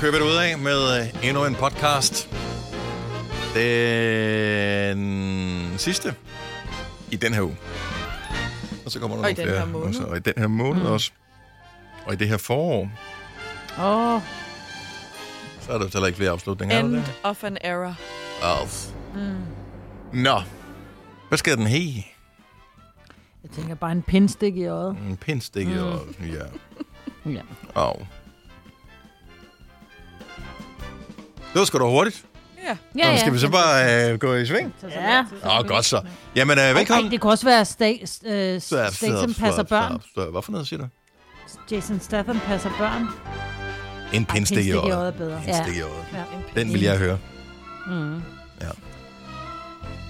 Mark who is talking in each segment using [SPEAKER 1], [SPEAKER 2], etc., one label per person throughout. [SPEAKER 1] køber det ud af med øh, endnu en podcast. Den sidste i den her uge. Og så kommer der
[SPEAKER 2] Og i
[SPEAKER 1] nogle
[SPEAKER 2] den her
[SPEAKER 1] flere
[SPEAKER 2] måned.
[SPEAKER 1] også, Og i den her måned mm. også. Og i det her forår,
[SPEAKER 2] Åh, oh,
[SPEAKER 1] så er der jo heller ikke flere afslutninger. er der
[SPEAKER 2] end of an era.
[SPEAKER 1] det? Alf. Mm. Nå, hvad skal den hedde?
[SPEAKER 3] Jeg tænker bare en pindstik i øjet.
[SPEAKER 1] En pindstik mm. og ja.
[SPEAKER 3] Ja.
[SPEAKER 1] Au. Det var sgu da hurtigt.
[SPEAKER 2] Ja.
[SPEAKER 1] Ja, Nå, skal vi så bare øh, gå i sving?
[SPEAKER 3] Ja.
[SPEAKER 1] Åh, oh, godt så. Jamen, øh, velkommen.
[SPEAKER 3] Ej, det kunne også være Sta- st- øh,
[SPEAKER 1] Stop,
[SPEAKER 3] Statham
[SPEAKER 1] stop,
[SPEAKER 3] passer
[SPEAKER 1] stop,
[SPEAKER 3] børn.
[SPEAKER 1] stop, stop. Hvad for noget siger du?
[SPEAKER 3] Jason Statham passer børn.
[SPEAKER 1] En pindstik i
[SPEAKER 3] pindstik i
[SPEAKER 1] øjet.
[SPEAKER 3] øjet er bedre.
[SPEAKER 1] En stik i
[SPEAKER 3] Ja.
[SPEAKER 1] øjet.
[SPEAKER 3] Ja. Mm.
[SPEAKER 1] Den vil jeg høre. Ja.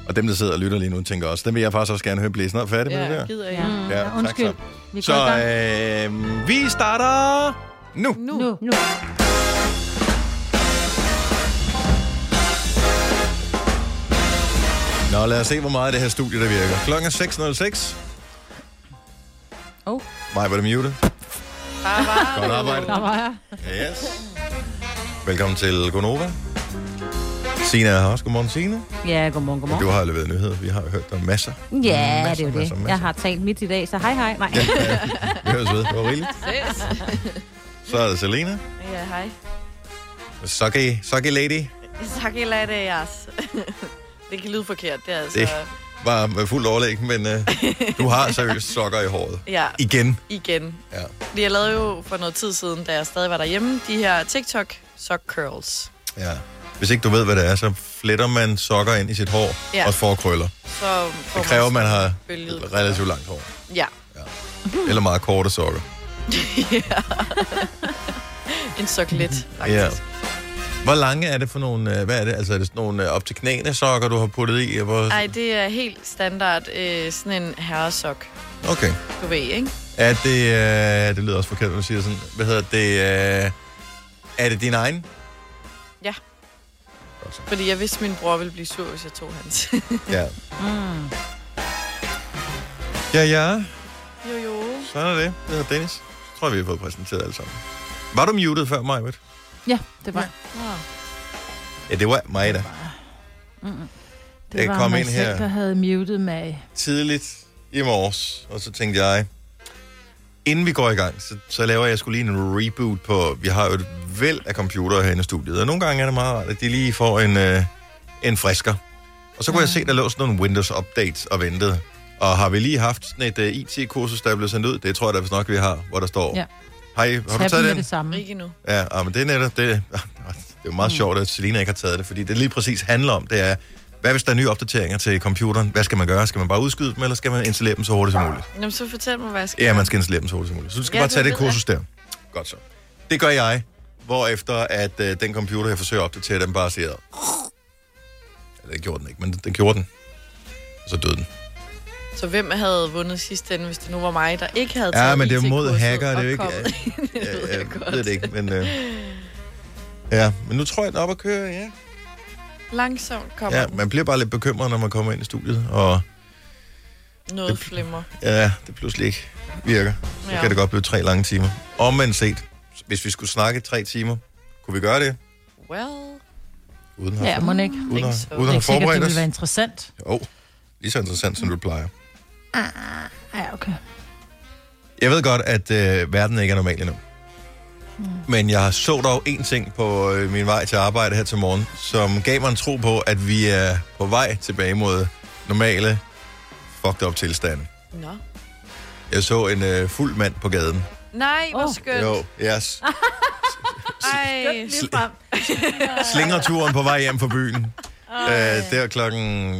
[SPEAKER 1] Og dem, der sidder og lytter lige nu, tænker også, den vil jeg faktisk også gerne høre blive snart færdig med det
[SPEAKER 2] Ja,
[SPEAKER 1] der.
[SPEAKER 2] gider
[SPEAKER 3] Ja.
[SPEAKER 2] jeg.
[SPEAKER 3] Mm.
[SPEAKER 1] Ja, tak
[SPEAKER 3] undskyld.
[SPEAKER 1] så.
[SPEAKER 3] Vi går
[SPEAKER 1] Så
[SPEAKER 3] i gang.
[SPEAKER 1] øh, vi starter nu.
[SPEAKER 2] Nu.
[SPEAKER 3] Nu, nu.
[SPEAKER 1] Nå, lad os se, hvor meget af det her studie, der virker. Klokken er 6.06.
[SPEAKER 3] Oh.
[SPEAKER 1] Mig var det mute.
[SPEAKER 2] Bare, bare.
[SPEAKER 1] Godt arbejde.
[SPEAKER 3] Der var jeg.
[SPEAKER 1] Yes. Velkommen til Gonova. Sina er her også. Godmorgen, Sina.
[SPEAKER 3] Ja, godmorgen,
[SPEAKER 1] Du
[SPEAKER 3] godmorgen.
[SPEAKER 1] har leveret nyheder. Vi har hørt dig masser.
[SPEAKER 3] Ja,
[SPEAKER 1] Masser,
[SPEAKER 3] det er jo
[SPEAKER 1] masser,
[SPEAKER 3] det.
[SPEAKER 1] masser.
[SPEAKER 3] Jeg har talt midt i dag, så hej hej. Nej.
[SPEAKER 1] Vi høres ved. Det var rigeligt.
[SPEAKER 2] Ses.
[SPEAKER 1] Så er der Selena.
[SPEAKER 2] Ja, hej.
[SPEAKER 1] Sucky, sucky lady.
[SPEAKER 2] Sake latte jas. Det kan lyde forkert, det er altså...
[SPEAKER 1] Det var med fuld overlæg, men uh, du har seriøst sokker i håret.
[SPEAKER 2] Ja,
[SPEAKER 1] Igen.
[SPEAKER 2] igen.
[SPEAKER 1] Ja.
[SPEAKER 2] Vi har lavet jo for noget tid siden, da jeg stadig var derhjemme, de her TikTok sock curls.
[SPEAKER 1] ja. Hvis ikke du ved, hvad det er, så fletter man sokker ind i sit hår
[SPEAKER 2] Ja.
[SPEAKER 1] og får krøller.
[SPEAKER 2] Så får
[SPEAKER 1] Det kræver, at man har
[SPEAKER 2] Bølget.
[SPEAKER 1] relativt langt hår.
[SPEAKER 2] Ja,
[SPEAKER 1] Eller meget korte sokker.
[SPEAKER 2] en sokkelet,
[SPEAKER 1] Ja.
[SPEAKER 2] faktisk.
[SPEAKER 1] Hvor lange er det for nogle, øh, hvad er det, altså er det sådan nogle øh, op til knæene sokker, du har puttet i? og Hvor...
[SPEAKER 2] Nej, det er helt standard øh, sådan en herresok,
[SPEAKER 1] Okay.
[SPEAKER 2] du ved, ikke?
[SPEAKER 1] Er det, øh, det lyder også forkert, når du siger sådan, hvad hedder det, øh, er det din egen?
[SPEAKER 2] Ja.
[SPEAKER 1] Godt så.
[SPEAKER 2] Fordi jeg vidste, min bror ville blive sur, hvis jeg tog hans.
[SPEAKER 1] Ja. Ja, ja,
[SPEAKER 2] jo, jo.
[SPEAKER 1] sådan er det. Det hedder Dennis. Jeg tror, vi har fået præsenteret alle sammen. Var du muted før mig, ved?
[SPEAKER 3] Ja, det var.
[SPEAKER 2] Nå.
[SPEAKER 1] Ja, det var mig, da.
[SPEAKER 3] Det
[SPEAKER 1] Jeg
[SPEAKER 3] var
[SPEAKER 1] kom
[SPEAKER 3] mig
[SPEAKER 1] ind
[SPEAKER 3] selv,
[SPEAKER 1] her.
[SPEAKER 3] der havde muted mig.
[SPEAKER 1] Tidligt i morges, og så tænkte jeg, inden vi går i gang, så, så laver jeg skulle lige en reboot på, vi har jo et væld af computere herinde i studiet, og nogle gange er det meget rart, at de lige får en, øh, en frisker. Og så kunne jeg se, der lå sådan nogle Windows-updates og ventede. Og har vi lige haft sådan et uh, IT-kursus, der er blevet sendt ud? Det tror jeg da vist nok, vi har, hvor der står.
[SPEAKER 3] Ja.
[SPEAKER 1] Hej, har du
[SPEAKER 3] Tag dem
[SPEAKER 1] taget
[SPEAKER 3] med
[SPEAKER 1] den?
[SPEAKER 3] det samme.
[SPEAKER 2] Ikke nu.
[SPEAKER 1] Ja, ah, men det er netop det. Det er jo meget sjovt, at Selina ikke har taget det, fordi det lige præcis handler om, det er, hvad hvis der er nye opdateringer til computeren? Hvad skal man gøre? Skal man bare udskyde dem, eller skal man installere dem så hurtigt som muligt?
[SPEAKER 2] Jamen, så fortæl mig, hvad jeg skal
[SPEAKER 1] Ja, man skal installere dem så hurtigt som muligt. Så du skal
[SPEAKER 2] Ja,
[SPEAKER 1] bare
[SPEAKER 2] det
[SPEAKER 1] tage det
[SPEAKER 2] ved jeg.
[SPEAKER 1] kursus der. Godt så. Det gør jeg, hvorefter at øh, den computer, jeg forsøger at opdatere, den bare siger... Eller det gjorde den ikke, men den gjorde den. Og så døde den.
[SPEAKER 2] Så hvem havde vundet sidste ende, hvis det nu var mig, der ikke havde taget
[SPEAKER 1] Ja, men det er jo mod
[SPEAKER 2] IT-kurset
[SPEAKER 1] hacker, det er
[SPEAKER 2] og
[SPEAKER 1] jo ikke...
[SPEAKER 2] kommet ind? det ved jeg, godt.
[SPEAKER 1] ved det ikke, men... Øh, ja, men nu tror jeg, den er op at køre, ja.
[SPEAKER 2] Langsomt kommer
[SPEAKER 1] Ja,
[SPEAKER 2] ja,
[SPEAKER 1] man bliver bare lidt bekymret, når man kommer ind i studiet, og
[SPEAKER 2] noget
[SPEAKER 1] det-
[SPEAKER 2] flimmer.
[SPEAKER 1] ja, det pludselig ikke virker. Så
[SPEAKER 2] Ja.
[SPEAKER 1] kan det godt blive tre lange timer. Omvendt set, hvis vi skulle snakke tre timer, kunne vi gøre det?
[SPEAKER 2] Well,
[SPEAKER 1] Uden at,
[SPEAKER 3] Ja, må ikke. Det
[SPEAKER 1] uden
[SPEAKER 2] ikke
[SPEAKER 1] at,
[SPEAKER 2] så.
[SPEAKER 3] er
[SPEAKER 1] uden at have
[SPEAKER 3] ikke sikkert, det
[SPEAKER 1] forberedt
[SPEAKER 3] ville
[SPEAKER 1] os?
[SPEAKER 3] være interessant.
[SPEAKER 1] Jo, lige så interessant, som du plejer.
[SPEAKER 2] Ah,
[SPEAKER 3] Ja, okay.
[SPEAKER 1] Jeg ved godt, at øh, verden ikke er normal endnu. Men jeg så dog en ting på øh, min vej til arbejde her til morgen, som gav mig en tro på, at vi er på vej tilbage mod normale fucked up tilstande.
[SPEAKER 2] nå.
[SPEAKER 1] Jeg så en øh, fuld mand på gaden.
[SPEAKER 2] Nej, hvor
[SPEAKER 3] Åh.
[SPEAKER 2] skønt.
[SPEAKER 1] Jo, yes.
[SPEAKER 2] Ej,
[SPEAKER 1] Slingerturen på vej hjem fra byen. Øh, det var klokken...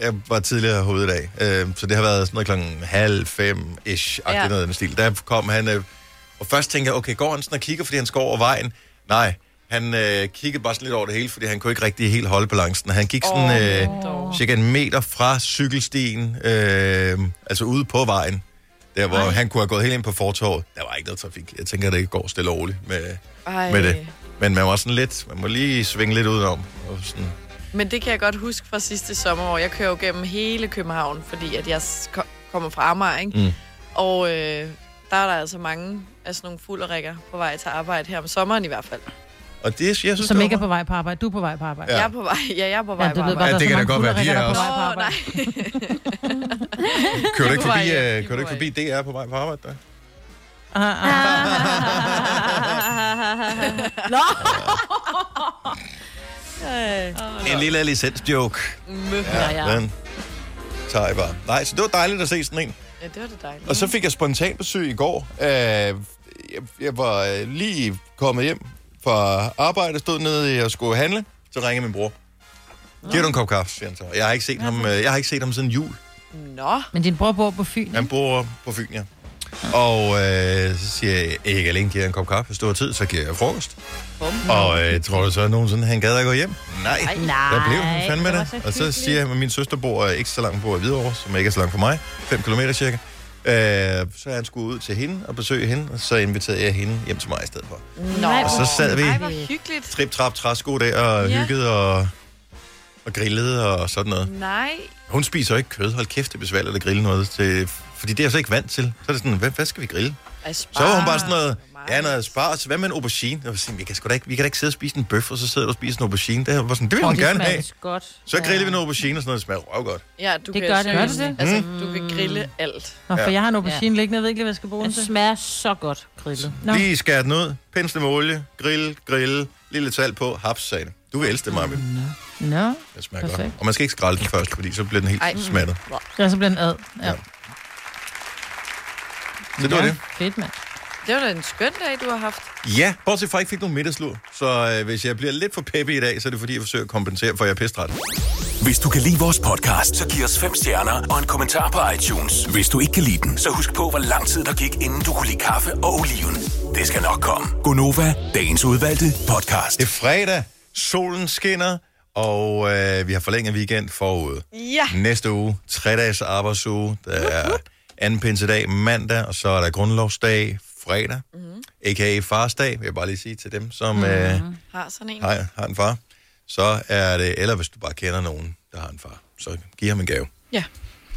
[SPEAKER 1] Jeg var tidligere herude i dag, øh, så det har været sådan noget klokken halv fem-ish, ja.
[SPEAKER 2] Ja.
[SPEAKER 1] noget af den stil. Der kom han, øh, og først tænkte jeg, okay, går han sådan og kigger, fordi han skal over vejen? Nej, han øh, kiggede bare sådan lidt over det hele, fordi han kunne ikke rigtig helt holde balancen. Han gik sådan øh,
[SPEAKER 2] Åh, dog.
[SPEAKER 1] cirka en meter fra cykelstien, øh, altså ude på vejen, der hvor Ej. han kunne have gået helt ind på fortorvet. Der var ikke noget trafik. Jeg tænker, at det ikke går stille og roligt med,
[SPEAKER 2] Ej.
[SPEAKER 1] med det. Men man var sådan lidt, man må lige svinge lidt udenom. Og sådan,
[SPEAKER 2] Men det kan jeg godt huske fra sidste sommer, hvor jeg kører jo gennem hele København, fordi at jeg s- ko- kommer fra Amager, ikke?
[SPEAKER 1] Mm.
[SPEAKER 2] Og altså øh, der er der altså mange af sådan nogle fulderækker på vej til arbejde her om sommeren i hvert fald.
[SPEAKER 1] Og det, jeg synes,
[SPEAKER 3] Som
[SPEAKER 1] det
[SPEAKER 3] ikke er
[SPEAKER 1] var-
[SPEAKER 3] på vej på arbejde. Du er på vej på arbejde.
[SPEAKER 1] Ja.
[SPEAKER 2] Ja. Jeg er på vej. Ja, jeg er på vej.
[SPEAKER 3] Ja, du ved
[SPEAKER 1] Ja,
[SPEAKER 3] godt, der er
[SPEAKER 1] det
[SPEAKER 3] så
[SPEAKER 1] kan da
[SPEAKER 3] mange
[SPEAKER 1] godt være, de
[SPEAKER 3] gutter, der
[SPEAKER 1] er
[SPEAKER 3] på
[SPEAKER 1] også.
[SPEAKER 3] vej på
[SPEAKER 2] Åh, nej.
[SPEAKER 3] arbejde.
[SPEAKER 1] kører du ikke
[SPEAKER 2] på vej
[SPEAKER 1] forbi,
[SPEAKER 2] hjem,
[SPEAKER 1] øh,
[SPEAKER 2] de er
[SPEAKER 1] kører du
[SPEAKER 2] på
[SPEAKER 1] ikke forbi DR på vej på arbejde? Der?
[SPEAKER 3] Ah,
[SPEAKER 1] En lille licensjoke.
[SPEAKER 2] Ja.
[SPEAKER 1] Ja. Den tager jeg bare. Nej, så det var dejligt at se sådan en.
[SPEAKER 2] ja, det var det dejligt.
[SPEAKER 1] Og så fik jeg spontan besøg i går. Øh, jeg, jeg var øh, lige kommet hjem fra arbejde, stod nede og skulle handle. Så ringede min bror. Giv du en kop kaffe, siger han så. Jeg har ikke set, ham, øh, jeg har ikke set ham siden jul.
[SPEAKER 2] Nå,
[SPEAKER 3] Men din bror bor på Fyn.
[SPEAKER 1] Han bor på Fyn, ja. Og øh, så siger jeg, ikke alene giver jeg en kop kaffe, hvis du har tid, så giver jeg frokost.
[SPEAKER 2] bum.
[SPEAKER 1] Og øh, tror du så nogensinde, han gad at gå hjem? Nej.
[SPEAKER 2] Nej.
[SPEAKER 3] Nej.
[SPEAKER 1] Der blev han fandme
[SPEAKER 3] det var
[SPEAKER 1] det.
[SPEAKER 3] så
[SPEAKER 1] og så
[SPEAKER 3] hyggeligt.
[SPEAKER 1] siger jeg, at min søster bor øh, ikke så langt på Hvidovre, som ikke er så langt fra mig. 5 km cirka. Øh, så er han skulle ud til hende og besøge hende, og så inviterede jeg hende hjem til mig i stedet for.
[SPEAKER 2] Nå.
[SPEAKER 1] Og så sad vi
[SPEAKER 2] Ej, hvor hyggeligt.
[SPEAKER 1] trip, trap, træsko der og
[SPEAKER 2] Ja.
[SPEAKER 1] hyggede og, og grillede og sådan noget.
[SPEAKER 2] Nej.
[SPEAKER 1] Hun spiser ikke kød. Hold kæft, det er besværligt at grille noget. Til, fordi det er jeg så ikke vant til. Så er det sådan, hvad, hvad skal vi grille?
[SPEAKER 2] Ej,
[SPEAKER 1] Så var hun
[SPEAKER 3] Ah,
[SPEAKER 1] bare sådan noget,
[SPEAKER 2] Meget.
[SPEAKER 1] ja, noget spars. Hvad med en aubergine? Jeg var sådan, vi kan, sgu da ikke, vi kan da ikke sidde og spise en bøf, og så sidder du og spiser en aubergine. Det var sådan, det vil hun gerne have.
[SPEAKER 4] godt.
[SPEAKER 1] Så grillede vi en aubergine og sådan noget, det smager røvgodt.
[SPEAKER 2] Ja, du
[SPEAKER 4] Det
[SPEAKER 2] kan
[SPEAKER 4] gør det
[SPEAKER 2] seriøst-
[SPEAKER 3] nemlig.
[SPEAKER 2] Altså,
[SPEAKER 1] Mm.
[SPEAKER 2] du kan grille alt.
[SPEAKER 3] Nå, for
[SPEAKER 1] Ja.
[SPEAKER 3] jeg har en aubergine liggende, jeg ved ikke, lige, hvad jeg skal bruge den
[SPEAKER 4] Den
[SPEAKER 3] til.
[SPEAKER 4] smager så godt, grillet.
[SPEAKER 3] Nå.
[SPEAKER 1] Lige skære den ud, pensle med olie, grill, grill, lille salt på, haps, sagde det. Du vil elske det, Marvin.
[SPEAKER 3] Nå,
[SPEAKER 1] Det smager godt.
[SPEAKER 3] Perfekt.
[SPEAKER 1] Og man skal ikke skrælle den først, fordi så bliver den helt
[SPEAKER 2] Ej.
[SPEAKER 1] smattet.
[SPEAKER 3] ja, så bliver den ad. Ja.
[SPEAKER 1] Ja. Så det var
[SPEAKER 3] Ja,
[SPEAKER 1] det.
[SPEAKER 3] Fedt, mand.
[SPEAKER 2] Det var da en skøn dag, du har haft.
[SPEAKER 1] Ja, bortset fra, at jeg ikke fik nogen middagslur. Så øh, hvis jeg bliver lidt for peppy i dag, så er det fordi, jeg forsøger at kompensere, for jeg er pestret.
[SPEAKER 5] Hvis du kan lide vores podcast, så giv os fem stjerner og en kommentar på iTunes. Hvis du ikke kan lide den, så husk på, hvor lang tid der gik, inden du kunne lide kaffe og oliven. Det skal nok komme. Gonova, dagens udvalgte podcast.
[SPEAKER 1] Det er fredag, solen skinner, og øh, vi har forlænget weekend forud.
[SPEAKER 2] Ja.
[SPEAKER 1] Næste uge, tre dages arbejdsuge, der er anden pinsedag mandag, og så er der grundlovsdag fredag, mm-hmm. a.k.a. farsdag, vil jeg bare lige sige til dem, som mm-hmm. øh,
[SPEAKER 2] Har sådan en.
[SPEAKER 1] har, har en far. Så er det, eller hvis du bare kender nogen, der har en far, så giv ham en gave.
[SPEAKER 2] Ja.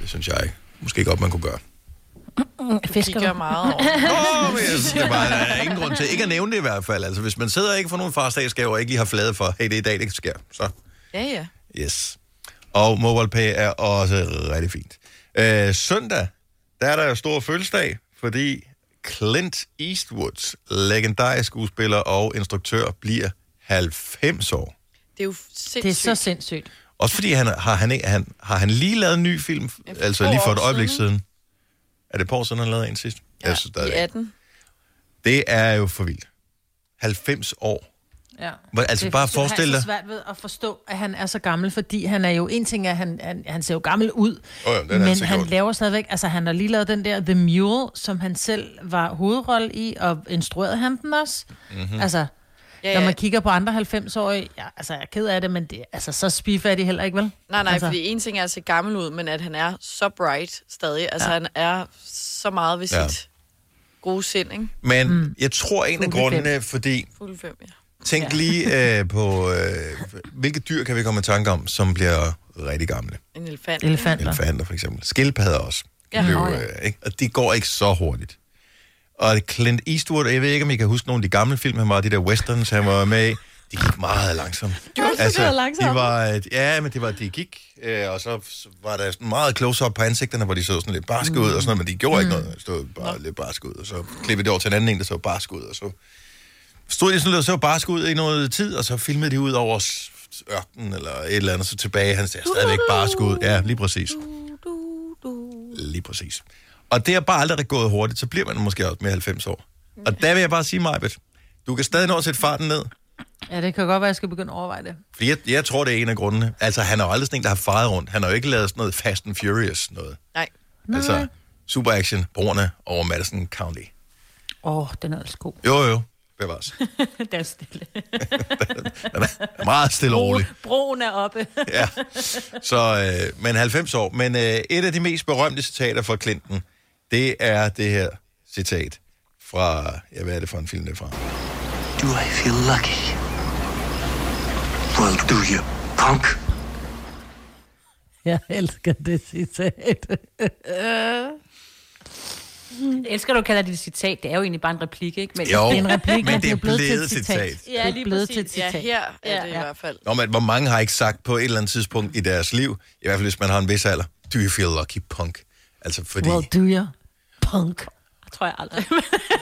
[SPEAKER 1] Det synes jeg måske godt, man kunne gøre.
[SPEAKER 2] De
[SPEAKER 3] Mm,
[SPEAKER 4] Fisker
[SPEAKER 2] gør meget over.
[SPEAKER 1] Åh, men jeg synes, det er bare, der er ingen grund til ikke at nævne det i hvert fald. Altså, hvis man sidder og ikke får nogen farsdagsgaver, og ikke lige har flade for, hey, det er i dag, det sker, så
[SPEAKER 2] Ja, ja.
[SPEAKER 1] Yes. Og MobilePay er også rigtig fint. Øh, søndag, der er der jo stor fødselsdag, fordi Clint Eastwood, legendarisk skuespiller og instruktør, bliver 90 år.
[SPEAKER 2] Det er jo
[SPEAKER 3] Det er
[SPEAKER 2] sindssygt.
[SPEAKER 3] så sindssygt.
[SPEAKER 1] Også fordi han har, han, han, har han lige lavet en ny film,
[SPEAKER 2] for
[SPEAKER 1] altså
[SPEAKER 2] to
[SPEAKER 1] lige for
[SPEAKER 2] år
[SPEAKER 1] et øjeblik
[SPEAKER 2] siden,
[SPEAKER 1] siden. Er det på siden, han lavede en sidst? Ja, jeg synes,
[SPEAKER 2] I
[SPEAKER 1] der er
[SPEAKER 2] 18.
[SPEAKER 1] det er jo for vildt. 90 år.
[SPEAKER 3] Ja.
[SPEAKER 1] Hvor- altså,
[SPEAKER 3] det,
[SPEAKER 1] bare
[SPEAKER 3] jeg synes,
[SPEAKER 1] forestil
[SPEAKER 3] Jeg har
[SPEAKER 1] dig-
[SPEAKER 3] så svært ved at forstå, at han er så gammel, fordi han er jo, en ting er, at han, han, han ser jo gammel ud,
[SPEAKER 1] Åh ja, det er da
[SPEAKER 3] men
[SPEAKER 1] altid
[SPEAKER 3] han
[SPEAKER 1] gjort.
[SPEAKER 3] laver stadigvæk, altså han har lige lavet den der The Mule, som han selv var hovedrolle i, og instruerede han den også.
[SPEAKER 1] Mhm.
[SPEAKER 3] Mm-hmm. Altså,
[SPEAKER 2] Ja,
[SPEAKER 3] når
[SPEAKER 2] ja.
[SPEAKER 3] man kigger på andre 90-årige, ja, altså jeg er ked af det, men det, altså, så spiff er de heller ikke, vel?
[SPEAKER 2] Nej, nej,
[SPEAKER 3] altså,
[SPEAKER 2] altså. fordi en ting er at se gammel ud, men at han er så bright stadig. Altså, ja. han er så meget ved
[SPEAKER 1] Ja.
[SPEAKER 2] sit gode sind, ikke?
[SPEAKER 1] Men mm. jeg tror, en af
[SPEAKER 3] Fugle fem.
[SPEAKER 1] grundene, fordi
[SPEAKER 2] Fuld fem, ja.
[SPEAKER 1] Tænk ja. lige øh, på, øh, hvilke dyr kan vi komme i tanke om, som bliver rigtig gamle.
[SPEAKER 2] En elefant.
[SPEAKER 3] Elefanter.
[SPEAKER 1] Elefanter for eksempel. Skildpadder også.
[SPEAKER 2] Ja,
[SPEAKER 1] Ja, jo,
[SPEAKER 2] nå ja.
[SPEAKER 1] øh, ikke? Og det går ikke så hurtigt. Og Clint Eastwood, jeg ved ikke, om I kan huske nogle af de gamle film, han var i de der westerns, han var med i. De gik meget langsomt.
[SPEAKER 3] det var
[SPEAKER 1] de
[SPEAKER 3] langsomt.
[SPEAKER 1] var, øh, ja, men det var, de gik, øh, og så så var der sådan meget close-up på ansigterne, hvor de så sådan lidt barske ud, og sådan noget, men de gjorde ikke noget. De stod bare lidt barske ud, og så klippede det over til en anden en, der så barsk ud, og så stod de sådan lidt og så barsk ud i noget tid, og så filmede de ud over s- ørkenen eller et eller andet, så tilbage, han ser stadigvæk barsk ud. Ja, lige præcis. Lige præcis. Og det er bare aldrig gået hurtigt, så bliver man måske også med 90 år. Og der vil jeg bare sige, Majbet, du kan stadig nå at sætte farten ned,
[SPEAKER 3] Ja, det kan godt være, at jeg skal begynde at overveje det.
[SPEAKER 1] fordi jeg, jeg tror, det er en af grundene. Altså, han er jo aldrig sådan en, der har faret rundt. Han har jo ikke lavet sådan noget Fast and Furious noget.
[SPEAKER 2] Nej.
[SPEAKER 1] Altså, super action, brugerne over Madison County.
[SPEAKER 4] Åh, oh, den er altså god.
[SPEAKER 1] Jo, jo, bevares.
[SPEAKER 4] den er stille.
[SPEAKER 1] Meget stille og roligt.
[SPEAKER 4] Broen er oppe.
[SPEAKER 1] Ja. Så, øh, men 90 år. Men øh, et af de mest berømte citater fra Clinton, det er det her citat fra, ja, hvad er det for en film, det er fra?
[SPEAKER 6] Do I feel lucky? Well, do you, punk?
[SPEAKER 3] Jeg elsker det citat.
[SPEAKER 4] Jeg elsker, at du kalder det et citat. Det er jo egentlig bare en replik, ikke? Men
[SPEAKER 1] Jo,
[SPEAKER 3] Det er en replik,
[SPEAKER 1] men
[SPEAKER 3] men
[SPEAKER 1] det er blevet til et citat.
[SPEAKER 3] Ja, det er blevet til et
[SPEAKER 2] Ja,
[SPEAKER 3] citat.
[SPEAKER 2] her er det i
[SPEAKER 4] Ja.
[SPEAKER 2] hvert fald.
[SPEAKER 1] Nå, men hvor mange har ikke sagt på et eller andet tidspunkt i deres liv, i hvert fald hvis man har en vis alder, do you feel lucky, punk? Altså, fordi...
[SPEAKER 3] Well, do you? Punk.
[SPEAKER 4] det tror jeg aldrig.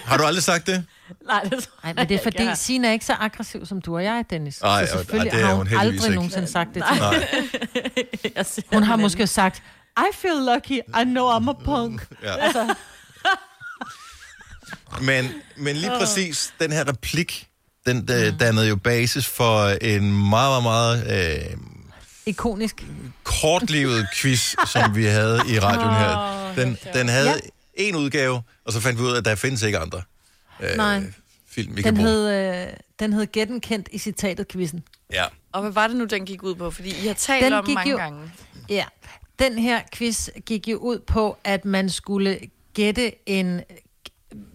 [SPEAKER 1] Har du aldrig sagt det?
[SPEAKER 4] Nej, det tror
[SPEAKER 3] Nej, men det er fordi,
[SPEAKER 4] jeg ikke.
[SPEAKER 3] Sina er ikke så aggressiv som du og jeg, Dennis.
[SPEAKER 1] Ej, og-
[SPEAKER 3] så selvfølgelig
[SPEAKER 1] og det er
[SPEAKER 3] har
[SPEAKER 1] hun
[SPEAKER 3] hun,
[SPEAKER 1] heldigvis
[SPEAKER 3] aldrig
[SPEAKER 1] ikke.
[SPEAKER 3] nogensinde sagt det til mig.
[SPEAKER 4] Jeg- jeg ser
[SPEAKER 3] Hun har
[SPEAKER 4] den
[SPEAKER 3] måske sagt, I feel lucky, I know I'm a punk. Altså,
[SPEAKER 1] Ja. Men, men lige præcis den her replik, den
[SPEAKER 3] Mm.
[SPEAKER 1] øh, dannede jo basis for en meget, meget, meget øh,
[SPEAKER 3] Ikonisk.
[SPEAKER 1] kortlivet quiz, som vi havde i radioen her. Den, den havde en udgave, og så fandt vi ud af, at der findes ikke andre øh,
[SPEAKER 3] Nej.
[SPEAKER 1] film, vi kan
[SPEAKER 3] Den
[SPEAKER 1] bruge.
[SPEAKER 3] hed, øh, den hed Gætten kendt i citatet quizzen.
[SPEAKER 1] Ja.
[SPEAKER 2] Og hvad var det nu, den gik ud på? Fordi I har talt
[SPEAKER 3] Den
[SPEAKER 2] om
[SPEAKER 3] gik
[SPEAKER 2] mange
[SPEAKER 3] jo-
[SPEAKER 2] gange.
[SPEAKER 3] Ja. Den her quiz gik jo ud på, at man skulle gætte en...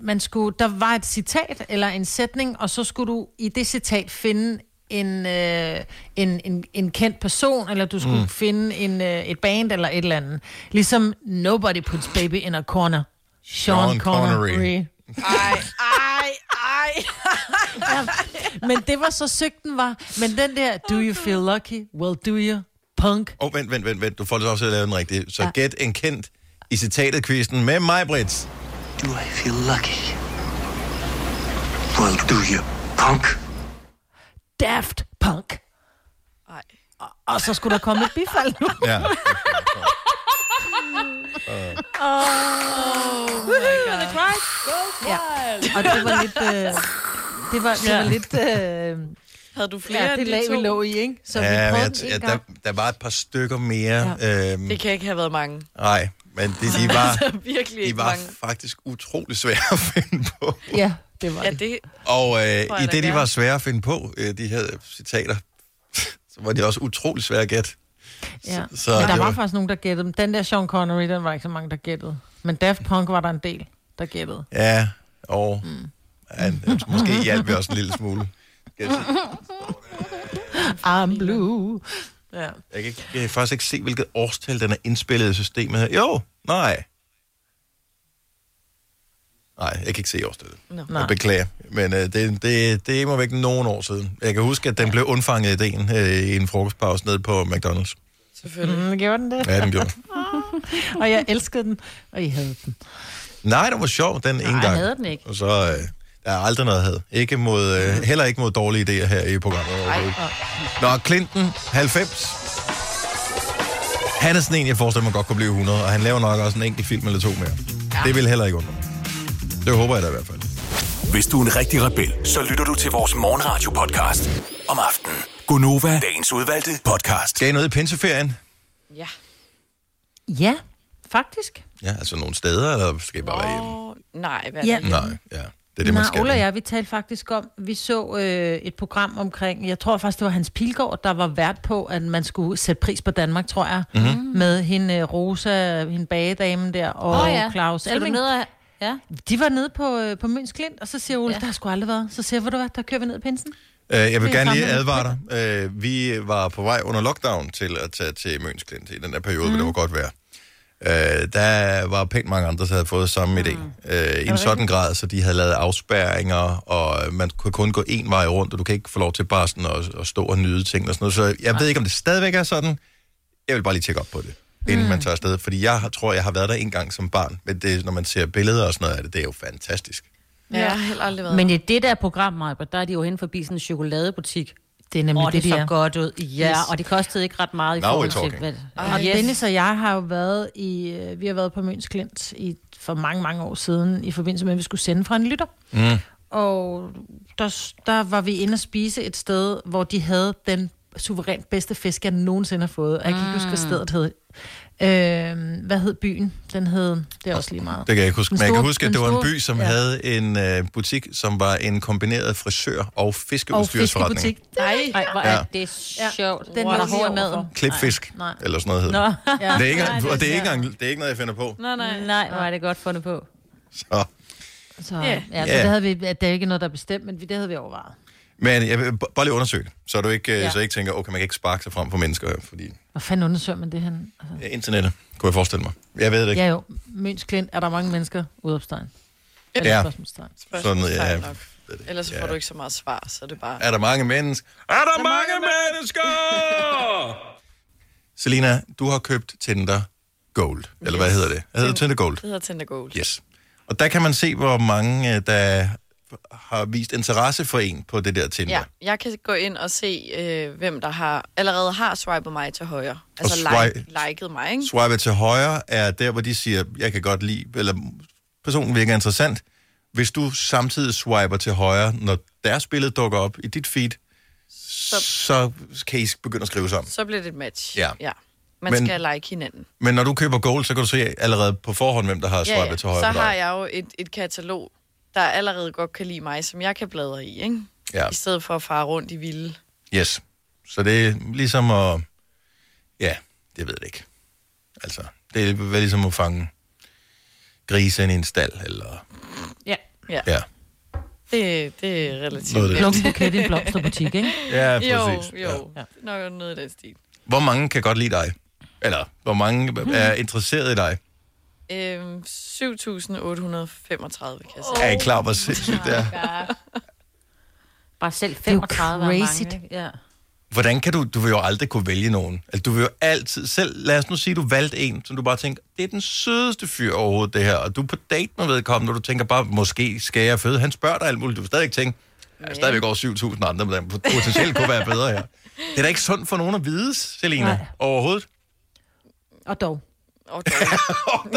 [SPEAKER 3] Man skulle, der var et citat eller en sætning, og så skulle du i det citat finde en, øh, en, en, en kendt person, eller du skulle mm. finde en, øh, et band eller et eller andet. Ligesom Nobody Puts Baby in a Corner. Sean,
[SPEAKER 1] Sean
[SPEAKER 3] Sean
[SPEAKER 1] Connery.
[SPEAKER 3] Connery.
[SPEAKER 2] Ej,
[SPEAKER 4] ah.
[SPEAKER 2] ej, ej.
[SPEAKER 3] Men det var så sygt den var. Men den der, do you feel lucky? Well, do you? Punk.
[SPEAKER 1] Åh, oh, vent, vent, vent, vent. Du får det også til at lave den rigtige. Så ja. gæt en kendt i citatet quizzen med mig, Brits.
[SPEAKER 6] Do I feel lucky? Well, do you, punk?
[SPEAKER 3] Daft Punk.
[SPEAKER 2] Ej.
[SPEAKER 3] Og så skulle der komme et bifald nu.
[SPEAKER 1] Ja.
[SPEAKER 4] Oh
[SPEAKER 3] Og det var lidt... Øh, det var, det var lidt... Øh,
[SPEAKER 2] Havde du flere
[SPEAKER 3] ja,
[SPEAKER 2] end
[SPEAKER 3] det
[SPEAKER 2] de
[SPEAKER 3] lag,
[SPEAKER 2] to?
[SPEAKER 3] vi lå i, ikke? Så
[SPEAKER 1] ja,
[SPEAKER 3] vi
[SPEAKER 1] men
[SPEAKER 3] prøvede
[SPEAKER 1] jeg,
[SPEAKER 3] den
[SPEAKER 1] ja,
[SPEAKER 3] en
[SPEAKER 1] der,
[SPEAKER 3] gang.
[SPEAKER 1] der var et par stykker mere. Ja. Øhm,
[SPEAKER 2] Det kan ikke have været mange.
[SPEAKER 1] nej, men de, de var,
[SPEAKER 2] Virkelig
[SPEAKER 1] de
[SPEAKER 2] ikke
[SPEAKER 1] var
[SPEAKER 2] mange.
[SPEAKER 1] faktisk utrolig svære at finde på.
[SPEAKER 3] Ja, det var
[SPEAKER 2] Ja,
[SPEAKER 3] det.
[SPEAKER 2] det,
[SPEAKER 1] Og
[SPEAKER 2] Tror
[SPEAKER 1] øh,
[SPEAKER 2] jeg
[SPEAKER 1] i
[SPEAKER 2] da
[SPEAKER 1] det, de
[SPEAKER 2] gerne.
[SPEAKER 1] var svære at finde på, øh, de her citater, så var de også utrolig svære at gætte.
[SPEAKER 3] Ja.
[SPEAKER 1] så
[SPEAKER 3] Så, men der
[SPEAKER 1] det
[SPEAKER 3] var
[SPEAKER 1] var-
[SPEAKER 3] faktisk nogen, der gættede dem. Den der Sean Connery, den var ikke så mange, der gættede. Men Daft Punk var der en del, der gættede.
[SPEAKER 1] Ja, og mm. ja, måske hjalp vi også en lille smule. Skal Jeg, sige.
[SPEAKER 3] I'm blue. Ja.
[SPEAKER 1] jeg, kan ikke, jeg kan faktisk ikke se, hvilket årstal den er indspillet i systemet her. Jo, nej. Nej, jeg kan ikke se årstallet. No.
[SPEAKER 3] Nej.
[SPEAKER 1] Jeg beklager. Men øh, det, det, det er må væk nogen år siden. Jeg kan huske, at den blev undfanget i ideen øh, i en frokostpause nede på McDonald's.
[SPEAKER 2] selvfølgelig.
[SPEAKER 3] Mm, gjorde den det?
[SPEAKER 1] Ja, den gjorde.
[SPEAKER 3] Og jeg elskede den, og I havde den.
[SPEAKER 1] Nej, den var sjov, den ene
[SPEAKER 4] Nej,
[SPEAKER 1] gang.
[SPEAKER 4] havde den ikke.
[SPEAKER 1] Og så øh, der er aldrig noget had. Ikke mod, øh, heller ikke mod dårlige idéer her i programmet. overhovedet. Nå, Clinton, 90. Han er sådan en, jeg forestiller mig godt kunne blive 100, og han laver nok også en enkelt film eller to mere. Ja. Det vil heller ikke undre mig. Det håber jeg da i hvert fald.
[SPEAKER 5] Hvis du er en rigtig rebel, så lytter du til vores morgenradio-podcast om aftenen. Gonova, dagens udvalgte podcast.
[SPEAKER 1] Skal I noget i pinseferien?
[SPEAKER 2] Ja.
[SPEAKER 3] Ja, faktisk.
[SPEAKER 1] Ja, altså nogle steder, eller skal I bare være hjemme?
[SPEAKER 2] Åh, nej, hvad er
[SPEAKER 3] Ja.
[SPEAKER 2] det?
[SPEAKER 1] Nej, ja. Det er det, man
[SPEAKER 3] Nej,
[SPEAKER 1] skal.
[SPEAKER 3] Ola og jeg, vi talte faktisk om, vi så øh, et program omkring, jeg tror faktisk, det var Hans Pilgaard, der var vært på, at man skulle sætte pris på Danmark, tror jeg,
[SPEAKER 1] Mhm.
[SPEAKER 3] mm-hmm. med hende øh, Rosa, hende bagedame der, og oh, ja. Claus
[SPEAKER 4] Skal du
[SPEAKER 3] Elming.
[SPEAKER 4] ned og... Ja.
[SPEAKER 3] De var nede på, øh, på Møns Klint, og så siger Ole, ja. der har sgu aldrig været. Så siger jeg, ved du hvad, der kører vi ned i pinsen.
[SPEAKER 1] Øh, jeg vil
[SPEAKER 3] Det er
[SPEAKER 1] gerne lige
[SPEAKER 3] samme.
[SPEAKER 1] advare dig. Øh, vi var på vej under lockdown til at tage til Møns Klint i den der periode, mm. hvor det var godt vejr. Øh, der var pænt mange andre, der havde fået samme idé.
[SPEAKER 3] Mm.
[SPEAKER 1] Øh, I en sådan grad, så de havde lavet afspærringer, og man kunne kun gå én vej rundt, og du kan ikke få lov til bare sådan at, at stå og nyde ting og sådan noget. Så jeg ved ikke, om det stadigvæk er sådan. Jeg vil bare lige tjekke op på det, inden mm. man tager afsted. Fordi jeg har- tror, jeg har været der en gang som barn. Men det, når man ser billeder og sådan noget af det, det er jo fantastisk.
[SPEAKER 2] Ja, jeg har heller aldrig været.
[SPEAKER 4] Men i det der program, Maja, der er de jo hen forbi sådan en chokoladebutik.
[SPEAKER 3] Det er nemlig
[SPEAKER 4] Åh, oh, det,
[SPEAKER 3] de
[SPEAKER 4] så
[SPEAKER 3] er.
[SPEAKER 4] godt ud. Ja,
[SPEAKER 3] Yes.
[SPEAKER 4] yes. og det kostede ikke ret meget i
[SPEAKER 1] Now
[SPEAKER 4] forhold
[SPEAKER 1] we're
[SPEAKER 4] til...
[SPEAKER 1] talking.
[SPEAKER 4] Hvad,
[SPEAKER 3] Og yes.
[SPEAKER 4] yes.
[SPEAKER 3] Dennis og jeg har jo været i, øh, vi har været på Møns Klint i, for mange, mange år siden, i forbindelse med, at vi skulle sende fra en lytter. Mm. Og der, der var vi inde og spise et sted, hvor de havde den suverænt bedste fisk, jeg nogensinde har fået. Og Jeg kan ikke huske, hvad stedet hed. Øh, hvad hed byen? Den hed, det er også lige meget.
[SPEAKER 1] Det kan jeg ikke huske.
[SPEAKER 3] Den
[SPEAKER 1] Men jeg kan
[SPEAKER 3] store-
[SPEAKER 1] huske, at
[SPEAKER 3] den
[SPEAKER 1] det var en
[SPEAKER 3] store-
[SPEAKER 1] by, som ja.
[SPEAKER 3] ja.
[SPEAKER 1] havde en øh, butik, som var en kombineret frisør- og
[SPEAKER 3] Og
[SPEAKER 1] fiskeudstyrsforretning.
[SPEAKER 3] fiskebutik.
[SPEAKER 2] Nej,
[SPEAKER 4] Ej, hvor
[SPEAKER 1] Ja.
[SPEAKER 4] er det sjovt.
[SPEAKER 3] Den
[SPEAKER 4] Hvor er
[SPEAKER 3] lå
[SPEAKER 4] der
[SPEAKER 3] lige
[SPEAKER 4] hår i
[SPEAKER 3] overfor.
[SPEAKER 4] maden.
[SPEAKER 1] Klipfisk,
[SPEAKER 3] Nej, nej.
[SPEAKER 1] eller sådan noget hedder.
[SPEAKER 4] Nå,
[SPEAKER 1] det. Det er ikke,
[SPEAKER 3] Nej,
[SPEAKER 1] og det er, ikke engang, det er ikke noget, jeg finder på.
[SPEAKER 2] nej, nej.
[SPEAKER 4] nej, hvor er det godt fundet på.
[SPEAKER 1] Så.
[SPEAKER 3] Så,
[SPEAKER 2] Ja.
[SPEAKER 3] yeah. ja, så
[SPEAKER 1] Ja.
[SPEAKER 3] det, havde vi, det er ikke noget, der er bestemt, men vi- det havde vi overvejet.
[SPEAKER 1] Men jeg vil b- bare lige undersøge det, så du ikke, ja.
[SPEAKER 3] Ja.
[SPEAKER 1] så jeg ikke tænker, okay, man kan ikke sparke sig frem for mennesker, fordi
[SPEAKER 3] Hvor fanden undersøger man det her? Altså,
[SPEAKER 1] ja, internettet, kunne jeg forestille mig. Jeg ved det ikke.
[SPEAKER 3] ja jo, Møns Klint, er der mange mennesker? Udopstegn. Eller
[SPEAKER 1] Ja.
[SPEAKER 3] spørgsmålstegn.
[SPEAKER 1] Sådan,
[SPEAKER 2] Spørgsmål,
[SPEAKER 1] ja.
[SPEAKER 2] fejl nok. Ellers så får du ikke så meget svar, så er det bare...
[SPEAKER 1] Er der mange mennesker? Er der, der mange mennesker? Selina, du har købt Tinder Gold. Eller yes. hvad
[SPEAKER 2] Yes.
[SPEAKER 1] hedder det? Hvad hedder Tinder Gold?
[SPEAKER 2] Det hedder Tinder Gold.
[SPEAKER 1] Yes. Og der kan man se, hvor mange, øh, der har vist interesse for en på det der Tinder.
[SPEAKER 2] Ja, jeg kan gå ind og se, øh, hvem der har allerede har swipet mig til højre.
[SPEAKER 1] Og
[SPEAKER 2] Altså
[SPEAKER 1] swipe-
[SPEAKER 2] like, liket mig, ikke?
[SPEAKER 1] Swipe til højre er der, hvor de siger, jeg kan godt lide, eller personen virker interessant. Hvis du samtidig swiper til højre, når deres billede dukker op i dit feed, så, så kan I begynde at skrive sammen.
[SPEAKER 2] Så bliver det et match.
[SPEAKER 1] Ja.
[SPEAKER 2] ja. Man
[SPEAKER 1] Men-
[SPEAKER 2] Men... skal like hinanden.
[SPEAKER 1] Men når du køber gold, så kan du se allerede på forhånd, hvem der har swipet ja, ja. til højre
[SPEAKER 2] Så
[SPEAKER 1] på dig.
[SPEAKER 2] har jeg jo et, et katalog, der allerede godt kan lide mig, som jeg kan bladre i, ikke?
[SPEAKER 1] Ja.
[SPEAKER 2] I stedet for at fare rundt i vilde.
[SPEAKER 1] Yes. Så det er ligesom at... Ja, det ved jeg ikke. Altså, det er vel ligesom at fange grise ind i en stald, eller...
[SPEAKER 3] Ja.
[SPEAKER 2] Ja, ja.
[SPEAKER 1] Ja,
[SPEAKER 2] Det, det er relativt
[SPEAKER 1] Noget af det.
[SPEAKER 2] nemt.
[SPEAKER 4] Pluk en buket i en blomsterbutik, ikke?
[SPEAKER 1] ja
[SPEAKER 2] Jo, jo.
[SPEAKER 4] Ja.
[SPEAKER 2] Ja. Nok noget i den stil.
[SPEAKER 1] Hvor mange kan godt lide dig? Eller, hvor mange er interesseret i dig?
[SPEAKER 2] Øhm, 7.835, kan jeg se.
[SPEAKER 1] Er I klar, over, hvor sindssygt det er?
[SPEAKER 4] Bare selv
[SPEAKER 3] er jo
[SPEAKER 4] 35 er
[SPEAKER 3] crazy.
[SPEAKER 4] mange. ikke? Ja.
[SPEAKER 1] Hvordan kan du... Du vil jo aldrig kunne vælge nogen. Altså, du vil jo altid selv... Lad os nu sige, du valgte en, som du bare tænker, det er den sødeste fyr overhovedet, det her. Og du er på date med vedkommende, og du tænker bare, måske skal jeg føde. Han spørger dig alt muligt. Du vil stadig ikke tænke, jeg er stadigvæk over 7.000 andre, men der potentielt kunne være bedre her. Det er da ikke sundt for nogen at vide, Selina,
[SPEAKER 3] Nej.
[SPEAKER 1] overhovedet.
[SPEAKER 3] Og dog.
[SPEAKER 2] Og dog.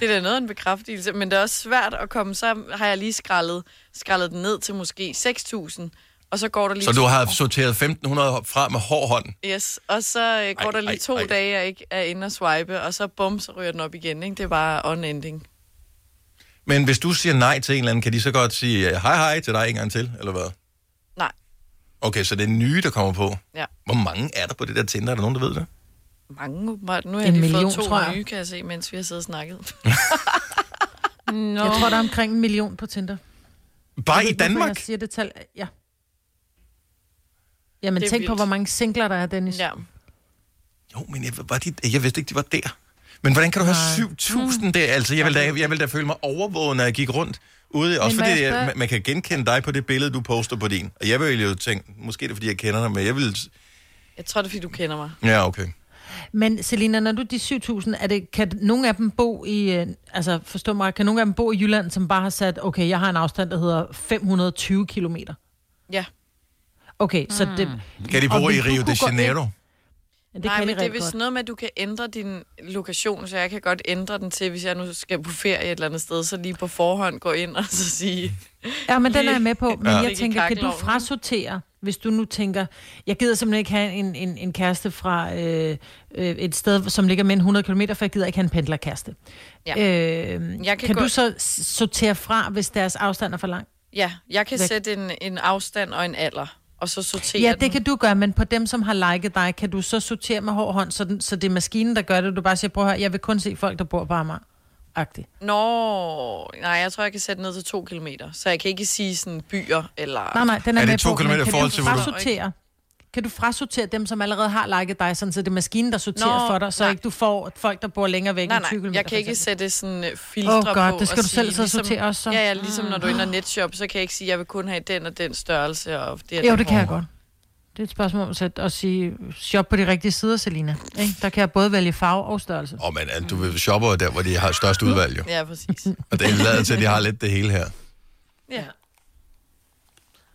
[SPEAKER 2] det er da noget af en bekræftelse, men det er også svært at komme. Så har jeg lige skrællet, skrællet den ned til måske 6.000, og så går der lige...
[SPEAKER 1] Så du har sorteret 1.500 fra med hård hånd.
[SPEAKER 2] Yes, og så øh, går ej,
[SPEAKER 1] Ej,
[SPEAKER 2] der lige
[SPEAKER 1] ej,
[SPEAKER 2] ej, to
[SPEAKER 1] ej.
[SPEAKER 2] ej. dage, jeg ikke er inde og swipe, og så bum, så ryger den op igen, ikke? Det er bare on-ending.
[SPEAKER 1] Men hvis du siger nej til en eller anden, kan de så godt sige øh, hej hej til dig en gang til, eller hvad?
[SPEAKER 2] Nej,
[SPEAKER 1] Okay, så det er nye, der kommer på.
[SPEAKER 2] ja.
[SPEAKER 1] Hvor mange er der på det der Tinder? Er der nogen, der ved det?
[SPEAKER 2] Mange åbenbart. Nu har jeg
[SPEAKER 3] En
[SPEAKER 2] lige
[SPEAKER 3] million,
[SPEAKER 2] fået to
[SPEAKER 3] tror jeg.
[SPEAKER 2] nye, kan jeg se, mens vi har siddet og snakket.
[SPEAKER 4] Nå.
[SPEAKER 3] Jeg tror, der er omkring en million på Tinder.
[SPEAKER 1] Bare i
[SPEAKER 3] Hvorfor
[SPEAKER 1] Danmark?
[SPEAKER 3] Jeg siger det tal. Ja. Jamen
[SPEAKER 2] Det er
[SPEAKER 3] tænk på,
[SPEAKER 2] vildt.
[SPEAKER 3] hvor mange singler der er, Dennis.
[SPEAKER 2] ja.
[SPEAKER 1] Jo, men jeg, var de, jeg vidste ikke, de var der. Men hvordan kan du have 7.000 der? Altså, jeg ville, da, jeg ville da føle mig overvåget, når jeg gik rundt ude. Også
[SPEAKER 3] må
[SPEAKER 1] fordi
[SPEAKER 3] jeg
[SPEAKER 1] jeg,
[SPEAKER 3] spørge-
[SPEAKER 1] man, man kan genkende dig på det billede, du poster på din. Og jeg ville jo tænke, måske er det fordi, jeg kender dig, men jeg ville...
[SPEAKER 2] Jeg tror, det er, fordi du kender mig.
[SPEAKER 1] Ja, okay.
[SPEAKER 3] Men Selina, når du de 7.000, er det, kan nogen af dem bo i, øh, altså forstå mig, kan nogen af dem bo i Jylland, som bare har sat, okay, jeg har en afstand, der hedder 520 kilometer.
[SPEAKER 2] Ja.
[SPEAKER 3] Okay,
[SPEAKER 2] Mm.
[SPEAKER 3] så det...
[SPEAKER 1] Kan de
[SPEAKER 3] Og
[SPEAKER 1] bo i
[SPEAKER 3] vil du
[SPEAKER 1] Rio
[SPEAKER 3] kunne
[SPEAKER 1] de
[SPEAKER 3] gå ind-
[SPEAKER 1] Janeiro?
[SPEAKER 3] Ja, Det
[SPEAKER 2] Det Ah. Nej,
[SPEAKER 3] kan
[SPEAKER 2] men
[SPEAKER 3] de
[SPEAKER 2] det er
[SPEAKER 3] rigtig
[SPEAKER 2] vist
[SPEAKER 3] godt.
[SPEAKER 2] noget med, at du kan ændre din lokation, så jeg kan godt ændre den til, hvis jeg nu skal på ferie et eller andet sted, så lige på forhånd gå ind og så sige...
[SPEAKER 3] Ja, men den er jeg med på. Men
[SPEAKER 1] Ja.
[SPEAKER 3] ja.
[SPEAKER 2] Ligge
[SPEAKER 3] jeg
[SPEAKER 2] i
[SPEAKER 3] tænker, kan du
[SPEAKER 2] kakkelovnen.
[SPEAKER 3] frasortere, hvis du nu tænker, jeg gider simpelthen ikke have en, en, en kæreste fra øh, øh, et sted, som ligger mindre end 100 km, for jeg gider ikke have en pendlerkæreste.
[SPEAKER 2] Ja.
[SPEAKER 3] Øh,
[SPEAKER 2] Jeg
[SPEAKER 3] kan
[SPEAKER 2] kan
[SPEAKER 3] kan
[SPEAKER 2] gå-
[SPEAKER 3] du så s- sortere fra, hvis deres afstand er for lang?
[SPEAKER 2] Ja, jeg kan
[SPEAKER 3] Væk.
[SPEAKER 2] Væk. sætte en, en afstand og en alder, og så sortere
[SPEAKER 3] Ja, det
[SPEAKER 2] den.
[SPEAKER 3] kan du gøre, men på dem, som har liket dig, kan du så sortere med hård hånd, så, den, så det er maskinen, der gør det, du bare siger, prøv her, jeg vil kun se folk, der bor på Amager. Agtigt.
[SPEAKER 2] Nå, nej, jeg tror, jeg kan sætte ned til to kilometer, så jeg kan ikke sige sådan byer eller...
[SPEAKER 3] Nej, nej, den er,
[SPEAKER 1] Er det
[SPEAKER 3] med
[SPEAKER 1] to
[SPEAKER 3] på, men
[SPEAKER 1] kilometer i forhold til,
[SPEAKER 3] kan
[SPEAKER 1] hvor
[SPEAKER 3] du
[SPEAKER 1] du-
[SPEAKER 3] frasortere? Kan du frasortere dem, som allerede har liket dig, sådan, så det er maskinen, der sorterer
[SPEAKER 2] Nå,
[SPEAKER 3] for dig, så
[SPEAKER 2] nej.
[SPEAKER 3] ikke du får folk, der bor længere væk
[SPEAKER 2] Nej,
[SPEAKER 3] end 20
[SPEAKER 2] nej,
[SPEAKER 3] km?
[SPEAKER 2] jeg kan ikke sætte sådan øh, filtre
[SPEAKER 3] Åh, godt,
[SPEAKER 2] på
[SPEAKER 3] det skal
[SPEAKER 2] og
[SPEAKER 3] du selv
[SPEAKER 2] sige,
[SPEAKER 3] sidde og sortere også, så. Ah.
[SPEAKER 2] Ja, ja, ligesom når du ender netshop, så kan jeg ikke sige, at jeg vil kun have den og den størrelse. Og det og
[SPEAKER 3] Jo,
[SPEAKER 2] den
[SPEAKER 3] det kan jeg
[SPEAKER 2] hårde.
[SPEAKER 3] godt. Det er et spørgsmål om at sætte- at sige shop på de rigtige sider, Selina. Ikke? Der kan jeg både vælge farve og størrelse.
[SPEAKER 1] Åh, oh, men øh, du vil shoppe jo der, hvor de har størst udvalg, jo.
[SPEAKER 2] Ja, præcis.
[SPEAKER 1] Og det lader til, at de har lidt det hele her.
[SPEAKER 2] Ja.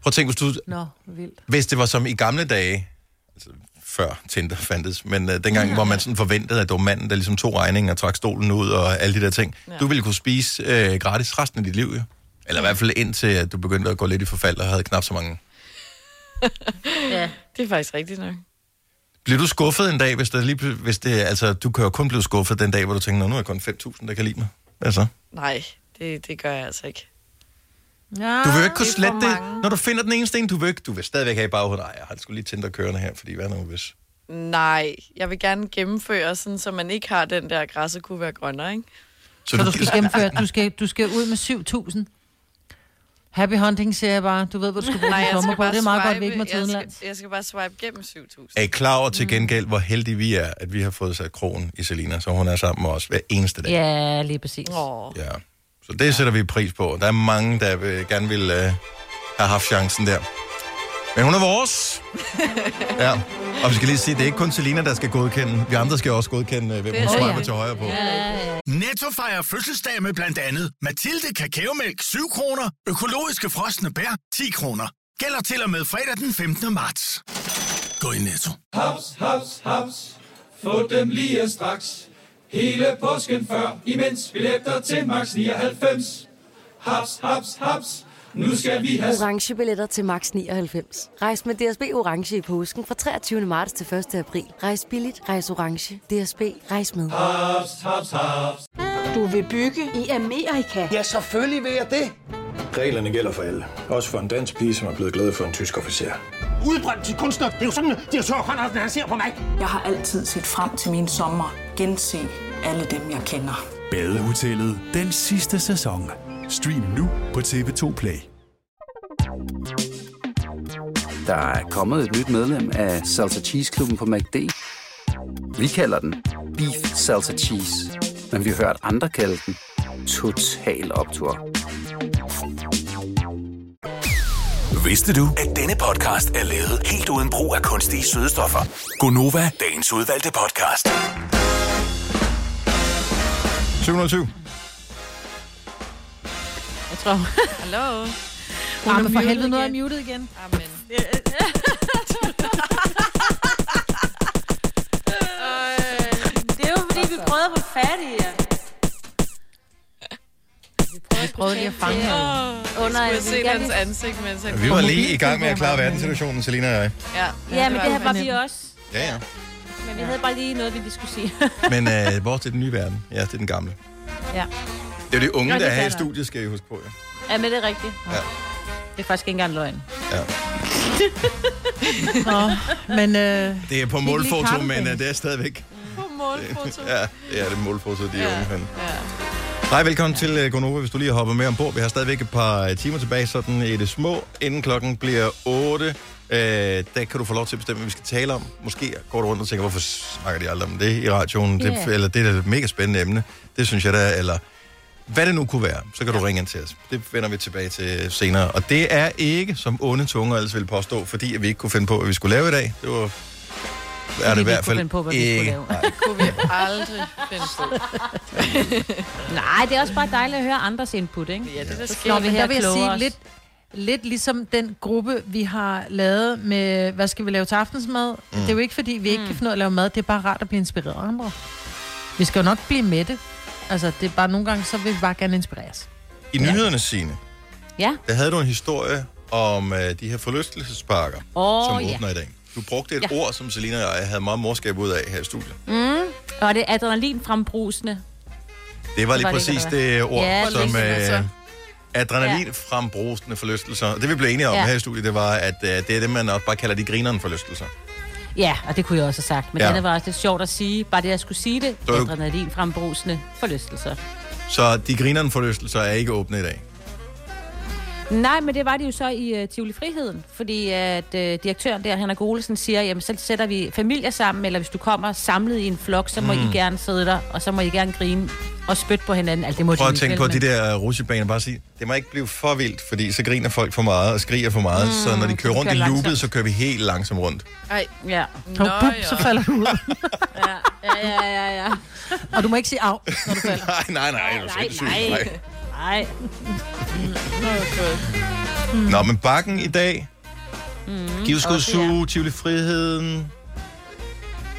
[SPEAKER 1] Prøv at tænke, hvis du
[SPEAKER 3] Nå, vildt.
[SPEAKER 1] Hvis det var som i gamle dage, altså før Tinder fandtes, men øh, dengang, ja. hvor man sådan forventede, at det var manden, der ligesom tog regningen og trak stolen ud og alle de der ting. Ja. Du ville kunne spise øh, gratis resten af dit liv, jo. Eller i hvert fald indtil, at du begyndte at gå lidt i forfald og havde knap så mange.
[SPEAKER 4] ja.
[SPEAKER 2] Det er faktisk rigtigt nok.
[SPEAKER 1] Bliver du skuffet en dag, hvis, der lige, pl- hvis det, altså, du kan jo kun blive skuffet den dag, hvor du tænker, "Nå, nu er jeg kun 5.000, der kan lide mig. Altså,
[SPEAKER 2] Nej, det, det gør jeg altså ikke.
[SPEAKER 3] Ja,
[SPEAKER 1] du vil jo ikke kunne
[SPEAKER 2] Ah, det er for
[SPEAKER 1] slette det,
[SPEAKER 2] mange.
[SPEAKER 1] når du finder den eneste en, du vil ikke, du vil stadigvæk have i baghovedet, nej, jeg har sgu lige Tinder kørende her, fordi hvad nu hvis...
[SPEAKER 2] Nej, jeg vil gerne gennemføre, sådan, så man ikke har den der, græsset kunne være grønnere, ikke?
[SPEAKER 3] Så du skal gennemføre, du skal, du skal ud med 7.000. Happy hunting, siger jeg bare. Du ved, hvor du skal bruge
[SPEAKER 2] Nej,
[SPEAKER 3] din
[SPEAKER 2] jeg
[SPEAKER 3] lommer
[SPEAKER 2] skal
[SPEAKER 3] på.
[SPEAKER 2] bare
[SPEAKER 3] Det er meget
[SPEAKER 2] swipe.
[SPEAKER 3] godt, at vi ikke må til
[SPEAKER 2] jeg,
[SPEAKER 3] udenlands.
[SPEAKER 2] skal, jeg skal bare swipe gennem 7.000.
[SPEAKER 1] Er I klar over til gengæld, hvor heldige vi er, at vi har fået sat krogen i Selina, så hun er sammen med os hver eneste dag?
[SPEAKER 4] Ja, lige præcis.
[SPEAKER 2] Åh,
[SPEAKER 1] Ja. Så det sætter vi pris på. Der er mange, der vil, gerne vil øh, have haft chancen der. Men hun er vores. ja. Og vi skal lige sige, det er ikke kun Selina, der skal godkende. Vi andre skal også godkende, øh, hvem hun
[SPEAKER 2] Det er
[SPEAKER 1] swiper
[SPEAKER 2] rigtigt.
[SPEAKER 1] til højre på.
[SPEAKER 7] Netto fejrer fødselsdag med blandt andet Mathilde Kakaomælk 7 kroner, økologiske frosne bær 10 kroner. Gælder til og med fredag den 15. marts. Gå i Netto.
[SPEAKER 8] Haps, haps, haps. Få dem lige straks. Hele påsken før, imens billetter til max 99. Haps, haps, haps. Nu skal vi have
[SPEAKER 9] Orange billetter til max 99. Rejs med DSB Orange i påsken fra 23. marts til 1. april. Rejs billigt, rejs orange. DSB, rejs med.
[SPEAKER 8] haps, haps, haps.
[SPEAKER 10] Du vil bygge i Amerika?
[SPEAKER 6] Ja, selvfølgelig vil jeg det.
[SPEAKER 11] Reglerne gælder for alle. Også for en dansk pige, som er blevet glad for en tysk officer.
[SPEAKER 6] Udbrøndt til kunstner. Det er jo sådan, at de har tørt, han ser på mig.
[SPEAKER 10] Jeg har altid set frem til min sommer. Gense alle dem, jeg kender.
[SPEAKER 7] Badehotellet den sidste sæson. Stream nu på TV2 Play.
[SPEAKER 5] Der er kommet et nyt medlem af Salsa Cheese Klubben på MACD. Vi kalder den Beef Salsa Cheese. Men vi har hørt andre kalde den Total Optor.
[SPEAKER 7] Vidste du?
[SPEAKER 5] At denne podcast er lavet helt uden brug af kunstige sødestoffer. Gonova, dagens udvalgte podcast.
[SPEAKER 1] 720.
[SPEAKER 4] Jeg tror,
[SPEAKER 2] hallo.
[SPEAKER 3] Hun er
[SPEAKER 4] Arme
[SPEAKER 3] for
[SPEAKER 4] muted
[SPEAKER 3] helvede noget af
[SPEAKER 4] igen.
[SPEAKER 3] muted igen.
[SPEAKER 2] Amen.
[SPEAKER 10] Det er jo fordi, vi prøvede at være fattige.
[SPEAKER 4] vi prøvede lige at fange hende.
[SPEAKER 2] Åh,
[SPEAKER 4] Under-
[SPEAKER 2] jeg skulle se
[SPEAKER 4] jeg
[SPEAKER 2] hans
[SPEAKER 4] kan-
[SPEAKER 2] ansigt, mens han...
[SPEAKER 1] Vi var lige i gang med at klare verdenssituationen, Selina og jeg.
[SPEAKER 2] Ja,
[SPEAKER 4] Ja, men det her var
[SPEAKER 2] vi
[SPEAKER 4] vi også.
[SPEAKER 1] Ja, ja.
[SPEAKER 4] Men vi havde bare lige noget, vi lige skulle sige.
[SPEAKER 1] Men øh, vores det er den nye verden. Ja, det er den gamle.
[SPEAKER 4] Ja.
[SPEAKER 1] Det er jo de unge,
[SPEAKER 4] Nå, det
[SPEAKER 1] der er her i
[SPEAKER 4] er der.
[SPEAKER 1] studiet, skal I huske på. Ja.
[SPEAKER 4] Ja, men det er rigtigt.
[SPEAKER 1] Ja.
[SPEAKER 4] Det er faktisk ikke engang løgn.
[SPEAKER 1] Ja.
[SPEAKER 3] Nå, men øh,
[SPEAKER 1] Det er på
[SPEAKER 3] lige
[SPEAKER 1] målfoto,
[SPEAKER 3] Carlsberg.
[SPEAKER 1] men øh, det er stadigvæk...
[SPEAKER 2] På målfoto.
[SPEAKER 1] Ja, det er det målfoto, de er
[SPEAKER 2] Ja,
[SPEAKER 1] unge fanden.
[SPEAKER 2] ja.
[SPEAKER 1] Hej, velkommen til uh, Gonova, hvis du lige hopper med ombord. Vi har stadigvæk et par øh, timer tilbage, sådan i det små. Inden klokken bliver 8, øh, der kan du få lov til at bestemme, hvad vi skal tale om. Måske går du rundt og tænker, hvorfor snakker de aldrig om det i radioen? Yeah. Det,
[SPEAKER 4] Ja.
[SPEAKER 1] eller det er da et mega spændende emne. Det synes jeg da, eller hvad det nu kunne være, så kan du ringe ind til os. Det vender vi tilbage til senere. Og det er ikke, som onde tunger ellers ville påstå, fordi at vi ikke kunne finde på, hvad vi skulle lave i dag. Det var... Er det
[SPEAKER 4] vi
[SPEAKER 1] i
[SPEAKER 4] ikke
[SPEAKER 1] hvert
[SPEAKER 4] kunne
[SPEAKER 1] fald
[SPEAKER 4] finde på, hvad vi skulle
[SPEAKER 1] ikke-
[SPEAKER 4] lave.
[SPEAKER 1] Nej,
[SPEAKER 2] Kunne vi aldrig finde på.
[SPEAKER 4] Nej, det er også bare dejligt at høre andres input, ikke?
[SPEAKER 2] Ja, det der
[SPEAKER 4] Nå,
[SPEAKER 2] sker.
[SPEAKER 4] vi
[SPEAKER 3] men
[SPEAKER 4] her
[SPEAKER 3] der vil jeg
[SPEAKER 4] kloge
[SPEAKER 3] sige
[SPEAKER 4] os.
[SPEAKER 3] lidt, lidt ligesom den gruppe, vi har lavet med, hvad skal vi lave til aftensmad? Mm. Det er jo ikke, fordi vi ikke kan finde ud af at lave mad. Det er bare rart at blive inspireret af andre. Vi skal jo nok blive med det. Altså, det er bare nogle gange, så vil vi bare gerne inspireres.
[SPEAKER 1] I nyhederne, Signe,
[SPEAKER 4] Ja.
[SPEAKER 1] der havde du en historie om øh, de her forlystelsesparker,
[SPEAKER 4] Åh,
[SPEAKER 1] som
[SPEAKER 4] ja.
[SPEAKER 1] åbner i dag. Du brugte et ja. ord, som Selina og jeg havde meget morskab ud af her i studiet.
[SPEAKER 4] Mm. Og det er adrenalin frembrusende.
[SPEAKER 1] Det var
[SPEAKER 4] Det
[SPEAKER 1] lige
[SPEAKER 4] var det,
[SPEAKER 1] præcis
[SPEAKER 4] der
[SPEAKER 1] det,
[SPEAKER 4] var.
[SPEAKER 1] ord,
[SPEAKER 4] Ja, altså.
[SPEAKER 1] som
[SPEAKER 2] forlystelser.
[SPEAKER 1] øh, adrenalin frembrusende forlystelser. Og det vi blev enige om ja.
[SPEAKER 4] Ja.
[SPEAKER 1] her i studiet, det var, at øh, det er det, man også bare kalder de grineren forlystelser.
[SPEAKER 4] Ja, og det kunne jeg også have sagt. Men
[SPEAKER 1] Ja.
[SPEAKER 4] ja. det var også lidt sjovt at sige. Bare det, jeg skulle sige det.
[SPEAKER 1] Så er du-
[SPEAKER 4] Adrenalin frembrusende forlystelser.
[SPEAKER 1] Så de grineren forlystelser er ikke åbne i dag.
[SPEAKER 4] Nej, men det var det jo så i uh, Tivoli Friheden, fordi at uh, direktøren der, Henrik Olesen, siger, jamen så sætter vi familier sammen, eller hvis du kommer samlet i en flok, så må mm. I gerne sidde der, og så må I gerne grine og spytte på hinanden. Alt det må
[SPEAKER 1] Prøv
[SPEAKER 4] de
[SPEAKER 1] at tænke
[SPEAKER 4] alligevel,
[SPEAKER 1] på de
[SPEAKER 4] men-
[SPEAKER 1] der øh, rutsjebaner, bare sige, det må ikke blive for vildt, fordi så griner folk for meget og skriger for meget, mm, så når de kører
[SPEAKER 4] så
[SPEAKER 1] rundt i
[SPEAKER 4] kører
[SPEAKER 1] loopet,
[SPEAKER 4] langsomt.
[SPEAKER 1] så kører vi helt langsomt rundt.
[SPEAKER 2] Ej,
[SPEAKER 4] Ja,
[SPEAKER 2] nå
[SPEAKER 3] Nå, bup, så
[SPEAKER 2] ja.
[SPEAKER 3] falder du ud.
[SPEAKER 4] ja, ja, ja. ja.
[SPEAKER 3] Og du må ikke sige af, når du falder.
[SPEAKER 1] Nej, nej, nej, det er
[SPEAKER 4] Nej,
[SPEAKER 1] sindssygt.
[SPEAKER 4] nej,
[SPEAKER 1] Nej.
[SPEAKER 4] nej.
[SPEAKER 1] Nå, men bakken i dag.
[SPEAKER 4] Mm-hmm.
[SPEAKER 1] Mm, Giveskud Zoo, Tivoli Friheden.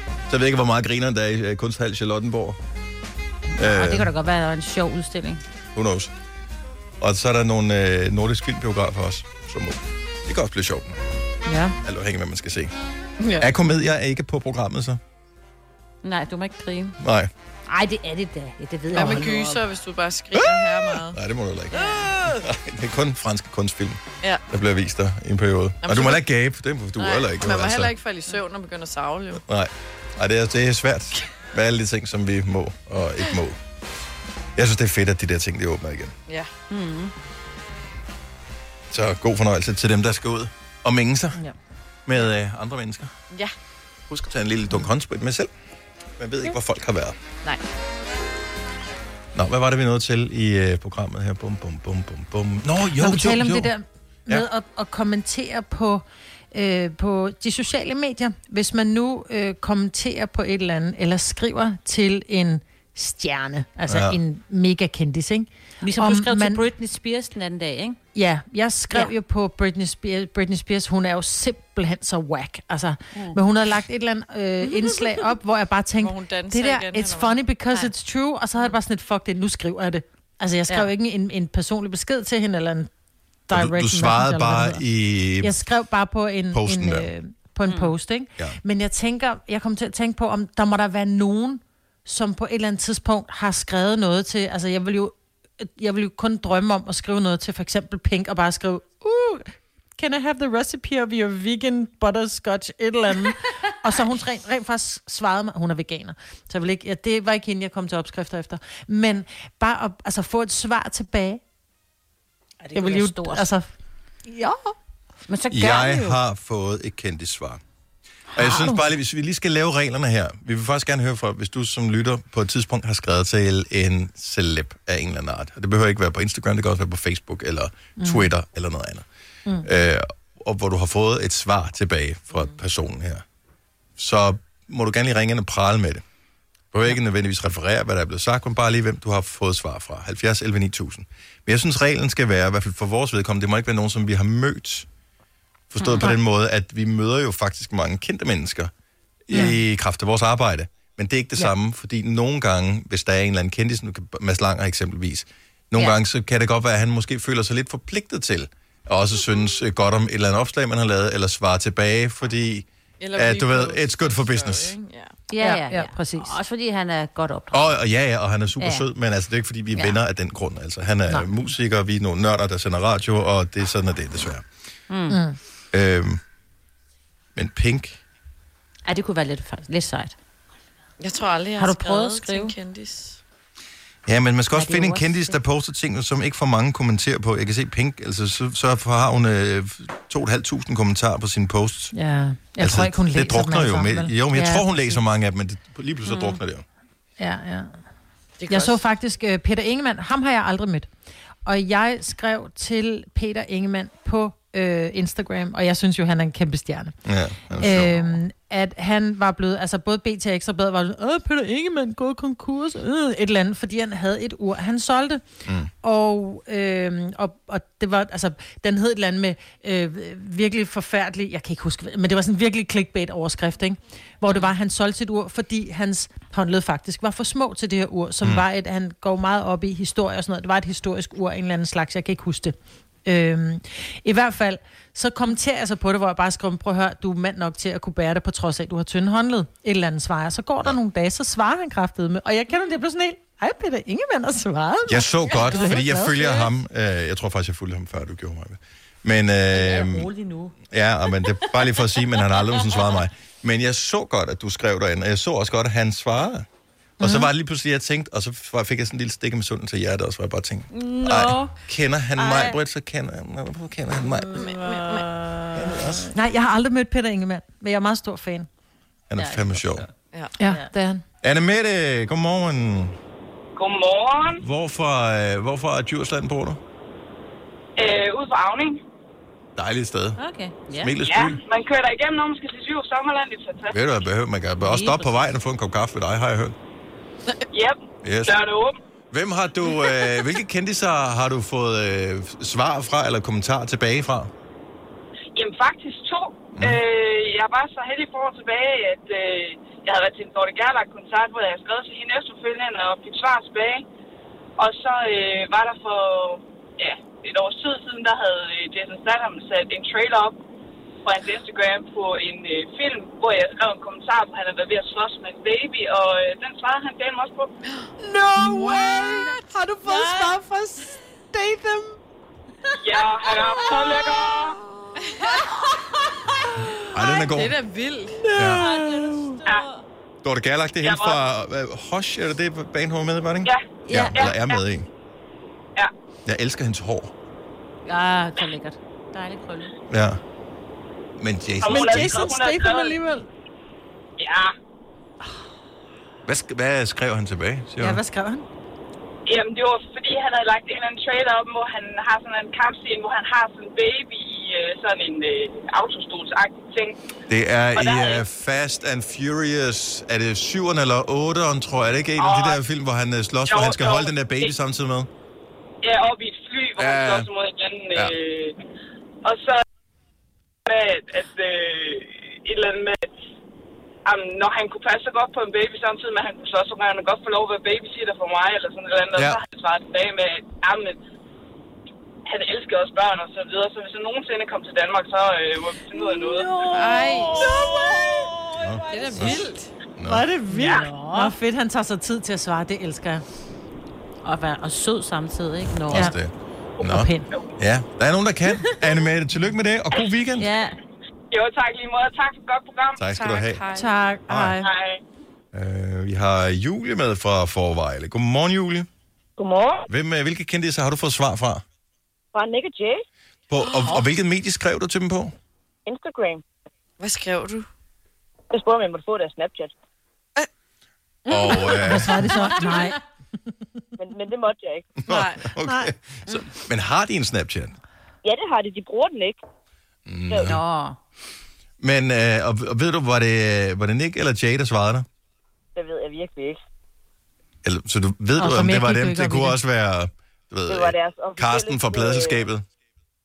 [SPEAKER 1] Så ved jeg ikke, hvor meget griner der er i øh, Kunsthal Charlottenborg.
[SPEAKER 4] Og
[SPEAKER 1] Øh,
[SPEAKER 4] det kan da godt være at der er en sjov udstilling.
[SPEAKER 1] who knows. Og så er der nogle øh, nordisk filmbiografer også. Som, må- det kan også blive sjovt,
[SPEAKER 4] Ja.
[SPEAKER 1] alt afhængig af, hvad man skal se.
[SPEAKER 2] Ja.
[SPEAKER 1] Ja. Er komedier ikke på programmet så?
[SPEAKER 4] Nej, du må ikke grine.
[SPEAKER 1] Nej,
[SPEAKER 4] Nej, det er det da. Ja, det ved
[SPEAKER 2] Hvad
[SPEAKER 4] jeg
[SPEAKER 2] med
[SPEAKER 4] Hold nu op.
[SPEAKER 2] gyser, hvis du bare skriger her meget?
[SPEAKER 1] nej det må du heller ikke. Nej, det er kun franske kunstfilm,
[SPEAKER 2] Ja.
[SPEAKER 1] der bliver vist der i en periode. Og du
[SPEAKER 2] så-
[SPEAKER 1] må heller ikke gabe, det må du
[SPEAKER 2] Nej,
[SPEAKER 1] heller ikke.
[SPEAKER 2] man må
[SPEAKER 1] altså.
[SPEAKER 2] heller ikke falde i søvn og begynde at savle, jo.
[SPEAKER 1] Nej, Ej, det, er, det er svært med alle de ting, som vi må og ikke må.
[SPEAKER 2] Mm-hmm.
[SPEAKER 1] Jeg synes, det er fedt, at de der ting, de åbner igen.
[SPEAKER 2] Ja.
[SPEAKER 1] Så god fornøjelse til dem, der skal ud og mænge sig ja. med øh, andre mennesker.
[SPEAKER 2] Ja.
[SPEAKER 1] Husk at tage en lille dunk håndsprit med selv. Man ved ikke, hvor folk har været.
[SPEAKER 2] Nej.
[SPEAKER 1] Nå, hvad var det, vi nåede til i øh, programmet her? Bum, bum, bum, bum, bum. Nå, jo,
[SPEAKER 3] Når vi
[SPEAKER 1] jo,
[SPEAKER 3] taler om
[SPEAKER 1] jo.
[SPEAKER 3] det der med
[SPEAKER 1] Ja.
[SPEAKER 3] ja. at, at kommentere på, øh, på de sociale medier. Hvis man nu øh, kommenterer på et eller andet, eller skriver til en stjerne, altså
[SPEAKER 4] Ja.
[SPEAKER 3] ja. en mega kendis, ikke?
[SPEAKER 4] Ligesom du skrev man... til Britney Spears den anden dag, ikke?
[SPEAKER 3] Ja, jeg skrev
[SPEAKER 4] Ja.
[SPEAKER 3] ja. jo på Britney Spears, Britney Spears, hun er jo simpelthen så whack, altså. Mm. Men hun havde lagt et eller andet øh, indslag op, hvor jeg bare tænkte, det der,
[SPEAKER 2] danser igen,
[SPEAKER 3] it's
[SPEAKER 2] eller
[SPEAKER 3] funny because it's true, og så havde jeg bare sådan et, fuck det, nu skriver jeg det. Altså, jeg skrev
[SPEAKER 2] Ja.
[SPEAKER 3] ja. ikke en, en personlig besked til hende, eller en direct
[SPEAKER 1] Du, du
[SPEAKER 3] message,
[SPEAKER 1] svarede
[SPEAKER 3] eller hvad det
[SPEAKER 1] bare
[SPEAKER 3] hedder.
[SPEAKER 1] i...
[SPEAKER 3] Jeg skrev bare på en,
[SPEAKER 1] Posten
[SPEAKER 3] en,
[SPEAKER 1] der.
[SPEAKER 3] øh, på en mm. post, ikke?
[SPEAKER 1] Ja.
[SPEAKER 3] Men jeg tænker, jeg kom til at tænke på, om der må der være nogen, som på et eller andet tidspunkt har skrevet noget til, altså jeg vil jo, jeg vil jo kun drømme om at skrive noget til for eksempel Pink, og bare skrive, uh, can I have the recipe of your vegan butterscotch, et eller andet. og så hun rent, rent faktisk svarede mig, hun er veganer, så jeg vil ikke, ja, det var ikke hende, jeg kom til opskrifter efter. Men bare at altså, få et svar tilbage. Ja,
[SPEAKER 4] det kunne være stort.
[SPEAKER 3] Altså,
[SPEAKER 4] Ja. Men så gør
[SPEAKER 1] Jeg
[SPEAKER 4] vi jo.
[SPEAKER 1] har fået et kendt svar. Og jeg
[SPEAKER 4] Har
[SPEAKER 1] synes
[SPEAKER 4] du?
[SPEAKER 1] bare lige, hvis vi lige skal lave reglerne her. Vi vil faktisk gerne høre fra, hvis du som lytter på et tidspunkt har skrevet til en celeb af en eller anden art. Og det behøver ikke være på Instagram, det kan også være på Facebook eller
[SPEAKER 12] Mm.
[SPEAKER 1] Twitter mm. eller noget andet.
[SPEAKER 12] Mm.
[SPEAKER 1] Øh, og hvor du har fået et svar tilbage
[SPEAKER 4] Mm.
[SPEAKER 1] fra personen her. Så må du gerne lige ringe ind og prale med det. Du behøver ikke nødvendigvis referere, hvad der er blevet sagt, men bare lige, hvem du har fået svar fra. 70 11 9000. Men jeg synes, reglen skal være, i hvert fald for vores vedkommende, det må ikke være nogen, som vi har mødt. Forstået mm. på den måde, at vi møder jo faktisk mange kendte mennesker i kraft af vores arbejde. Men det er ikke det ja. samme, fordi nogle gange, hvis der er en eller anden kendis, nu kan Mads Langer eksempelvis, nogle ja. gange så kan det godt være, at han måske føler sig lidt forpligtet til, og også synes øh, godt om et eller andet opslag, man har lavet, eller svare tilbage, fordi,
[SPEAKER 4] Eller
[SPEAKER 1] at, du ved,
[SPEAKER 4] repost,
[SPEAKER 1] it's good for business.
[SPEAKER 4] Ja, ja, ja, ja, præcis. Også fordi han er godt op.
[SPEAKER 1] Og, og ja, ja, og han er super
[SPEAKER 4] Ja,
[SPEAKER 1] ja.
[SPEAKER 4] ja.
[SPEAKER 1] sød, men altså, det er ikke, fordi vi er
[SPEAKER 4] Ja.
[SPEAKER 1] ja. venner af den grund. Altså, han er
[SPEAKER 4] Nej.
[SPEAKER 1] Nej. musiker, og vi er nogle nørder, der sender radio, og det er sådan, at det er desværre.
[SPEAKER 4] Mm. Mm.
[SPEAKER 1] Øhm, men Pink,
[SPEAKER 4] Ja, det kunne være lidt, faktisk lidt sejt.
[SPEAKER 2] Jeg tror aldrig, jeg
[SPEAKER 4] Har
[SPEAKER 2] har,
[SPEAKER 4] du prøvet at
[SPEAKER 2] skrevet til en kendis.
[SPEAKER 1] Ja, men man skal
[SPEAKER 2] Ja,
[SPEAKER 1] også
[SPEAKER 2] det er
[SPEAKER 1] finde
[SPEAKER 2] jo
[SPEAKER 1] en
[SPEAKER 2] også
[SPEAKER 1] kendis, der poster ting, som ikke for mange kommenterer på. Jeg kan se Pink, altså så, så har hun øh, 2.500 kommentarer på sine posts.
[SPEAKER 3] Ja, jeg altså, tror ikke, hun læser
[SPEAKER 1] Det drukner
[SPEAKER 3] dem
[SPEAKER 1] jo.
[SPEAKER 3] alle
[SPEAKER 1] Med,
[SPEAKER 3] sammen, vel?
[SPEAKER 1] jo, men jeg
[SPEAKER 3] Ja,
[SPEAKER 1] tror, hun
[SPEAKER 3] præcis.
[SPEAKER 1] læser mange af dem, men det, lige pludselig mm. så drukner det jo.
[SPEAKER 3] Ja, ja. Jeg så faktisk uh, Peter Ingemann, ham har jeg aldrig mødt. Og jeg skrev til Peter Ingemann på øh, Instagram, og jeg synes jo, han er en kæmpe stjerne.
[SPEAKER 1] Ja,
[SPEAKER 3] Øhm, at han var blevet, altså både BT og Ekstra Bladet var sådan, Åh, Peter Ingemann, gået konkurs, øh, et eller andet, fordi han havde et ur, han solgte. Mm. Og, øhm, og, og det var, altså, den hed et eller andet med øh, virkelig forfærdelig, jeg kan ikke huske, hvad- men det var sådan en virkelig clickbait-overskrift, ikke? Hvor det var, at han solgte sit ur, fordi hans håndled faktisk var for små til det her ur, som
[SPEAKER 13] Mm.
[SPEAKER 3] mm. var et, han går meget op i historie og sådan noget, det var et historisk ur, af en eller anden slags, jeg kan ikke huske det. Øhm, I hvert fald, så kommenterer jeg så på det, hvor jeg bare skriver, prøv at høre, du er mand nok til at kunne bære det, på trods af, at du har tynde håndled. Et eller andet svarer. jeg. Så går der nogle dage, så svarer han kraftedeme. med. Og jeg kender det på sådan en, ej Peter Ingemann har svaret. mig."
[SPEAKER 1] Jeg så godt,
[SPEAKER 3] Det er
[SPEAKER 1] fordi jeg
[SPEAKER 3] glad for.
[SPEAKER 1] følger ham. Øh, jeg tror faktisk, jeg fulgte ham, før du gjorde mig. Men, øh,
[SPEAKER 4] Rolig nu.
[SPEAKER 1] Ja, og men det er bare lige for at sige, men han har aldrig nogensinde svaret mig. Men jeg så godt, at du skrev derinde, og jeg så også godt, at han svarede. Og
[SPEAKER 2] Mhm.
[SPEAKER 1] så var det lige pludselig, jeg tænkte, og så var- fik jeg sådan en lille stik med sunden til hjertet, og så var jeg bare tænkt,
[SPEAKER 2] Nå.
[SPEAKER 1] kender han
[SPEAKER 2] Ej. Mm.
[SPEAKER 1] mig, Britt, så kender han, hvorfor kender han mig?
[SPEAKER 3] Nej, jeg har aldrig mødt Peter Ingemann, men jeg er meget stor fan.
[SPEAKER 1] Han er fandme sjov.
[SPEAKER 2] Ja,
[SPEAKER 3] ja det er han.
[SPEAKER 1] Anne Mette, godmorgen.
[SPEAKER 14] Godmorgen.
[SPEAKER 1] Hvorfor, øh, hvorfor er Djursland bor du?
[SPEAKER 14] Øh, ude på Avning.
[SPEAKER 1] Dejligt sted.
[SPEAKER 4] Okay.
[SPEAKER 1] Ja. Smilets
[SPEAKER 14] ja,
[SPEAKER 1] by.
[SPEAKER 14] man kører der igennem, når man skal til syv sommerland. Det er fantastisk.
[SPEAKER 1] Ved du, hvad, behøver- man kan også stoppe på vejen og få en kop kaffe ved dig, har jeg hørt.
[SPEAKER 14] Yep.
[SPEAKER 1] Yes.
[SPEAKER 14] Døren er åben.
[SPEAKER 1] Hvem har du, øh, hvilke kendiser har du fået øh, svar fra, eller kommentarer tilbage fra?
[SPEAKER 14] Jamen faktisk to.
[SPEAKER 1] Mm.
[SPEAKER 14] Øh, jeg var så heldig for år tilbage, at øh, jeg havde været til en Dorte Gerlach koncert, hvor jeg havde skrevet til hende efterfølgende og fik svar tilbage. Og så øh, var der for ja, et års tid siden, der havde øh, Jason Statham sat en trailer op på hans Instagram på en øh, film, hvor jeg skrev en kommentar, hvor han havde været ved at slås med en baby, og øh, den svarede han dem også på.
[SPEAKER 3] No way! Har du fået svar fra Statham?
[SPEAKER 14] Ja, han er så lækker!
[SPEAKER 1] Ej, den er god.
[SPEAKER 2] Det er da vildt.
[SPEAKER 1] Ja.
[SPEAKER 14] Ja.
[SPEAKER 1] Dorte Gerlach, det er
[SPEAKER 14] Jeg
[SPEAKER 1] hende fra øh, Hush, eller det er banen, hun var med i, var det ikke?
[SPEAKER 14] Ja.
[SPEAKER 1] ja.
[SPEAKER 14] Ja.
[SPEAKER 1] Eller er med i.
[SPEAKER 14] Ja.
[SPEAKER 1] Jeg elsker hendes hår.
[SPEAKER 4] Ja, så lækkert. Dejligt krølle.
[SPEAKER 1] Ja. Men Jason...
[SPEAKER 4] Men
[SPEAKER 3] Jason Statham alligevel.
[SPEAKER 14] Ja.
[SPEAKER 1] Hvad, sk- hvad skrev han tilbage? Siger du?
[SPEAKER 3] skrev han?
[SPEAKER 14] Jamen, det var fordi, han havde lagt en eller anden trailer op, hvor han har sådan en kampscene, hvor han har sådan en baby i øh, sådan en øh, autostolsagtig ting.
[SPEAKER 1] Det er
[SPEAKER 14] Og der er
[SPEAKER 1] i uh,
[SPEAKER 14] ikke-
[SPEAKER 1] Fast and Furious, er det syveren eller otteren, tror jeg, er det ikke en af de der film, hvor han uh, slås,
[SPEAKER 14] Jo,
[SPEAKER 1] hvor han skal
[SPEAKER 14] jo.
[SPEAKER 1] holde den der baby samtidig med?
[SPEAKER 14] Ja, op i et fly, hvor
[SPEAKER 1] Ja,
[SPEAKER 14] han
[SPEAKER 1] ja.
[SPEAKER 14] slås mod hinanden.
[SPEAKER 1] Ja.
[SPEAKER 14] Øh, og så med, at, at øh, et eller andet med, at jamen, når han kunne passe så godt på en baby samtidig med, at han kunne slås, så kunne han godt få lov at være babysitter for mig, eller sådan et eller andet. Ja. Og
[SPEAKER 1] Ja.
[SPEAKER 14] så har han svaret tilbage med, at jamen, han elsker også børn og så videre, så hvis han nogensinde kom til Danmark, så øh, må vi finde ud af noget.
[SPEAKER 2] Ej.
[SPEAKER 3] Det
[SPEAKER 2] er da vildt.
[SPEAKER 3] Hvor er det vildt. Ja. Hvor fedt, han tager sig tid til at svare. Det elsker jeg.
[SPEAKER 4] Og, være, og sød samtidig, ikke? Nå.
[SPEAKER 1] Også det. Nå.
[SPEAKER 4] Og pæn.
[SPEAKER 1] Ja, der er nogen, der kan. Anne Mette, tillykke med det, og god weekend.
[SPEAKER 4] Ja.
[SPEAKER 14] Jo, tak lige måde. Tak for et godt program.
[SPEAKER 1] Tak skal du Tak, have. hej.
[SPEAKER 3] Tak,
[SPEAKER 1] hej.
[SPEAKER 14] Hej.
[SPEAKER 1] Uh, vi har Julie med fra Forvejle. Godmorgen, Julie.
[SPEAKER 12] Godmorgen.
[SPEAKER 1] Hvem, uh, hvilke kendte har du fået svar fra?
[SPEAKER 12] Fra Nick og Jay.
[SPEAKER 1] På, og, og hvilket medie skrev du til dem på?
[SPEAKER 12] Instagram.
[SPEAKER 2] Hvad skrev du?
[SPEAKER 12] Jeg spurgte, om jeg måtte få deres Snapchat.
[SPEAKER 1] Og, uh,
[SPEAKER 3] Hvad er det så? Nej.
[SPEAKER 12] Men, men det måtte jeg ikke.
[SPEAKER 1] Nej. Okay. Så, men har de en Snapchat?
[SPEAKER 12] Ja, det har de. De bruger den ikke.
[SPEAKER 1] Nå. Men, uh, og, og ved du, var det, var det Nick eller Jay, der svarede dig?
[SPEAKER 12] Det ved jeg virkelig ikke.
[SPEAKER 1] Eller, så du ved
[SPEAKER 12] Og
[SPEAKER 1] du,
[SPEAKER 12] for
[SPEAKER 1] om
[SPEAKER 12] mere
[SPEAKER 1] det var
[SPEAKER 12] gik du
[SPEAKER 1] dem?
[SPEAKER 12] ikke
[SPEAKER 1] Det
[SPEAKER 12] op
[SPEAKER 1] kunne
[SPEAKER 12] i det.
[SPEAKER 1] også være, du ved,
[SPEAKER 12] Det var deres
[SPEAKER 1] øh,
[SPEAKER 12] officielle,
[SPEAKER 1] Carsten fra
[SPEAKER 12] øh,
[SPEAKER 1] pladeselskabet.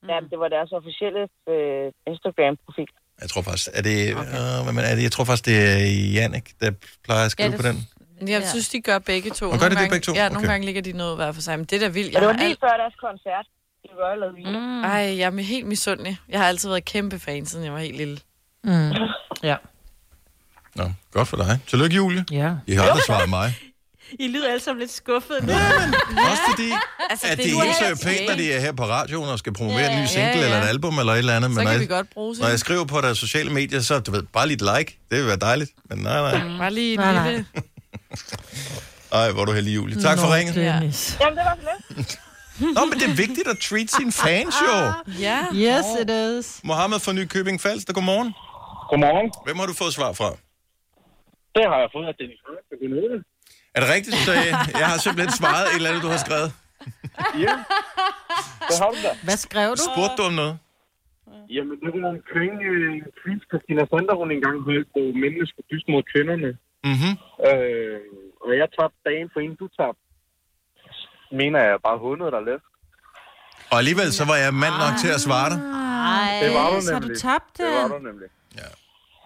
[SPEAKER 12] Ja, det var deres officielle øh, Instagram-profil.
[SPEAKER 1] Jeg tror faktisk, er det, okay. øh, hvad man, er det, jeg tror faktisk, det er Jannik, der plejer at skrive ja,
[SPEAKER 2] det
[SPEAKER 1] på den.
[SPEAKER 2] Jeg ja. synes, de gør begge to.
[SPEAKER 1] Og gør
[SPEAKER 2] Nogle
[SPEAKER 1] de det
[SPEAKER 2] gange,
[SPEAKER 1] begge to?
[SPEAKER 2] Ja, nogle
[SPEAKER 1] Okay.
[SPEAKER 2] gange ligger de noget hver for sig. Men det er da vildt.
[SPEAKER 12] Og det
[SPEAKER 2] har
[SPEAKER 12] var lige før deres koncert i Royal Arena.
[SPEAKER 2] Mm. Ej, jeg er helt misundelig. Jeg har altid været kæmpe fan, siden jeg var helt lille.
[SPEAKER 3] Mm. Ja.
[SPEAKER 1] Nå, godt for dig. Tillykke, Julie.
[SPEAKER 3] Ja.
[SPEAKER 1] I har aldrig svaret mig.
[SPEAKER 4] I lyder alle sammen lidt skuffet. Ja,
[SPEAKER 1] men også fordi,
[SPEAKER 4] altså,
[SPEAKER 1] at det
[SPEAKER 4] nu
[SPEAKER 1] er ikke så
[SPEAKER 4] tilbage.
[SPEAKER 1] pænt, når de er her på radioen og skal promovere en ny
[SPEAKER 4] ja,
[SPEAKER 1] single
[SPEAKER 4] ja.
[SPEAKER 1] eller et album eller et eller andet.
[SPEAKER 4] Så
[SPEAKER 1] når
[SPEAKER 4] kan
[SPEAKER 1] jeg,
[SPEAKER 4] vi godt bruge
[SPEAKER 1] Når jeg skriver på deres sociale medier, så du ved, bare lige et like. Det vil være dejligt. Men nej, nej.
[SPEAKER 2] Bare lige en
[SPEAKER 3] Nej, nej.
[SPEAKER 2] lille...
[SPEAKER 1] Ej, hvor er du heldig, Julie. Tak for
[SPEAKER 3] Nå,
[SPEAKER 1] ringet.
[SPEAKER 3] Dennis.
[SPEAKER 12] Jamen, det var så lidt.
[SPEAKER 1] Nå, men det er vigtigt at treat sine fans jo.
[SPEAKER 2] Ja.
[SPEAKER 10] Ah.
[SPEAKER 3] Yes, it is.
[SPEAKER 1] Mohammed fra Nykøbing Falster, godmorgen.
[SPEAKER 13] Godmorgen.
[SPEAKER 1] Hvem har du fået svar fra?
[SPEAKER 13] Det har jeg fået af Dennis Frank, der benytte det.
[SPEAKER 1] Er det rigtigt, så jeg, jeg har simpelthen svaret et eller andet, du har skrevet?
[SPEAKER 13] Ja. Hvad har du da?
[SPEAKER 3] Hvad skrev du?
[SPEAKER 1] Spurgte du om noget?
[SPEAKER 13] Jamen, det var omkring øh, en tweet, Christina Sander, hun engang holdt, hvor mændene skulle dyste mod kvinderne.
[SPEAKER 1] Mm-hmm.
[SPEAKER 13] Øh, og jeg tabte dagen for en, du tabte. Mener jeg bare hundet der lidt.
[SPEAKER 1] Og alligevel, så var jeg mand nok til at svare dig.
[SPEAKER 3] Ej,
[SPEAKER 13] Det var du
[SPEAKER 3] så har du
[SPEAKER 13] nemlig.
[SPEAKER 3] tabt den.
[SPEAKER 13] Det var du nemlig.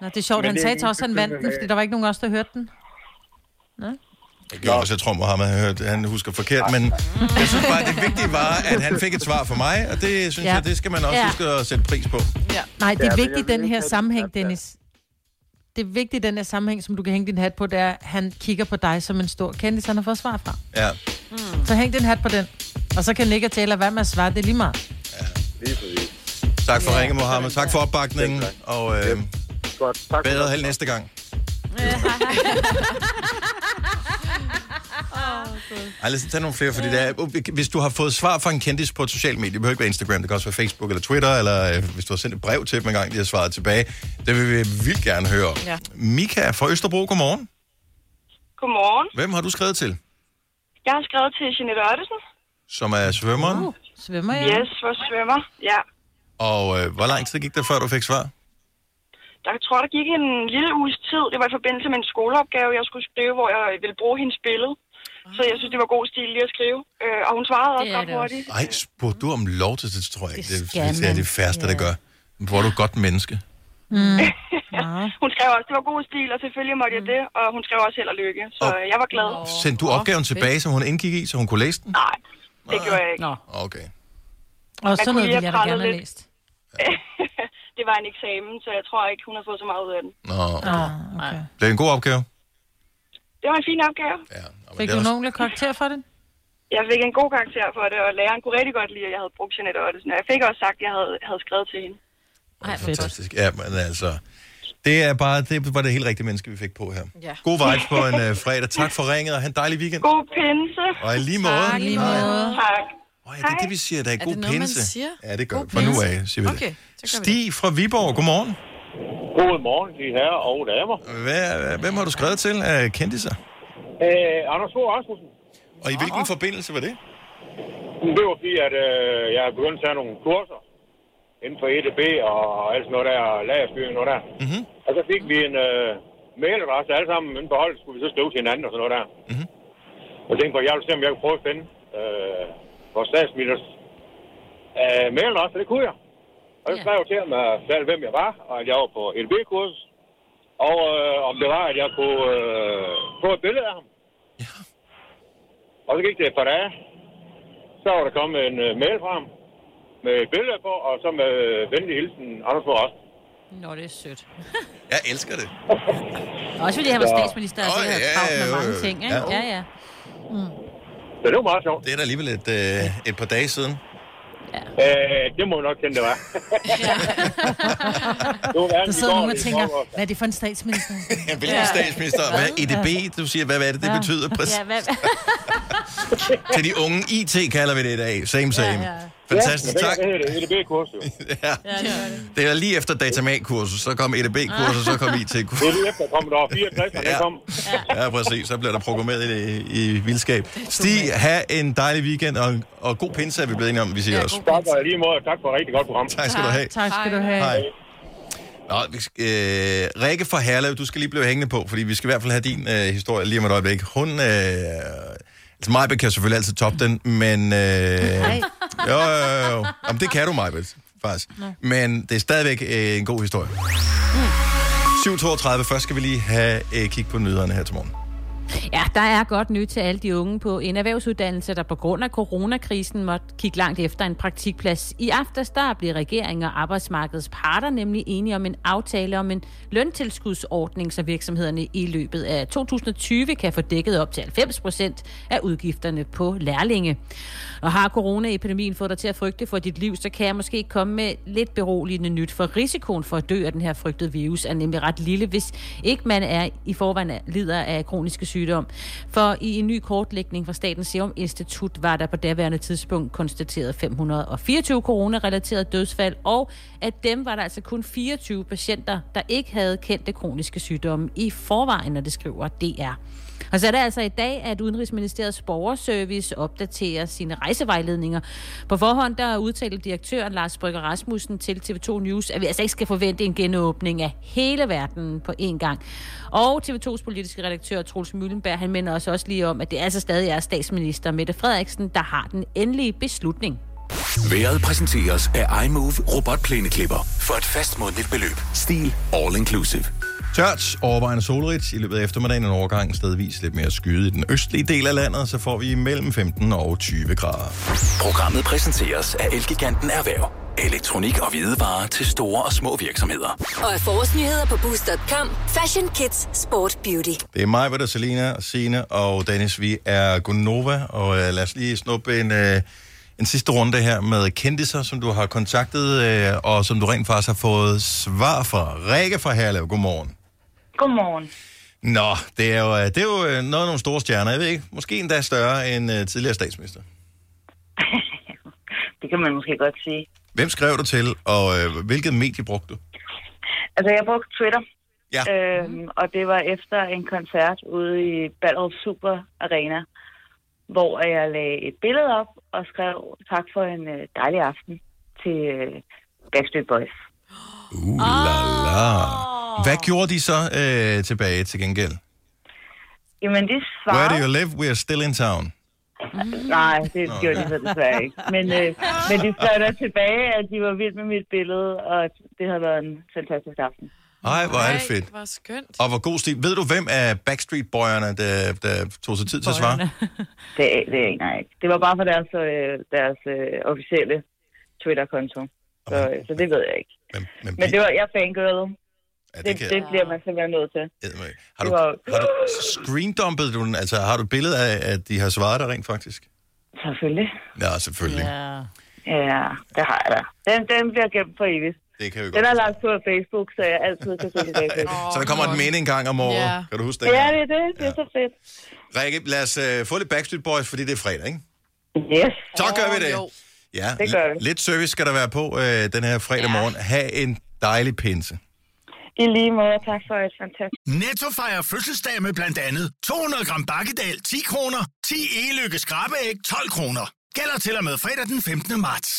[SPEAKER 3] Nå, det er sjovt,
[SPEAKER 13] Men
[SPEAKER 3] han
[SPEAKER 13] det er
[SPEAKER 3] sagde
[SPEAKER 13] en
[SPEAKER 3] til os, han vandt den,
[SPEAKER 13] bekymring af-
[SPEAKER 3] fordi der var ikke nogen af os, der hørte den.
[SPEAKER 1] Det gjorde også, jeg tror, Mohammed har hørt, han husker forkert, men jeg synes bare, det vigtige var, at han fik et svar fra mig, og det synes
[SPEAKER 3] Ja.
[SPEAKER 1] ja. jeg, det skal man også
[SPEAKER 3] Ja.
[SPEAKER 1] ja. huske at sætte pris på.
[SPEAKER 2] Ja.
[SPEAKER 3] Nej, det
[SPEAKER 1] Ja,
[SPEAKER 3] er
[SPEAKER 1] men
[SPEAKER 3] vigtigt
[SPEAKER 1] jeg
[SPEAKER 3] i
[SPEAKER 1] vil
[SPEAKER 3] den
[SPEAKER 1] ikke
[SPEAKER 3] her
[SPEAKER 1] have det
[SPEAKER 3] sammenhæng, Dennis. Det vigtige i den her sammenhæng, som du kan hænge din hat på, det er, at han kigger på dig som en stor kendis, han har fået svar fra.
[SPEAKER 1] Ja.
[SPEAKER 3] Mm. Så hæng din hat på den. Og så kan Nick og Taylor være med at svare, det er lige meget.
[SPEAKER 13] Lige præcis.
[SPEAKER 1] Tak for ja. ringe, Mohammed. Tak for opbakningen, og øh,
[SPEAKER 13] Godt. Tak
[SPEAKER 1] bedre held næste gang. Ej, lad os tage nogle flere, fordi det er, hvis du har fået svar fra en kendis på et socialt medie, det behøver ikke være Instagram, det kan også være Facebook eller Twitter, eller øh, hvis du har sendt et brev til dem engang, de har svaret tilbage, det vil vi vildt gerne høre. om.
[SPEAKER 14] Ja.
[SPEAKER 1] Mika fra Østerbro, godmorgen.
[SPEAKER 14] Godmorgen.
[SPEAKER 1] Hvem har du skrevet til,
[SPEAKER 14] Jeg har skrevet til Jeanette Ottesen.
[SPEAKER 1] som er svømmeren?
[SPEAKER 3] Uh, svømmer jeg?
[SPEAKER 14] Yes, for svømmer. Ja.
[SPEAKER 1] Og øh, hvor lang tid gik der, før du fik svar?
[SPEAKER 14] Der jeg tror, der gik en lille uges tid. Det var i forbindelse med en skoleopgave, jeg skulle skrive, hvor jeg ville bruge hendes billede. Så jeg synes, det var god stil lige at skrive. Øh, og hun svarede også ret hurtigt.
[SPEAKER 1] Ej, spurgte du om lov til det, tror jeg ikke. Det,
[SPEAKER 14] skal
[SPEAKER 1] det, det er
[SPEAKER 14] man.
[SPEAKER 1] det færreste, der gør. Hvor er du et godt menneske.
[SPEAKER 3] Mm. Ah.
[SPEAKER 14] hun skrev også, det var god stil, og selvfølgelig måtte jeg det. Og hun skrev også held og lykke. Så
[SPEAKER 1] Og-
[SPEAKER 14] øh, jeg var glad.
[SPEAKER 1] Sendte du opgaven tilbage, som hun indgik i, så hun kunne læse den?
[SPEAKER 14] Nej, det gjorde jeg ikke.
[SPEAKER 1] Nå. Okay.
[SPEAKER 3] Og sådan
[SPEAKER 14] kunne
[SPEAKER 3] noget
[SPEAKER 14] lige
[SPEAKER 3] ville jeg da
[SPEAKER 14] have
[SPEAKER 3] gerne have
[SPEAKER 14] krallet
[SPEAKER 3] læst.
[SPEAKER 14] det var en eksamen, så jeg tror ikke, hun har fået så meget ud af den.
[SPEAKER 1] Nå, okay.
[SPEAKER 3] Ah, okay.
[SPEAKER 1] Det er en god opgave.
[SPEAKER 14] Det var en fin opgave.
[SPEAKER 1] Ja,
[SPEAKER 3] Fik
[SPEAKER 1] det
[SPEAKER 3] du
[SPEAKER 1] er også-
[SPEAKER 3] nogen ordentlig karakter for det?
[SPEAKER 14] Jeg fik en god karakter for det, og læreren kunne rigtig godt lide, at jeg havde brugt Jeanette Ottesen. Og jeg fik også sagt, at jeg havde, havde skrevet til hende.
[SPEAKER 1] Ej, fantastisk. Ja, men altså... Det er bare, det var det helt rigtige menneske, vi fik på her.
[SPEAKER 14] Ja.
[SPEAKER 1] God vibes på øh, en uh, fredag. Tak for ringet, og have en dejlig weekend.
[SPEAKER 14] God pinse.
[SPEAKER 1] Og i lige måde.
[SPEAKER 14] Tak, i lige måde. Tak.
[SPEAKER 1] Åh, ja, det er det, vi siger. Der er,
[SPEAKER 2] Er det
[SPEAKER 1] god
[SPEAKER 2] noget, man
[SPEAKER 1] pinse.
[SPEAKER 2] siger?
[SPEAKER 1] Ja, det gør
[SPEAKER 2] God
[SPEAKER 1] vi. Fra nu
[SPEAKER 2] pinse.
[SPEAKER 1] af siger vi
[SPEAKER 2] Okay,
[SPEAKER 1] det. Stig fra Viborg, godmorgen.
[SPEAKER 15] Godmorgen, de herrer og damer.
[SPEAKER 1] Hvad, øh, hvem har du skrevet til af kendiser?
[SPEAKER 15] Øh, Anders Fogh Rasmussen.
[SPEAKER 1] Og i hvilken forbindelse var det?
[SPEAKER 15] Det var fordi, at øh, jeg er begyndt at tage nogle kurser inden for EDB og alt sådan noget der, og lagerstyring og noget der.
[SPEAKER 1] Mhm.
[SPEAKER 15] Og så fik vi en øh, mailadresse alle sammen inden for holdet, skulle vi så skrive til hinanden og sådan noget der.
[SPEAKER 1] Mhm.
[SPEAKER 15] Og tænkte på, at jeg ville se, om jeg kunne prøve at finde øh, vores statsministers øh, mailadresse, og det kunne jeg. Og så skrev jeg til ham, øh, selv hvem jeg var, og at jeg var på EDB-kursus, og øh, om det var, at jeg kunne øh, få et billede af ham. Og så gik det et par dage. Så var der kommet en øh, mail fra ham med et billede på, og så med øh, venlig hilsen Anders Fogh Rasmussen.
[SPEAKER 4] Nå, det er sødt.
[SPEAKER 1] Jeg elsker det.
[SPEAKER 4] Også fordi han var
[SPEAKER 15] Ja.
[SPEAKER 4] statsminister, og sikkert havde travlt med mange ting, ikke? Ja, ja.
[SPEAKER 15] Så det var meget sjovt.
[SPEAKER 1] Det er da alligevel et, øh, et par dage siden.
[SPEAKER 15] Øh, det må vi nok kende, det var. det var
[SPEAKER 3] Der sidder nogen og tænker, hvad er det for en statsminister?
[SPEAKER 1] Ja, hvilken ja. statsminister? Hvad er EDB? Du siger, hvad, hvad er det, det betyder? Præcis.
[SPEAKER 3] Ja, hvad,
[SPEAKER 1] Til de unge IT kalder vi det i dag. Same, same.
[SPEAKER 15] Ja, ja.
[SPEAKER 1] Fantastisk,
[SPEAKER 15] Ja,
[SPEAKER 1] tak.
[SPEAKER 15] det hedder det. EDB-kurs, jo.
[SPEAKER 1] ja. Det er lige efter datamag-kurset, så kom EDB-kurset, så kom IT-kurset.
[SPEAKER 15] Det er lige efter, kom der var 64, og ja. kom.
[SPEAKER 1] Ja, præcis. Så bliver der programmeret i, i vildskab. Stig, have en dejlig weekend, og, og god pinse er vi blevet enige om, vi siger ja, også.
[SPEAKER 15] Tak og i lige måde, og tak for et rigtig godt program.
[SPEAKER 1] Tak skal du have.
[SPEAKER 3] Tak skal du have.
[SPEAKER 1] Hej. Nå, vi skal, øh, Rikke fra Herlev, du skal lige blive hængende på, fordi vi skal i hvert fald have din øh, historie lige om et øjeblik. Hun, øh, altså Majbet kan selvfølgelig altid toppe den, men... Øh, jo, jo, jo, jo. Jamen, det kan du, Majbet, faktisk. Men det er stadigvæk øh, en god historie. Mm. 7.32, først skal vi lige have øh, kig på nyhederne her til morgen.
[SPEAKER 4] Ja, der er godt nyt til alle de unge på en erhvervsuddannelse, der på grund af coronakrisen måtte kigge langt efter en praktikplads. I aftes der blev regeringen og arbejdsmarkedets parter nemlig enige om en aftale om en løntilskudsordning, så virksomhederne i løbet af 2020 kan få dækket op til 90 procent af udgifterne på lærlinge. Og har coronaepidemien fået dig til at frygte for dit liv, så kan jeg måske komme med lidt beroligende nyt, for risikoen for at dø af den her frygtede virus er nemlig ret lille, hvis ikke man er i forvejen er- lider af kroniske sygdom. For i en ny kortlægning fra Statens Serum Institut var der på daværende tidspunkt konstateret 524 coronarelaterede dødsfald, og at dem var der altså kun 24 patienter, der ikke havde kendte kroniske sygdomme i forvejen, når det skriver DR. Og så er det altså i dag, at Udenrigsministeriets borgerservice opdaterer sine rejsevejledninger. På forhånd der udtalte direktøren Lars Brygger Rasmussen til TV2 News, at vi altså ikke skal forvente en genåbning af hele verden på én gang. Og TV2's politiske redaktør Troels Møllenberg, han minder os også lige om, at det altså stadig er statsminister Mette Frederiksen, der har den endelige beslutning.
[SPEAKER 5] Været præsenteres af iMove robotplæneklipper for et fast månedligt beløb. Stil all inclusive.
[SPEAKER 1] Tørt, overvejende solrigt i løbet af eftermiddagen en overgang stedvis lidt mere skyde i den østlige del af landet, så får vi mellem 15 og 20 grader.
[SPEAKER 5] Programmet præsenteres af Elgiganten Erhverv. Elektronik og hvidevarer til store og små virksomheder.
[SPEAKER 16] Og af forårsnyheder på Boost.com. Fashion Kids Sport Beauty.
[SPEAKER 1] Det er mig, der Selina, Sine og Dennis. Vi er Gunova, og øh, lad os lige snuppe en, øh, en sidste runde her med kendiser, som du har kontaktet, øh, og som du rent faktisk har fået svar fra. Rikke fra Herlev, godmorgen.
[SPEAKER 17] Godmorgen.
[SPEAKER 1] Nå, det er jo, øh, det er jo øh, noget af nogle store stjerner, jeg ved ikke. Måske endda større end øh, tidligere statsminister.
[SPEAKER 17] Det kan man måske godt sige.
[SPEAKER 1] Hvem skrev du til, og øh, hvilket medie brugte du?
[SPEAKER 17] Altså, jeg brugte Twitter.
[SPEAKER 1] Ja.
[SPEAKER 17] Øhm, og det var efter en koncert ude i Ballerup Super Arena, hvor jeg lagde et billede op og skrev tak for en øh, dejlig aften til øh, Backstreet Boys.
[SPEAKER 1] Uh, la, la. Hvad gjorde de så øh, tilbage til gengæld?
[SPEAKER 17] Jamen, de
[SPEAKER 1] Where
[SPEAKER 17] svarede...
[SPEAKER 1] do you live? We are still in town.
[SPEAKER 17] Mm. Nej, det gjorde de så desværre ikke. Men, øh, men de skrev der tilbage, at de var vild med mit billede, og det havde været en fantastisk aften.
[SPEAKER 1] Ej, hvor er det fedt.
[SPEAKER 2] Hvor skønt.
[SPEAKER 1] Og hvor god stil. Ved du, hvem af Backstreet Boy'erne, der, der tog sig tid til at svare?
[SPEAKER 17] Det, det aner jeg ikke. Det var bare for deres, øh, deres øh, officielle Twitter-konto. Så, øh, så det ved jeg ikke. Men, men, men det var, jeg fangirlede.
[SPEAKER 1] Ja,
[SPEAKER 17] det, det,
[SPEAKER 1] kan-
[SPEAKER 17] det bliver man simpelthen nødt til.
[SPEAKER 1] Har du, har du screendumpet du den? Altså, har du et billede af, at de har svaret dig rent faktisk?
[SPEAKER 17] Selvfølgelig.
[SPEAKER 1] Ja, selvfølgelig. Ja.
[SPEAKER 17] Ja, det har jeg da. Den, den bliver gemt for evigt.
[SPEAKER 1] Det kan vi
[SPEAKER 17] Den
[SPEAKER 1] godt.
[SPEAKER 17] er lagt på Facebook, så jeg altid kan se det bag på.
[SPEAKER 1] Så der kommer et minde en gang om året.
[SPEAKER 17] Ja.
[SPEAKER 1] Kan du huske det?
[SPEAKER 17] Ja, det er det. Det er så fedt.
[SPEAKER 1] Rikke, lad os øh, få lidt Backstreet Boys, fordi det er fredag, ikke?
[SPEAKER 12] Yes.
[SPEAKER 1] Så gør vi det. Ja,
[SPEAKER 12] Det gør vi.
[SPEAKER 1] lidt service skal der være på øh, den her fredag morgen. Ha' en dejlig pinse.
[SPEAKER 12] I lige måde, tak for et fantastisk...
[SPEAKER 7] Netto fejrer fødselsdag med blandt andet 200 gram bakkedal 10 kroner, 10 e-lykke skrabeæg 12 kroner. Gælder til og med fredag den 15. marts.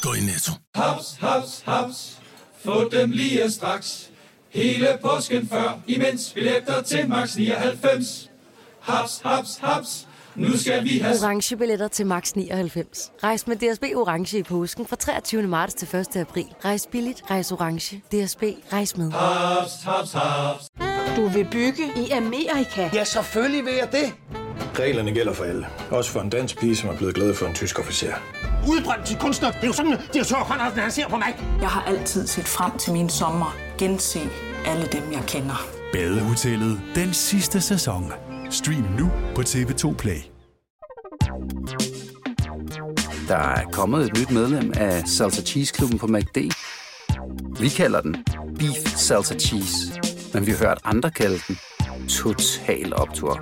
[SPEAKER 7] Gå i Netto.
[SPEAKER 8] Haps, haps, haps. Få dem lige straks. Hele påsken før, imens billetter til max 99. Haps, haps, haps. Nu skal vi have
[SPEAKER 9] Orange billetter til max 99. Rejs med DSB Orange i påsken fra 23. marts til 1. april. Rejs billigt, rejs orange. DSB, rejs med.
[SPEAKER 8] Haps, haps, haps.
[SPEAKER 18] Du vil bygge i Amerika? Ja, selvfølgelig vil jeg det.
[SPEAKER 11] Reglerne gælder for alle. Også for en dansk pige, som er blevet glad for en tysk officer.
[SPEAKER 6] Udbrændt til kunstner. Det er jo sådan, at de har tørt, Conradsen, han ser på mig.
[SPEAKER 10] Jeg har altid set frem til min sommer, gense alle dem, jeg kender.
[SPEAKER 5] Badehotellet den sidste sæson. Stream nu på TV2 Play.
[SPEAKER 19] Der er kommet et nyt medlem af Salsa Cheese Klubben på MACD. Vi kalder den Beef Salsa Cheese, men vi har hørt andre kalde den Total Optor.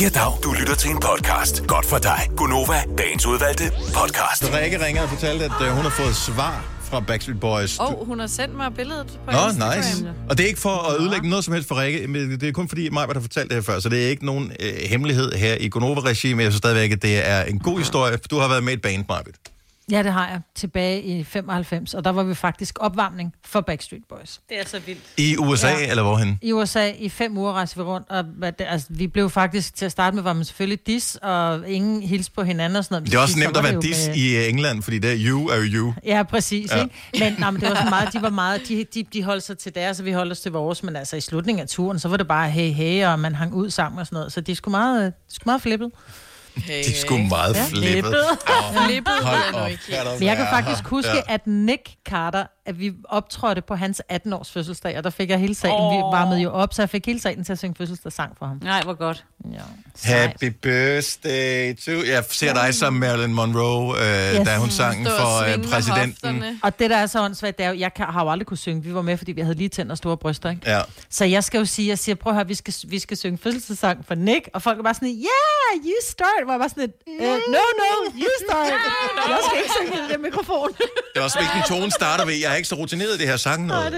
[SPEAKER 5] Ja, dag.
[SPEAKER 7] Du lytter til en podcast. Godt for dig.
[SPEAKER 5] Gunova, dagens udvalgte podcast.
[SPEAKER 1] Altså, Rikke ringer og fortalte, at øh, hun har fået svar fra Backstreet Boys.
[SPEAKER 2] Og oh, hun har sendt mig billedet på
[SPEAKER 1] Nå,
[SPEAKER 2] Instagram.
[SPEAKER 1] nice. Og det er ikke for at ødelægge noget som helst for Rikke, men det er kun fordi mig, der fortalte det her før, så det er ikke nogen øh, hemmelighed her i Gonova-regi, men jeg synes stadigvæk, at det er en god historie. Du har været med i et band, Marvitt.
[SPEAKER 3] Ja, det har jeg. Tilbage i 95, og der var vi faktisk opvarmning for Backstreet Boys.
[SPEAKER 4] Det er så vildt.
[SPEAKER 1] I USA, ja.
[SPEAKER 3] Ja.
[SPEAKER 1] eller hvorhen?
[SPEAKER 3] I USA i fem uger rejste vi rundt, og hvad det- altså, vi blev faktisk, til at starte med, var man selvfølgelig dis, og ingen hilste på hinanden og sådan noget.
[SPEAKER 1] Det er også
[SPEAKER 3] Så
[SPEAKER 1] nemt
[SPEAKER 3] var det
[SPEAKER 1] at være
[SPEAKER 3] jo
[SPEAKER 1] dis
[SPEAKER 3] med-
[SPEAKER 1] i øh, England, fordi det er you er jo you.
[SPEAKER 3] Ja, præcis.
[SPEAKER 1] Ja.
[SPEAKER 3] Ja. Ikke? Men, nej, men det var sådan meget, de var meget, de, de, de holdt sig til deres, og vi holdt os til vores, men altså i slutningen af turen, så var det bare hey, hey, og man hang ud sammen og sådan noget, så de skulle meget, øh, de skulle meget flippet.
[SPEAKER 1] Hey, de er sgu meget
[SPEAKER 3] Ja.
[SPEAKER 1] ja. flippet.
[SPEAKER 3] Åh, Flippet
[SPEAKER 1] Hold
[SPEAKER 3] ved jeg nu
[SPEAKER 1] op,
[SPEAKER 3] ikke
[SPEAKER 1] kan der
[SPEAKER 3] Men jeg kan
[SPEAKER 1] være.
[SPEAKER 3] faktisk huske, ja. at Nick Carter, at vi optrådte på hans 18-års fødselsdag, og der fik jeg hele salen, oh. vi varmede jo op, så jeg fik hele salen til at synge fødselsdagssang for ham.
[SPEAKER 4] Nej, hvor godt.
[SPEAKER 3] Ja.
[SPEAKER 1] Happy birthday to... Jeg ser dig som Marilyn Monroe, øh, yes. da hun sang for øh, præsidenten.
[SPEAKER 3] Og det, der er så åndssvagt, det er jo, jeg kan, har jo aldrig kunne synge. Vi var med, fordi vi havde lige tændt og store bryster, ikke?
[SPEAKER 1] Ja.
[SPEAKER 3] Så jeg skal jo sige, jeg siger, prøv at høre, vi skal, vi skal synge fødselsdagssang for Nick, og folk er bare sådan, yeah, you start, hvor jeg bare sådan, lidt, øh, no, no, you start. Jeg skal ikke synge i den der mikrofon.
[SPEAKER 1] Det var også, hvilken tone starter vi. Jeg er ikke så rutineret i det her sang.
[SPEAKER 3] Nå, det er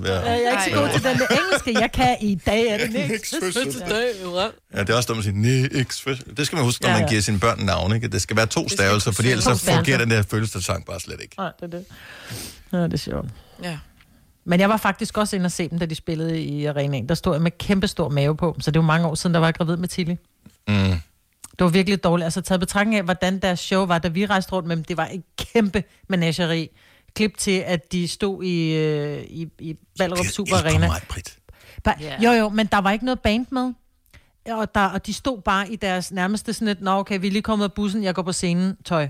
[SPEAKER 3] det. Jeg er ikke så god til den der engelske, jeg kan i dag, er det Nicks fødselsdag.
[SPEAKER 1] Ja, det er også dumt at sige, Nix. Det skal man huske, når
[SPEAKER 3] Ja,
[SPEAKER 1] man
[SPEAKER 3] ja.
[SPEAKER 1] giver sine børn navne. Ikke? Det skal være to stavelser, for
[SPEAKER 3] kunne
[SPEAKER 1] ellers så
[SPEAKER 3] synges. To
[SPEAKER 1] fungerer
[SPEAKER 3] stavelser.
[SPEAKER 1] den der følelsesang bare slet ikke.
[SPEAKER 3] Nej, det er det. Ja, det er sjovt.
[SPEAKER 2] Ja.
[SPEAKER 3] Men jeg var faktisk også inde og se dem, da de spillede i arenaen. Der stod jeg med kæmpe stor mave på, så det var mange år siden, der var jeg gravid med Tilly.
[SPEAKER 1] Mm.
[SPEAKER 3] Det var virkelig dårligt. Altså taget i betragtning af, hvordan deres show var, da vi rejste rundt med dem. Det var en kæmpe menageri. Klip til, at de stod i, øh, i, i Ballerup Super Arena. Bare,
[SPEAKER 20] Ja.
[SPEAKER 3] Jo, jo, men der var ikke noget band med. Og, der, og de stod bare i deres nærmeste sådan et, nå okay, vi er lige kommet af bussen, jeg går på scenen, tøj.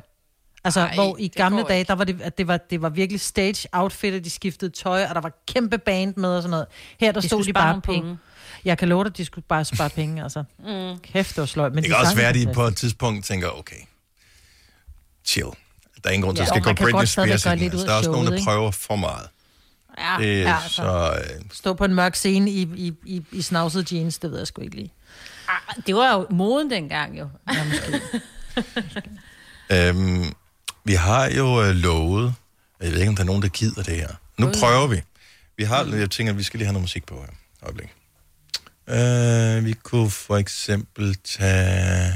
[SPEAKER 3] Altså,
[SPEAKER 20] Ej,
[SPEAKER 3] Ej, hvor i
[SPEAKER 20] det
[SPEAKER 3] gamle
[SPEAKER 20] går
[SPEAKER 3] dage,
[SPEAKER 20] ikke.
[SPEAKER 3] der var det, at det var, det var virkelig stage outfit, at de skiftede tøj, og der var kæmpe band med og sådan noget. Her, der
[SPEAKER 4] De
[SPEAKER 3] stod
[SPEAKER 4] skulle
[SPEAKER 3] de
[SPEAKER 4] spare
[SPEAKER 3] bare
[SPEAKER 4] nogle
[SPEAKER 3] på.
[SPEAKER 4] penge.
[SPEAKER 3] Penge. Jeg kan love dig, de skulle bare spare penge, altså.
[SPEAKER 4] Mm.
[SPEAKER 3] Kæft, det var sløjt. Men
[SPEAKER 1] Det kan
[SPEAKER 3] de
[SPEAKER 1] også
[SPEAKER 3] sang
[SPEAKER 1] være, at
[SPEAKER 3] fantastisk.
[SPEAKER 1] de på et tidspunkt tænker, okay, chill. Der er ingen grund til, at
[SPEAKER 3] Ja,
[SPEAKER 1] skal
[SPEAKER 3] og
[SPEAKER 1] gå
[SPEAKER 3] man kan
[SPEAKER 1] Britney
[SPEAKER 3] godt stadigvæk
[SPEAKER 1] Spears.
[SPEAKER 3] gøre
[SPEAKER 1] ind.
[SPEAKER 3] lidt ud
[SPEAKER 1] Altså,
[SPEAKER 3] af
[SPEAKER 1] der er også nogen,
[SPEAKER 3] showet,
[SPEAKER 1] der
[SPEAKER 3] ikke?
[SPEAKER 1] prøver for meget.
[SPEAKER 3] Ja,
[SPEAKER 1] Øh,
[SPEAKER 3] ja altså.
[SPEAKER 1] så, øh,
[SPEAKER 3] Stå på en mørk scene i, i, i, i snavset jeans, det ved jeg sgu ikke lige.
[SPEAKER 4] Ah, Det var jo moden dengang, jo.
[SPEAKER 1] Øhm, vi har jo øh, lovet, jeg ved ikke, om der er nogen, der gider det her. Nu prøver vi. Vi har, jeg tænker, at vi skal lige have noget musik på her. Øjeblik. Øh, vi kunne for eksempel tage...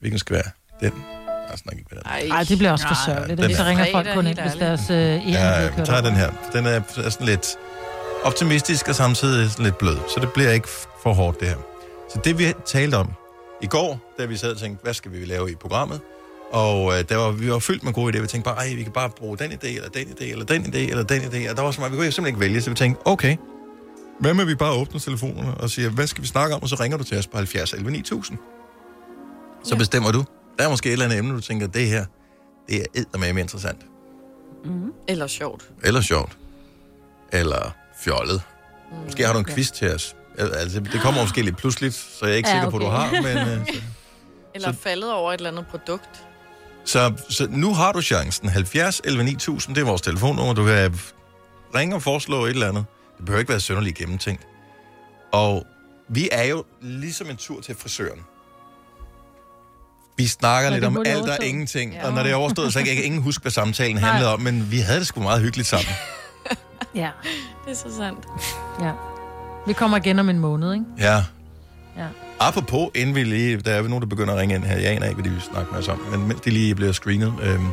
[SPEAKER 1] Hvilken skal være? Den. Jeg snakker ikke med den.
[SPEAKER 3] Nej, det bliver også for sørgeligt. ikke? Så ringer folk kun ind, hvis deres øh, en
[SPEAKER 1] Ja,
[SPEAKER 3] er
[SPEAKER 1] jeg
[SPEAKER 3] kørt
[SPEAKER 1] tager
[SPEAKER 3] over.
[SPEAKER 1] den her. Den er, er sådan lidt optimistisk og samtidig sådan lidt blød. Så det bliver ikke for hårdt, det her. Så det, vi talte om i går, da vi sad og tænkte, hvad skal vi lave i programmet? Og øh, der var, vi var fyldt med gode idéer. Vi tænkte bare, "Ej, vi kan bare bruge den idé, eller den idé, eller den idé, eller den idé. Og der var så meget, vi kunne simpelthen ikke vælge. Så vi tænkte, okay, hvad med at vi bare åbner telefonerne og siger, hvad skal vi snakke om? Og så ringer du til os på 70 11 9000. Så ja. bestemmer du. Der er måske et eller andet emne, du tænker, det her, det er med interessant
[SPEAKER 2] Mm. Eller sjovt.
[SPEAKER 1] eller sjovt, eller fjollet. Måske har du en quiz til os. Al- Altså, det kommer måske lidt pludseligt, så jeg er ikke
[SPEAKER 2] Ja,
[SPEAKER 1] ja, sikker på, du
[SPEAKER 2] okay.
[SPEAKER 1] har. Men, øh,
[SPEAKER 2] Eller faldet over et eller andet produkt.
[SPEAKER 1] så, så nu har du chancen. 70 11 9000, det er vores telefonnummer. Du kan ringe og foreslå et eller andet. Det behøver ikke være synderligt gennemtænkt. Og Vi er jo ligesom en tur til frisøren. Vi snakker
[SPEAKER 7] Når
[SPEAKER 1] lidt
[SPEAKER 7] det
[SPEAKER 1] om
[SPEAKER 7] hul er
[SPEAKER 1] alt og
[SPEAKER 7] overstået.
[SPEAKER 1] ingenting,
[SPEAKER 7] Ja.
[SPEAKER 1] ja. og når det er overstået, så kan jeg ingen huske, hvad samtalen
[SPEAKER 3] Nej.
[SPEAKER 1] handlede om, men vi havde det sgu meget hyggeligt sammen.
[SPEAKER 3] Ja.
[SPEAKER 2] Det er så sandt.
[SPEAKER 3] Ja. Vi kommer igen om en måned, ikke?
[SPEAKER 1] Ja.
[SPEAKER 3] Ja.
[SPEAKER 1] Apropos, inden vi lige... Der er vel nogen, der begynder at ringe ind her. Jeg aner ikke, hvad de vil snakke med os om, men mens de lige bliver screenet... Øhm,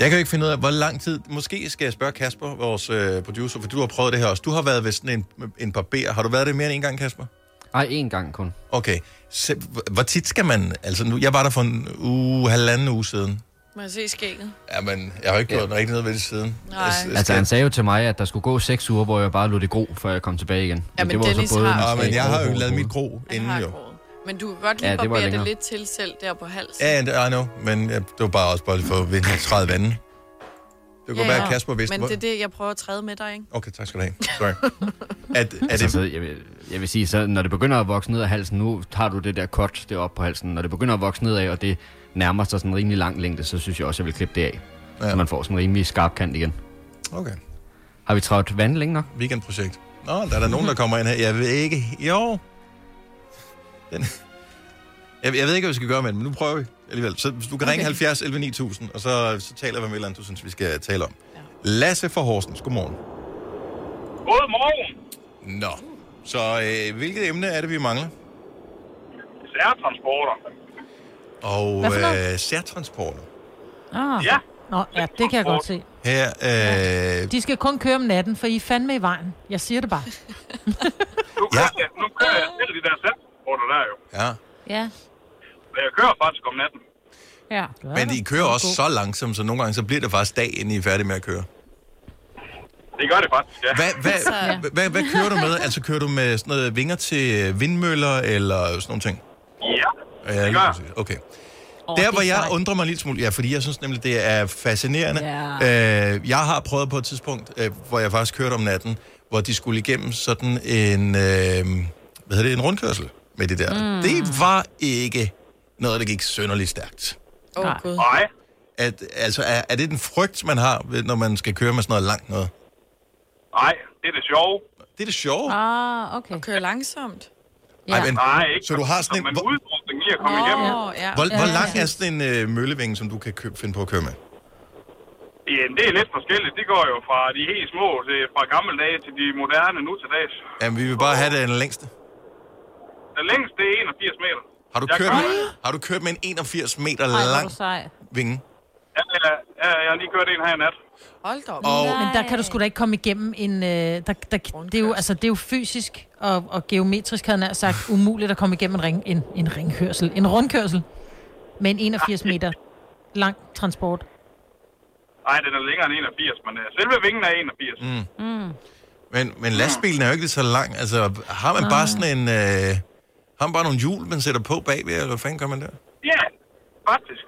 [SPEAKER 1] jeg kan jo ikke finde ud af, hvor lang tid... Måske skal jeg spørge Kasper, vores øh, producer, for du har prøvet det her også. Du har været ved sådan en, en barber. Har du været det mere end en gang, Kasper?
[SPEAKER 20] Nej, én gang kun.
[SPEAKER 1] Okay. Så, h- hvor tit skal man... Altså, nu, jeg var der for en uge, halvanden uge siden.
[SPEAKER 2] Må jeg se skægget?
[SPEAKER 1] Jamen, jeg har jo ikke gjort ja. rigtig noget ved det siden.
[SPEAKER 2] Nej.
[SPEAKER 1] Jeg,
[SPEAKER 20] Altså, han sagde jo til mig, at der skulle gå seks uger, hvor jeg bare lod det gro, før jeg kom tilbage igen.
[SPEAKER 2] Ja, men
[SPEAKER 20] det var
[SPEAKER 2] Dennis
[SPEAKER 20] så både
[SPEAKER 2] har-
[SPEAKER 1] Nå,
[SPEAKER 20] måske
[SPEAKER 1] men jeg
[SPEAKER 20] grå
[SPEAKER 1] har jo
[SPEAKER 20] hår,
[SPEAKER 1] lavet
[SPEAKER 20] hår.
[SPEAKER 1] mit gro inden jo.
[SPEAKER 2] Men du kan godt lige
[SPEAKER 1] Ja,
[SPEAKER 2] ja,
[SPEAKER 1] det var
[SPEAKER 2] barbere det,
[SPEAKER 1] længere.
[SPEAKER 2] lidt til selv der på halsen.
[SPEAKER 1] Ja, yeah, I know, men ja, det var bare også bare lige for at vinde 30 vande. Det kunne ja, være, at Kasper vidste.
[SPEAKER 2] Men
[SPEAKER 1] hvor-
[SPEAKER 2] det er det, jeg prøver at træde med dig, ikke?
[SPEAKER 1] Okay, tak skal du have. Sorry. At,
[SPEAKER 20] Er det... Altså, så, jeg, vil, jeg vil sige, så når det begynder at vokse ned af halsen, nu har du det der kort deroppe på halsen, når det begynder at vokse ned af, og det nærmer sig sådan en rimelig lang længde, så synes jeg også, jeg vil klippe det af.
[SPEAKER 1] Ja.
[SPEAKER 20] Ja. Så man får sådan en rimelig skarp kant igen.
[SPEAKER 1] Okay.
[SPEAKER 20] Har vi travlt vand længe nok?
[SPEAKER 1] Weekendprojekt. Nå, der er der nogen, der kommer ind her. Jeg ved ikke. Jo. Den. Jeg, jeg ved ikke, hvad vi skal gøre med den, men nu prøver vi alligevel. Så hvis du kan okay. ringe 70 11 9000, og så, så taler vi om et eller andet, du synes, vi skal tale om. Lasse fra Horsens, godmorgen.
[SPEAKER 15] Godmorgen.
[SPEAKER 1] Nå, så øh, hvilket emne er det, vi mangler?
[SPEAKER 15] Særtransporter.
[SPEAKER 1] Og
[SPEAKER 3] Hvad for
[SPEAKER 1] øh, særtransporter.
[SPEAKER 3] Ah.
[SPEAKER 15] Ja.
[SPEAKER 3] Nå, ja, det kan jeg godt se.
[SPEAKER 1] Her, øh,
[SPEAKER 3] De skal kun køre om natten, for I er fandme i vejen. Jeg siger det bare.
[SPEAKER 15] Ja, nu kører jeg selv de der særtransporter der jo.
[SPEAKER 1] ja.
[SPEAKER 4] Ja.
[SPEAKER 15] Men jeg kører faktisk om natten.
[SPEAKER 4] ja.
[SPEAKER 1] Men de kører også så langsomt, så nogle gange så bliver det faktisk dag, inden I er færdige med at køre.
[SPEAKER 15] Det gør det faktisk, ja.
[SPEAKER 1] Hvad, hvad, hvad, hvad, hvad kører du med? Altså kører du med sådan noget vinger til øh, vindmøller eller sådan nogle ting?
[SPEAKER 15] Ja.
[SPEAKER 1] Ja, lige præcis. Okay.
[SPEAKER 15] Åh, det
[SPEAKER 1] Der,
[SPEAKER 15] er
[SPEAKER 1] hvor jeg
[SPEAKER 15] sejt.
[SPEAKER 1] undrer mig en lille smule, ja, fordi jeg synes nemlig, det er fascinerende.
[SPEAKER 15] Ja.
[SPEAKER 1] Øh, jeg har prøvet på et tidspunkt, øh, hvor jeg faktisk kørte om natten, hvor de skulle igennem sådan en, øh, hvad hedder det, en rundkørsel med det der.
[SPEAKER 15] Mm.
[SPEAKER 1] Mm. Det var ikke noget, der gik synderligt stærkt.
[SPEAKER 2] Åh, oh, Gud.
[SPEAKER 15] Nej.
[SPEAKER 1] At, altså, er, er det den frygt, man har, ved- når man skal køre med sådan noget langt noget?
[SPEAKER 15] Nej, det er det sjove.
[SPEAKER 1] Det er det sjove.
[SPEAKER 2] Ah, okay. Og køre langsomt.
[SPEAKER 1] Ej, men,
[SPEAKER 15] Nej, ikke.
[SPEAKER 1] Så du har sådan en... Hvor,
[SPEAKER 15] Udfordringen i at komme
[SPEAKER 2] Åh,
[SPEAKER 15] igennem.
[SPEAKER 2] ja.
[SPEAKER 1] hvor,
[SPEAKER 2] Ja,
[SPEAKER 1] hvor
[SPEAKER 2] ja,
[SPEAKER 1] lang
[SPEAKER 2] ja.
[SPEAKER 1] er sådan en øh, møllevinge, som du kan købe, finde på at køre med?
[SPEAKER 15] Ja, det er lidt forskelligt. Det går jo fra de helt små, til, fra gamle dage til de moderne nu til dags.
[SPEAKER 1] Jamen, vi vil bare have den længste.
[SPEAKER 15] Den længste det er 81 meter.
[SPEAKER 1] Har du,
[SPEAKER 15] Jeg
[SPEAKER 1] kørt
[SPEAKER 15] kører-
[SPEAKER 1] med, har du kørt med en 81 meter
[SPEAKER 4] Ej, hvor er
[SPEAKER 1] lang
[SPEAKER 4] du sej.
[SPEAKER 1] vinge?
[SPEAKER 15] Ja, ja, ja, jeg har lige kørt en her i nat.
[SPEAKER 2] Hold da op.
[SPEAKER 1] Og-
[SPEAKER 3] Men der kan du sgu da ikke komme igennem en... Øh, der, der, det, er jo, altså, det er jo fysisk og, og geometrisk, havde jeg nær sagt, umuligt at komme igennem en, ring, en, en ringkørsel. En rundkørsel med en 81 meter lang transport.
[SPEAKER 15] Nej, den er længere end 81, men øh, selve vingen er 81.
[SPEAKER 1] Mm.
[SPEAKER 3] Mm.
[SPEAKER 1] Men, men lastbilen er jo ikke så lang. Altså, har man bare sådan en... Øh, har man bare nogle hjul, man sætter på bagved, eller hvad fanden gør man der?
[SPEAKER 15] Ja, faktisk.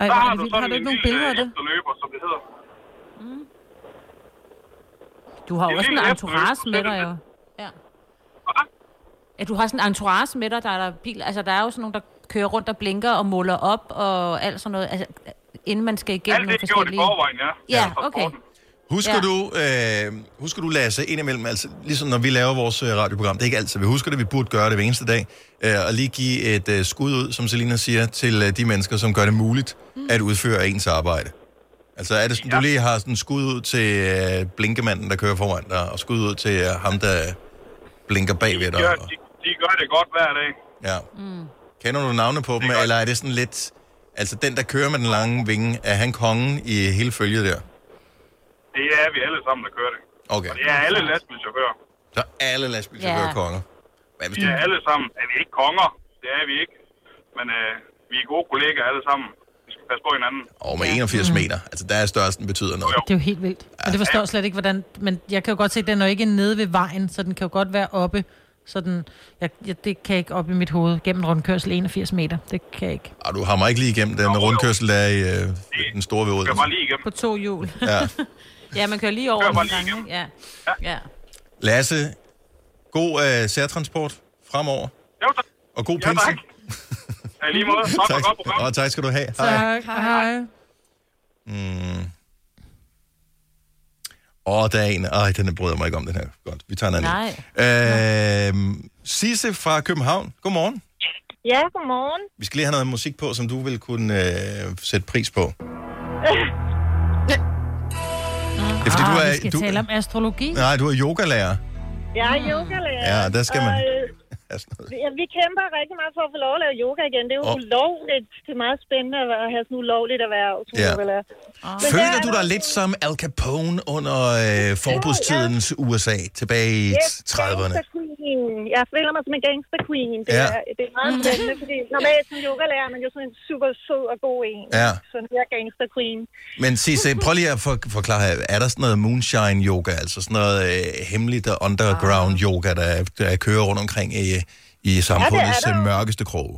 [SPEAKER 3] Ej,
[SPEAKER 15] så
[SPEAKER 3] hvor er
[SPEAKER 15] har
[SPEAKER 3] det
[SPEAKER 15] du
[SPEAKER 3] vildt.
[SPEAKER 15] sådan
[SPEAKER 3] Har du ikke
[SPEAKER 15] en
[SPEAKER 3] nogen
[SPEAKER 15] lille øh,
[SPEAKER 3] billeder af det?
[SPEAKER 15] efterløber, som det hedder.
[SPEAKER 4] Du har
[SPEAKER 15] Det
[SPEAKER 4] jo
[SPEAKER 15] er
[SPEAKER 4] også en
[SPEAKER 15] lige
[SPEAKER 4] entourage
[SPEAKER 15] efter,
[SPEAKER 4] med
[SPEAKER 15] så er
[SPEAKER 4] dig,
[SPEAKER 15] det
[SPEAKER 4] jo. Ja. ja. du har sådan en entourage med dig, der er der bil. Altså, der er jo sådan nogen, der kører rundt og blinker og måler op og alt sådan noget. Altså, inden man skal igennem
[SPEAKER 15] Alt
[SPEAKER 4] nogle
[SPEAKER 15] det er gjort i
[SPEAKER 4] forskellige...
[SPEAKER 15] forvejen, ja.
[SPEAKER 4] Ja, okay.
[SPEAKER 1] Husker,
[SPEAKER 4] Ja.
[SPEAKER 1] ja. du, øh, husker du, Lasse, indimellem, altså, ligesom når vi laver vores øh, radioprogram, det er ikke altid, vi husker det, vi burde gøre det hver eneste dag, øh, og lige give et øh, skud ud, som Selina siger, til øh, de mennesker, som gør det muligt mm. at udføre ens arbejde. Altså er det sådan, ja. du lige har sådan en skud ud til øh, blinkemanden, der kører foran dig, og skud ud til øh, ham, der blinker bagved dig?
[SPEAKER 15] Ja,
[SPEAKER 1] og-
[SPEAKER 15] de, de gør det godt hver dag.
[SPEAKER 1] Ja. Mm. Kender du navne på dem, eller er det sådan lidt... Altså den, der kører med den lange vinge, er han kongen i hele følget der?
[SPEAKER 15] Det er vi alle sammen, der kører det.
[SPEAKER 1] Okay.
[SPEAKER 15] Og det er alle lastbilchauffører.
[SPEAKER 1] Så alle lastbilchauffører
[SPEAKER 15] Ja.
[SPEAKER 1] ja. konger. Hvad hvis
[SPEAKER 15] Vi
[SPEAKER 1] du...
[SPEAKER 15] er alle sammen. Er vi ikke konger? Det er vi ikke. Men øh, vi er gode kollegaer alle sammen. Vi skal passe på hinanden.
[SPEAKER 1] Og med
[SPEAKER 15] Mm.
[SPEAKER 1] 81 meter. Altså, der er størrelsen betyder noget.
[SPEAKER 3] Det er jo helt vildt. Og det forstår jeg slet ikke, hvordan... Men jeg kan jo godt se, at den er jo ikke nede ved vejen, så den kan jo godt være oppe. Så den, jeg, jeg, det kan jeg ikke op i mit hoved gennem en rundkørsel 81 meter. Det kan jeg ikke.
[SPEAKER 1] Og du har mig ikke lige igennem den rundkørsel, der er i øh, den store ved Odense.
[SPEAKER 4] På to hjul.
[SPEAKER 1] Ja.
[SPEAKER 4] ja, man kører lige over nogle gange. ikke? Ja. ja.
[SPEAKER 1] Lasse, god øh, særtransport fremover.
[SPEAKER 15] Jo, tak.
[SPEAKER 1] Og god pensel.
[SPEAKER 15] Ja, i lige måde. Tak for et godt program.
[SPEAKER 1] Og tak skal du have. Hej.
[SPEAKER 3] Tak. Hej.
[SPEAKER 1] Mm. Åh, der er en. Ej, den bryder mig ikke om, den her. Godt, vi tager en anden.
[SPEAKER 21] Nej.
[SPEAKER 1] Øh, Sisse fra København. Godmorgen.
[SPEAKER 21] Ja, godmorgen.
[SPEAKER 1] Vi skal lige have noget musik på, som du vil kunne øh, sætte pris på. Det er, fordi du
[SPEAKER 3] Ah,
[SPEAKER 1] er-
[SPEAKER 3] vi skal
[SPEAKER 1] du-
[SPEAKER 3] tale om astrologi.
[SPEAKER 1] Nej, du er yogalærer.
[SPEAKER 21] Jeg er yogalærer.
[SPEAKER 1] Ja, der skal man-
[SPEAKER 21] Og, øh, ja, vi kæmper rigtig meget for at få lov at lave yoga igen. Det er jo
[SPEAKER 1] Og-
[SPEAKER 21] oh. ulovligt. Det er meget spændende at have sådan ulovligt erhverv som
[SPEAKER 1] Ja.
[SPEAKER 21] yogalærer.
[SPEAKER 1] Ah.
[SPEAKER 21] Men der
[SPEAKER 1] Føler
[SPEAKER 21] er
[SPEAKER 1] du dig lidt som Al Capone under øh, forbudstidens USA tilbage i
[SPEAKER 21] Yes,
[SPEAKER 1] 30'erne?
[SPEAKER 21] gangster queen. Jeg føler mig som en gangster queen. Det,
[SPEAKER 1] Ja.
[SPEAKER 21] ja. er, det er meget spændende, fordi normalt som yogalærer er man jo sådan en super sød og god en.
[SPEAKER 1] Ja.
[SPEAKER 21] Så nu er jeg gangster queen.
[SPEAKER 1] Men Sisse, prøv lige at for, forklare, her. er der sådan noget moonshine yoga, altså sådan noget øh, hemmeligt og
[SPEAKER 3] Ah.
[SPEAKER 1] underground yoga, der, der kører rundt omkring i, i samfundets
[SPEAKER 21] der
[SPEAKER 1] ja,
[SPEAKER 21] jo.
[SPEAKER 1] mørkeste kroge?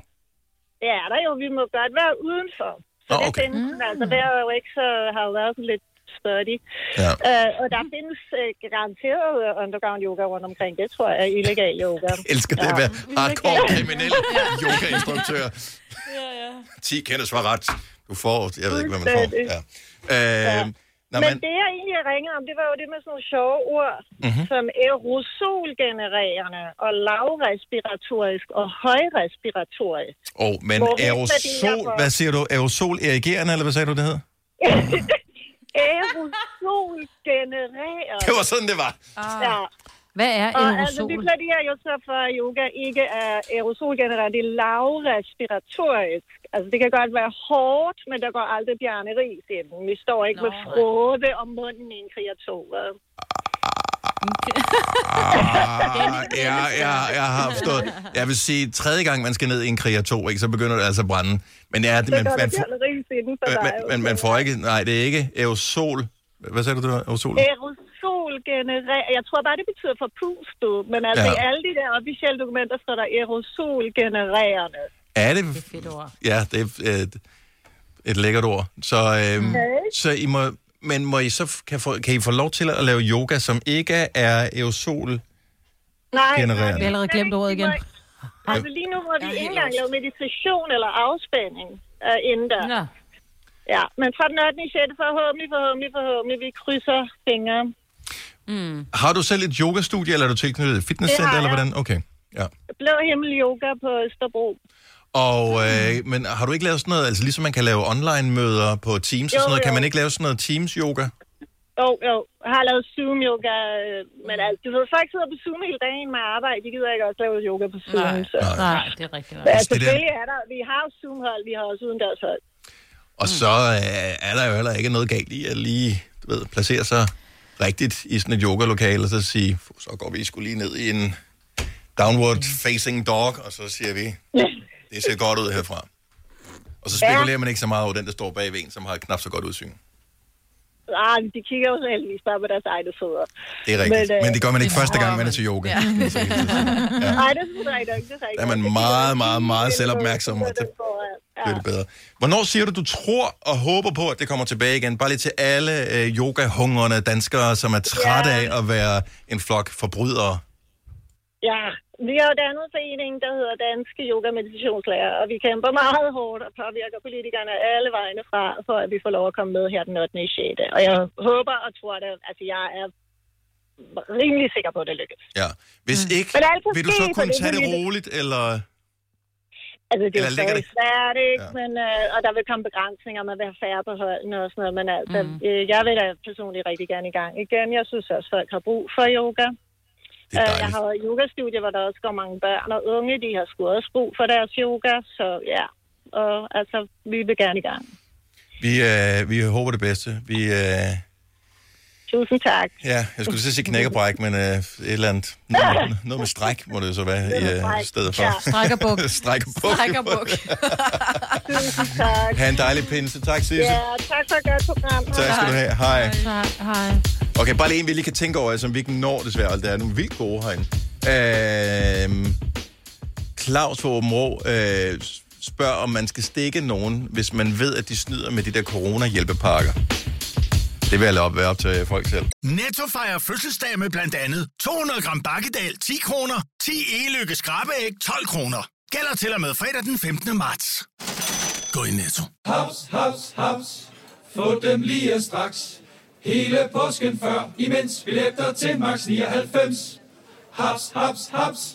[SPEAKER 21] Det er der jo. Vi må godt være udenfor. Så
[SPEAKER 1] Nå,
[SPEAKER 21] det
[SPEAKER 1] okay.
[SPEAKER 21] findes. Mm. Altså, der er jo ikke så har jo været sådan lidt study.
[SPEAKER 1] Ja.
[SPEAKER 21] Øh, og der findes øh, garanteret øh, underground yoga rundt omkring. Det tror jeg er illegal yoga.
[SPEAKER 1] Jeg elsker det at være hardcore kriminelle yogainstruktør. 10 kendes var ret. Du får, jeg ved ikke, hvad man får. Ja. Øh,
[SPEAKER 21] Nå,
[SPEAKER 1] Nå,
[SPEAKER 21] men,
[SPEAKER 1] men,
[SPEAKER 21] det, jeg egentlig ringede om, det var jo det med sådan nogle sjove ord,
[SPEAKER 1] Mhm.
[SPEAKER 21] mm-hmm. som aerosolgenererende og lavrespiratorisk og højrespiratorisk.
[SPEAKER 1] oh,
[SPEAKER 21] Hvor
[SPEAKER 1] men
[SPEAKER 21] vi værdier
[SPEAKER 1] aerosol,
[SPEAKER 21] for-
[SPEAKER 1] hvad siger du? Aerosol erigerende, eller hvad sagde du, det hed?
[SPEAKER 21] aerosolgenererende.
[SPEAKER 1] Det var sådan, det var.
[SPEAKER 21] Ja.
[SPEAKER 3] Ah. Hvad er
[SPEAKER 21] Og
[SPEAKER 3] aerosol?
[SPEAKER 21] altså, vi plæderer jo så for, at yoga ikke er aerosolgenererende, det er lavrespiratorisk. Altså, det kan godt være hårdt, men der går aldrig Bjarne Ries i den. Vi står ikke Nå, med frode om munden i en kreator.
[SPEAKER 1] Ah, ja, ja, jeg har forstået. Jeg vil sige, tredje gang, man skal ned i en kriger 2, ikke, så begynder det altså at brænde. Men ja, det,
[SPEAKER 21] Så
[SPEAKER 1] man,
[SPEAKER 21] går der
[SPEAKER 1] man,
[SPEAKER 21] Bjarne Ries i den for
[SPEAKER 1] man,
[SPEAKER 21] dig.
[SPEAKER 1] man, man, man får ikke... Nej, det er ikke aerosol. Hvad sagde du, det var? Aerosol?
[SPEAKER 21] Aerosol genererer... Jeg tror bare, det betyder forpustet, men altså
[SPEAKER 1] Ja.
[SPEAKER 21] ja. i alle de der officielle dokumenter står der aerosol genererende.
[SPEAKER 1] Er det... Ja, det er et, et lækkert ord. Så, øhm,
[SPEAKER 21] Okay.
[SPEAKER 1] så I må... Men må I så f- kan, få, kan I få lov til at lave yoga, som ikke er aerosol?
[SPEAKER 21] Nej,
[SPEAKER 1] Genererende.
[SPEAKER 21] nej,
[SPEAKER 1] Vi har allerede
[SPEAKER 21] nej,
[SPEAKER 1] glemt ordet
[SPEAKER 21] vi må
[SPEAKER 1] igen.
[SPEAKER 21] ikke- Altså lige nu må vi ikke engang lave meditation eller afspænding uh, inden der. Ja. ja, men fra den 18. i 6. forhåbentlig, forhåbentlig, forhåbentlig, vi krydser fingre. Mm.
[SPEAKER 1] Har du selv et yogastudie, eller er du tilknyttet et fitnesscenter,
[SPEAKER 21] har
[SPEAKER 1] eller
[SPEAKER 21] jeg.
[SPEAKER 1] hvordan? Okay, ja.
[SPEAKER 21] Blå himmel yoga på Østerbro.
[SPEAKER 1] Og,
[SPEAKER 21] Mm.
[SPEAKER 1] øh, men har du ikke lavet sådan noget, altså ligesom man kan lave online-møder på Teams
[SPEAKER 21] Jo,
[SPEAKER 1] og sådan noget, kan
[SPEAKER 21] jo.
[SPEAKER 1] man ikke lave sådan noget Teams-yoga?
[SPEAKER 21] Jo, jo. Jeg har lavet Zoom-yoga, øh, men alt. Du ved, folk sidder på Zoom hele dagen med arbejde. De gider ikke også lave yoga på Zoom. Nej, så.
[SPEAKER 1] Nej,
[SPEAKER 21] det er rigtigt. Ja,
[SPEAKER 1] Altså, det der-
[SPEAKER 21] selvfølgelig er der. Vi har jo Zoom-hold, vi har også udendørshold.
[SPEAKER 1] Og så øh, er der jo heller ikke noget galt i at lige, du ved, placere sig rigtigt i sådan et yogalokale, og så sige, "Fu, så går vi sgu lige ned i en downward facing dog, og så siger vi, det ser godt ud herfra. Og så spekulerer man ikke så meget over den, der står bag ved en, som har knap så godt udsyn.
[SPEAKER 21] Ah, men de kigger jo så heldigvis bare på deres egne fødder.
[SPEAKER 1] Det er rigtigt. Men, øh, Men det gør man ikke første gang, man er til yoga. Ja.
[SPEAKER 21] Ja. Nej, det synes jeg ikke. Det synes jeg ikke.
[SPEAKER 1] Der er man meget, meget, meget selvopmærksom, og det bliver det bedre. Hvornår siger du, du tror og håber på, at det kommer tilbage igen? Bare lige til alle øh, yogahungrende danskere, som er trætte af at være en flok forbrydere.
[SPEAKER 21] Ja, vi har jo dannet forening, der hedder Danske Yoga Meditationslærer, og vi kæmper meget hårdt og påvirker politikerne alle vegne fra, for at vi får lov at komme med her den 8. i 6. Og jeg håber og tror det, altså jeg er rimelig sikker på, at det lykkes.
[SPEAKER 1] Ja. Hvis ikke,
[SPEAKER 21] Mm. Men alt kan
[SPEAKER 1] vil du
[SPEAKER 21] ske,
[SPEAKER 1] så
[SPEAKER 21] for
[SPEAKER 1] kunne
[SPEAKER 21] det er
[SPEAKER 1] tage det
[SPEAKER 21] politik.
[SPEAKER 1] roligt, eller...
[SPEAKER 21] Altså, det
[SPEAKER 1] Eller
[SPEAKER 21] er jo
[SPEAKER 1] ligger
[SPEAKER 21] stadig svært, ikke? Ja. Men, øh, og der vil komme begrænsninger, man vil have færre på holdene og sådan noget. Men altså, mm. øh, jeg vil da personligt rigtig gerne i gang igen. Jeg synes også, folk har brug for yoga. Øh, jeg har været i yogastudie, hvor der også går mange børn og unge. De har sgu også brug for deres yoga, så ja. Og altså, vi vil gerne i gang.
[SPEAKER 1] Vi, øh, vi håber det bedste. Vi, øh,
[SPEAKER 21] Tusind tak.
[SPEAKER 1] ja, jeg skulle så sige knækkerbræk, men øh, et eller andet. Noget, noget med stræk, må det så være i øh, stedet for.
[SPEAKER 21] Ja. Stræk og buk.
[SPEAKER 1] Stræk og buk.
[SPEAKER 21] Stræk og buk. Tusind tak.
[SPEAKER 1] Ha' en dejlig pinse. Tak, Sisse.
[SPEAKER 21] Ja, tak for et godt program.
[SPEAKER 1] Tak skal du have. Hej.
[SPEAKER 21] Hej. Hej.
[SPEAKER 1] Okay, bare lige en, vi lige kan tænke over, som vi ikke når desværre. og Der er nogle vildt gode herinde. Øh, Claus fra Åben Rå, øh, spørger, om man skal stikke nogen, hvis man ved, at de snyder med de der corona-hjælpepakker. Det vil jeg lade op, være op til folk selv.
[SPEAKER 7] Netto fejrer fødselsdag med blandt andet 200 gram bakkedal 10 kroner, 10 e-lykke skrabeæg 12 kroner. Gælder til og med fredag den 15. marts. Gå i Netto.
[SPEAKER 8] Haps, haps, haps. Få dem lige straks. Hele påsken før, imens billetter til max 99. Haps, haps, haps.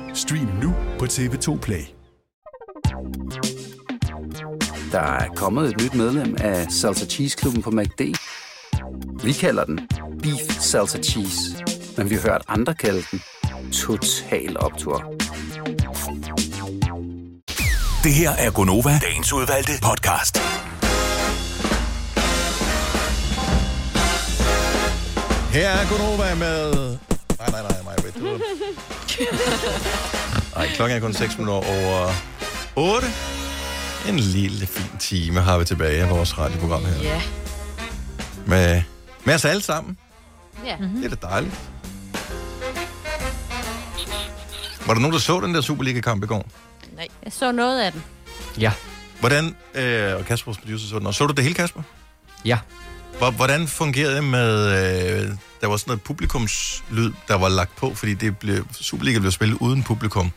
[SPEAKER 5] Stream nu på TV2 Play.
[SPEAKER 19] Der er kommet et nyt medlem af Salsa Cheese Klubben på MACD. Vi kalder den Beef Salsa Cheese, men vi har hørt andre kalde den Total Optor.
[SPEAKER 5] Det her er Gonova, dagens udvalgte podcast.
[SPEAKER 1] Her er Gunova med... Nej, nej, nej, nej, wait, du... Nej, klokken er kun 6 minutter over 8. En lille fin time har vi tilbage af vores radioprogram her.
[SPEAKER 2] Ja.
[SPEAKER 1] Med, med os alle sammen.
[SPEAKER 4] Ja.
[SPEAKER 1] Det er da dejligt. Var der nogen, der så den der Superliga-kamp i går?
[SPEAKER 4] Nej. Jeg så noget af den.
[SPEAKER 1] Ja. Hvordan, øh, og Kasper, vores producer, så den også. Så du det hele, Kasper?
[SPEAKER 20] Ja.
[SPEAKER 1] Hvor- Hvordan fungerede det med, øh, der var sådan noget publikumslyd, der var lagt på, fordi det blev, Superliga blev spillet uden publikum.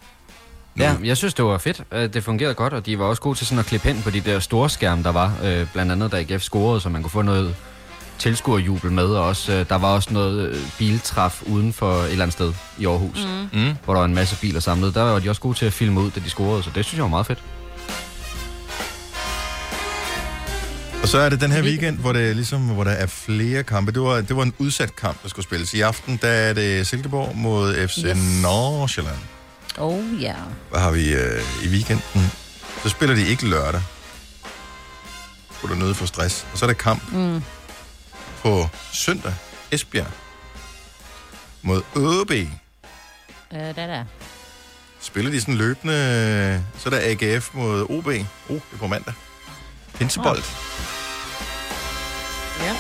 [SPEAKER 20] Ja, jeg synes, det var fedt. Øh, Det fungerede godt, og de var også gode til sådan at klippe hen på de der store skærme, der var. Øh, Blandt andet, da IGF scorede, så man kunne få noget tilskuerjubel med, og også, øh, der var også noget øh, biltræf uden for et eller andet sted i Aarhus,
[SPEAKER 1] Mm. Mm.
[SPEAKER 20] hvor der var en masse biler samlet. Der var de også gode til at filme ud, da de scorede, så det synes jeg var meget fedt.
[SPEAKER 1] Og så er det den her weekend, hvor, det, ligesom, hvor der er flere kampe. Det var, det var en udsat kamp, der skulle spilles. I aften der er det Silkeborg mod FC yes. Nordsjælland.
[SPEAKER 4] Oh ja. Yeah.
[SPEAKER 1] Hvad har vi øh, i weekenden? Så spiller de ikke lørdag. Hvor du er nødt for stress. Og så er der kamp
[SPEAKER 4] Mm.
[SPEAKER 1] på søndag. Esbjerg mod ÅB.
[SPEAKER 4] Øh, der der.
[SPEAKER 1] Spiller de sådan løbende... øh, Så er der AGF mod OB. Oh, det er på mandag. Pinsebold.
[SPEAKER 2] Ja.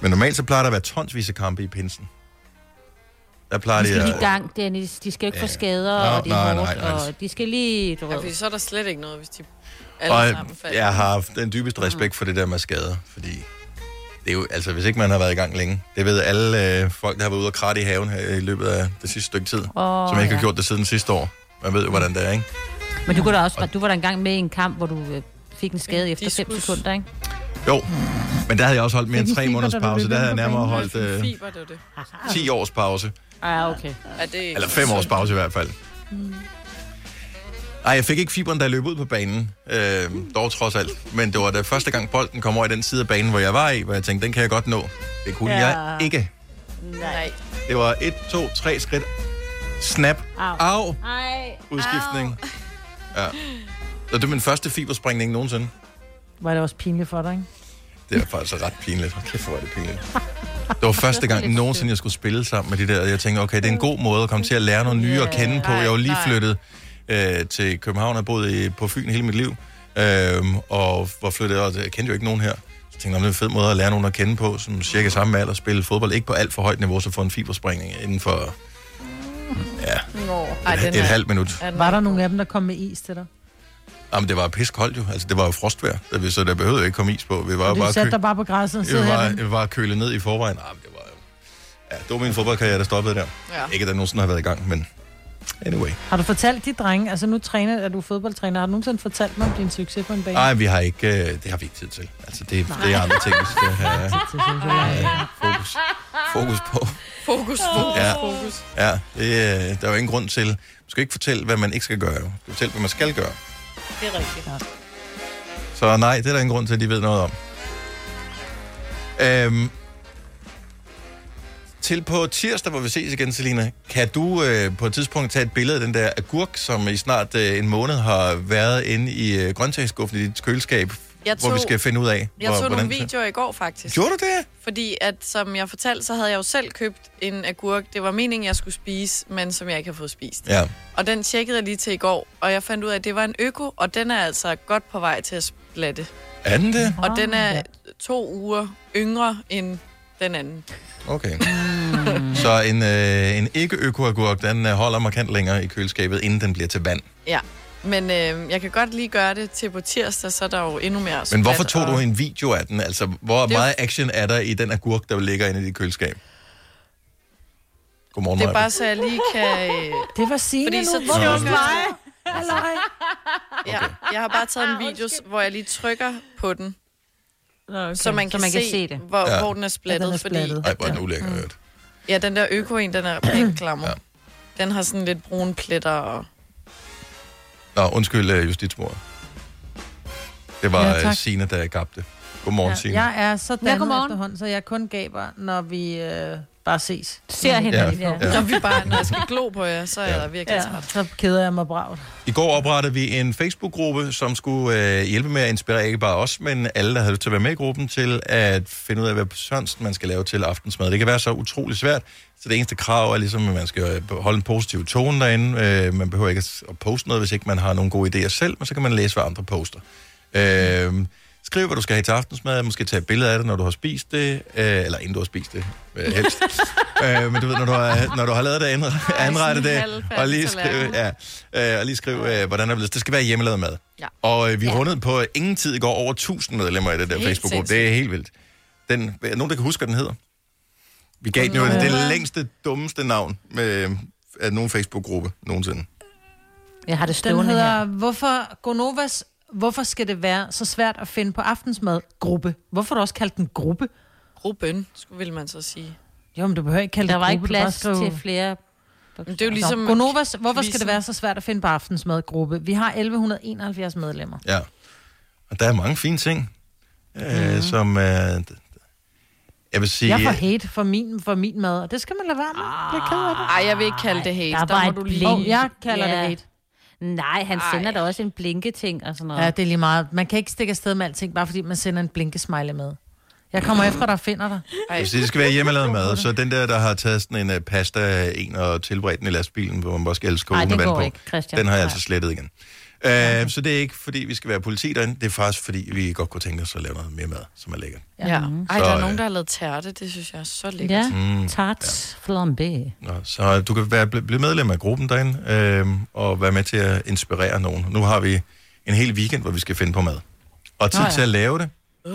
[SPEAKER 1] Men normalt så plejer der at være tonsvis af kampe i pinsen. Der plejer
[SPEAKER 4] De
[SPEAKER 1] de
[SPEAKER 4] skal
[SPEAKER 1] at...
[SPEAKER 4] i gang, Dennis. De skal ikke få skader,
[SPEAKER 1] Nå,
[SPEAKER 4] og det er
[SPEAKER 1] nej,
[SPEAKER 4] hårdt,
[SPEAKER 1] nej, nej.
[SPEAKER 4] og de skal lige... Du
[SPEAKER 2] ja,
[SPEAKER 4] ved.
[SPEAKER 2] fordi så er der slet ikke noget, hvis de alle og,
[SPEAKER 1] Og
[SPEAKER 2] sammen falder.
[SPEAKER 1] jeg har haft den dybeste respekt for det der med skader, fordi det er jo, altså hvis ikke man har været i gang længe, det ved alle øh, folk, der har været ude og kratte i haven her i løbet af det sidste stykke tid,
[SPEAKER 4] Åh,
[SPEAKER 1] som ikke
[SPEAKER 4] ja.
[SPEAKER 1] har gjort det siden sidste år. Man ved jo, hvordan det er, ikke?
[SPEAKER 4] Men du, kunne da også, du var der engang med i en kamp, hvor du øh, fik en skade efter 5 sekunder, ikke?
[SPEAKER 1] Jo, men der havde jeg også holdt mere
[SPEAKER 4] Det
[SPEAKER 1] end
[SPEAKER 4] er
[SPEAKER 1] tre
[SPEAKER 4] de fiber,
[SPEAKER 1] måneders
[SPEAKER 4] der blev
[SPEAKER 1] pause. Der
[SPEAKER 4] ved
[SPEAKER 1] havde
[SPEAKER 4] med
[SPEAKER 1] jeg
[SPEAKER 4] på
[SPEAKER 1] nærmere
[SPEAKER 4] banen.
[SPEAKER 1] holdt øh,
[SPEAKER 2] Fiber, det var det.
[SPEAKER 1] 10 års pause.
[SPEAKER 4] Ah, okay.
[SPEAKER 2] Er det ikke
[SPEAKER 1] Eller fem års pause i hvert fald. Nej, jeg fik ikke fiberen, da jeg løb ud på banen. Øh, dog trods alt. Men det var da første gang bolden kom over i den side af banen, hvor jeg var i, hvor jeg tænkte, den kan jeg godt nå. Det kunne ja.
[SPEAKER 4] Ja.
[SPEAKER 1] jeg ikke.
[SPEAKER 4] Nej.
[SPEAKER 1] Det var et, to, tre skridt. Snap.
[SPEAKER 4] Au.
[SPEAKER 1] Au.
[SPEAKER 4] Ej.
[SPEAKER 1] Udskiftning. Ja. Så det er min første fiberspringning nogensinde.
[SPEAKER 3] Var det også pinligt for dig, ikke?
[SPEAKER 1] Det er faktisk altså ret pinligt. Hold Kæft, hvor er det pinligt. Det var første gang nogensinde, jeg skulle spille sammen med de der. Jeg tænkte, okay, det er en god måde at komme til at lære noget nye at kende på. Jeg var lige flyttet øh, til København og boet i, på Fyn hele mit liv. Øh, og var flyttet, og jeg kendte jo ikke nogen her. Så tænkte jeg, "Nå, det er en fed måde at lære nogen at kende på, som cirka samme alder, spille fodbold. Ikke på alt for højt niveau, så få en fiberspringning inden for ja,
[SPEAKER 3] Nå.
[SPEAKER 1] Ej, den Et er- halvt minut. er
[SPEAKER 3] Var der nogen af dem, der kom med is til dig?
[SPEAKER 1] Jamen, det var piskoldt jo. Altså, det var jo frostvejr, så vi- så der behøvede jo ikke komme is på. Vi var jo
[SPEAKER 3] Og
[SPEAKER 1] bare
[SPEAKER 3] du satte
[SPEAKER 1] kø-
[SPEAKER 3] dig bare på græsset og
[SPEAKER 1] Jeg
[SPEAKER 3] sidde
[SPEAKER 1] var,
[SPEAKER 3] her.
[SPEAKER 1] jeg var kølet ned i forvejen. Ej, men det var, ja, det var min fodboldkarriere, der stoppede der.
[SPEAKER 3] Ja.
[SPEAKER 1] Ja. Ikke, at der nogensinde har været i gang, men anyway.
[SPEAKER 3] Har du fortalt de drenge, altså nu træner, er du fodboldtræner, har du nogensinde fortalt dem om din succes på en bane?
[SPEAKER 1] Nej, vi har ikke, øh, det har vi ikke tid til. Altså, det, det er andre ting, vi skal have fokus, fokus på.
[SPEAKER 2] Fokus, fokus,
[SPEAKER 1] Ja.
[SPEAKER 2] ja. fokus.
[SPEAKER 1] Ja, det, øh, der er jo ingen grund til. Du skal ikke fortælle, hvad man ikke skal gøre. Du skal fortælle, hvad man skal gøre.
[SPEAKER 2] Det er rigtigt. Ja.
[SPEAKER 1] Så nej, det er der ingen grund til, at de ved noget om. Øhm, til på tirsdag, hvor vi ses igen, Selina, kan du øh, på et tidspunkt tage et billede af den der agurk, som i snart øh, en måned har været inde i øh, grøntsagsskuffen i dit køleskab,
[SPEAKER 2] Jeg
[SPEAKER 1] hvor vi
[SPEAKER 2] tog-
[SPEAKER 1] skal finde ud af,
[SPEAKER 2] Jeg
[SPEAKER 1] hvor,
[SPEAKER 2] tog nogle videoer i går, faktisk.
[SPEAKER 1] Gjorde du det?
[SPEAKER 2] Fordi at, som jeg fortalte, så havde jeg jo selv købt en agurk. Det var meningen, jeg skulle spise, men som jeg ikke har fået spist.
[SPEAKER 1] Ja.
[SPEAKER 2] Og den tjekkede jeg lige til i går, og jeg fandt ud af, at det var en øko, og den er altså godt på vej til at splatte. Ah,
[SPEAKER 1] Er den det?
[SPEAKER 2] Og den er to uger yngre end Den anden.
[SPEAKER 1] Okay. Så en, øh, en ikke-økoagurk, den øh, holder markant længere i køleskabet, inden den bliver til vand.
[SPEAKER 2] Ja. Men øh, jeg kan godt lige gøre det til på tirsdag, så er der jo endnu mere
[SPEAKER 1] Men hvorfor
[SPEAKER 2] splat,
[SPEAKER 1] tog du
[SPEAKER 2] og-
[SPEAKER 1] en video af den? Altså, hvor
[SPEAKER 2] Det er-
[SPEAKER 1] meget action er der i den agurk, der ligger inde i dit køleskab? Godmorgen,
[SPEAKER 2] Det er
[SPEAKER 1] Maja.
[SPEAKER 2] bare så jeg lige kan... øh,
[SPEAKER 3] Det var Signe
[SPEAKER 2] fordi
[SPEAKER 3] nu.
[SPEAKER 2] så
[SPEAKER 3] Hvor er det hos
[SPEAKER 2] trykker-
[SPEAKER 3] mig?
[SPEAKER 2] Ja, jeg har bare taget en video, hvor jeg lige trykker på den. Okay. Så man kan, så man kan se, se det. Hvor, ja. hvor den er splattet. Ja, den er splattet. Fordi,
[SPEAKER 1] Ej, hvor er den ulækker, hørt.
[SPEAKER 2] ja, den der øko en, den er pænt klammer. ja. Den har sådan lidt brune pletter og...
[SPEAKER 1] Nå, undskyld, øh, justitsmor. Det var
[SPEAKER 3] Ja, tak.
[SPEAKER 1] ja, Sina, der gabte. Godmorgen, ja, Sina.
[SPEAKER 3] Jeg er så dannet
[SPEAKER 4] godmorgen.
[SPEAKER 3] efterhånden, så jeg kun gaber, når vi øh, bare ses.
[SPEAKER 4] Ser hinanden, Ja, ja. ja.
[SPEAKER 2] Når, vi bare, når jeg skal glo på jer, så er ja. jeg virkelig
[SPEAKER 3] Ja,
[SPEAKER 2] træt.
[SPEAKER 3] så keder jeg mig bragt.
[SPEAKER 1] I går oprettede vi en Facebook-gruppe, som skulle øh, hjælpe med at inspirere ikke bare os, men alle, der havde lyst til at være med i gruppen, til at finde ud af, hvad sørensen man skal lave til aftensmad. Det kan være så utrolig svært, så det eneste krav er ligesom, at man skal øh, holde en positiv tone derinde. Øh, man behøver ikke at s- at poste noget, hvis ikke man har nogle gode idéer selv, men så kan man læse, hvad andre poster. Øh, skriv, hvad du skal have til aftensmad, måske tage et billede af det, når du har spist det, øh, eller inden du har spist det, øh, helst. øh, men du ved, når du har, når du har lavet det, anre- anrettet det,
[SPEAKER 13] halvfærdig
[SPEAKER 1] og lige skrive,
[SPEAKER 13] tallerken.
[SPEAKER 1] ja, øh, og lige skrive øh, hvordan det er blevet. Det skal være hjemmelavet mad.
[SPEAKER 13] Ja.
[SPEAKER 1] Og øh, vi rundede på øh, ingen tid i går over 1000 medlemmer i det der
[SPEAKER 13] Helt
[SPEAKER 1] Facebook-gruppe.
[SPEAKER 13] sindssygt.
[SPEAKER 1] Det er helt vildt. Den, er der nogen, der kan huske, hvad den hedder? Vi gav den jo
[SPEAKER 13] Nova.
[SPEAKER 1] det længste, dummeste navn med, af nogen Facebook-gruppe nogensinde.
[SPEAKER 4] Jeg har det
[SPEAKER 3] Den
[SPEAKER 4] stående
[SPEAKER 3] hedder,
[SPEAKER 4] her.
[SPEAKER 3] hvorfor Gonovas, hvorfor skal det være så svært at finde på aftensmad? Gruppe. Hvorfor har du også kaldt den gruppe?
[SPEAKER 2] Gruppen, skulle vil man så sige.
[SPEAKER 3] Jo, men du behøver ikke kalde
[SPEAKER 4] Der
[SPEAKER 3] det
[SPEAKER 4] var ikke
[SPEAKER 3] gruppe, du kan
[SPEAKER 4] plads
[SPEAKER 3] bare skrive-
[SPEAKER 4] til flere...
[SPEAKER 2] Men det er jo ligesom...
[SPEAKER 3] Nå, Gonovas, ligesom hvorfor skal det
[SPEAKER 2] quizzen.
[SPEAKER 3] være så svært at finde på aftensmadgruppe? Vi har 1171 medlemmer.
[SPEAKER 1] Ja. Og der er mange fine ting,
[SPEAKER 13] Mhm.
[SPEAKER 1] øh, som... Øh, jeg vil sige... øh,
[SPEAKER 3] Jeg får hate for min, for min mad, og det skal man lade være med. Jeg er ked af det.
[SPEAKER 2] Ej, jeg vil ikke kalde det hate.
[SPEAKER 4] Der er bare et blink.
[SPEAKER 3] Åh, jeg kalder det hate.
[SPEAKER 4] Nej, han sender da også en blinketing og sådan noget.
[SPEAKER 3] Ja, det er lige meget. Man kan ikke stikke afsted med alting, bare fordi man sender en blinkesmiley med. Jeg kommer efter dig og finder dig.
[SPEAKER 1] Jeg vil sige, det skal være hjemmelavet mad, så den der, der har taget sådan en uh, pasta en og tilberedt den i lastbilen, hvor man bare skal elske
[SPEAKER 4] Ej, det
[SPEAKER 1] kogen vand
[SPEAKER 4] går
[SPEAKER 1] på,
[SPEAKER 4] ikke, Christian.
[SPEAKER 1] den har jeg
[SPEAKER 4] Nej.
[SPEAKER 1] altså slettet igen. Uh, så det er ikke, fordi vi skal være politi derinde, det er faktisk, fordi vi godt kunne tænke os at lave noget mere mad, som er lækkert.
[SPEAKER 2] Ja. Mm. Ej,
[SPEAKER 1] Så,
[SPEAKER 2] der er
[SPEAKER 1] øh,
[SPEAKER 2] nogen, der har lavet tærte. Det synes jeg er så lækkert.
[SPEAKER 4] Ja,
[SPEAKER 1] Mm,
[SPEAKER 4] tarts flambé.
[SPEAKER 1] Nå, så du kan være, bl- blive medlem af gruppen derinde, øh, og være med til at inspirere nogen. Nu har vi en hel weekend, hvor vi skal finde på mad. Og tid
[SPEAKER 3] Nå ja.
[SPEAKER 1] til at lave det,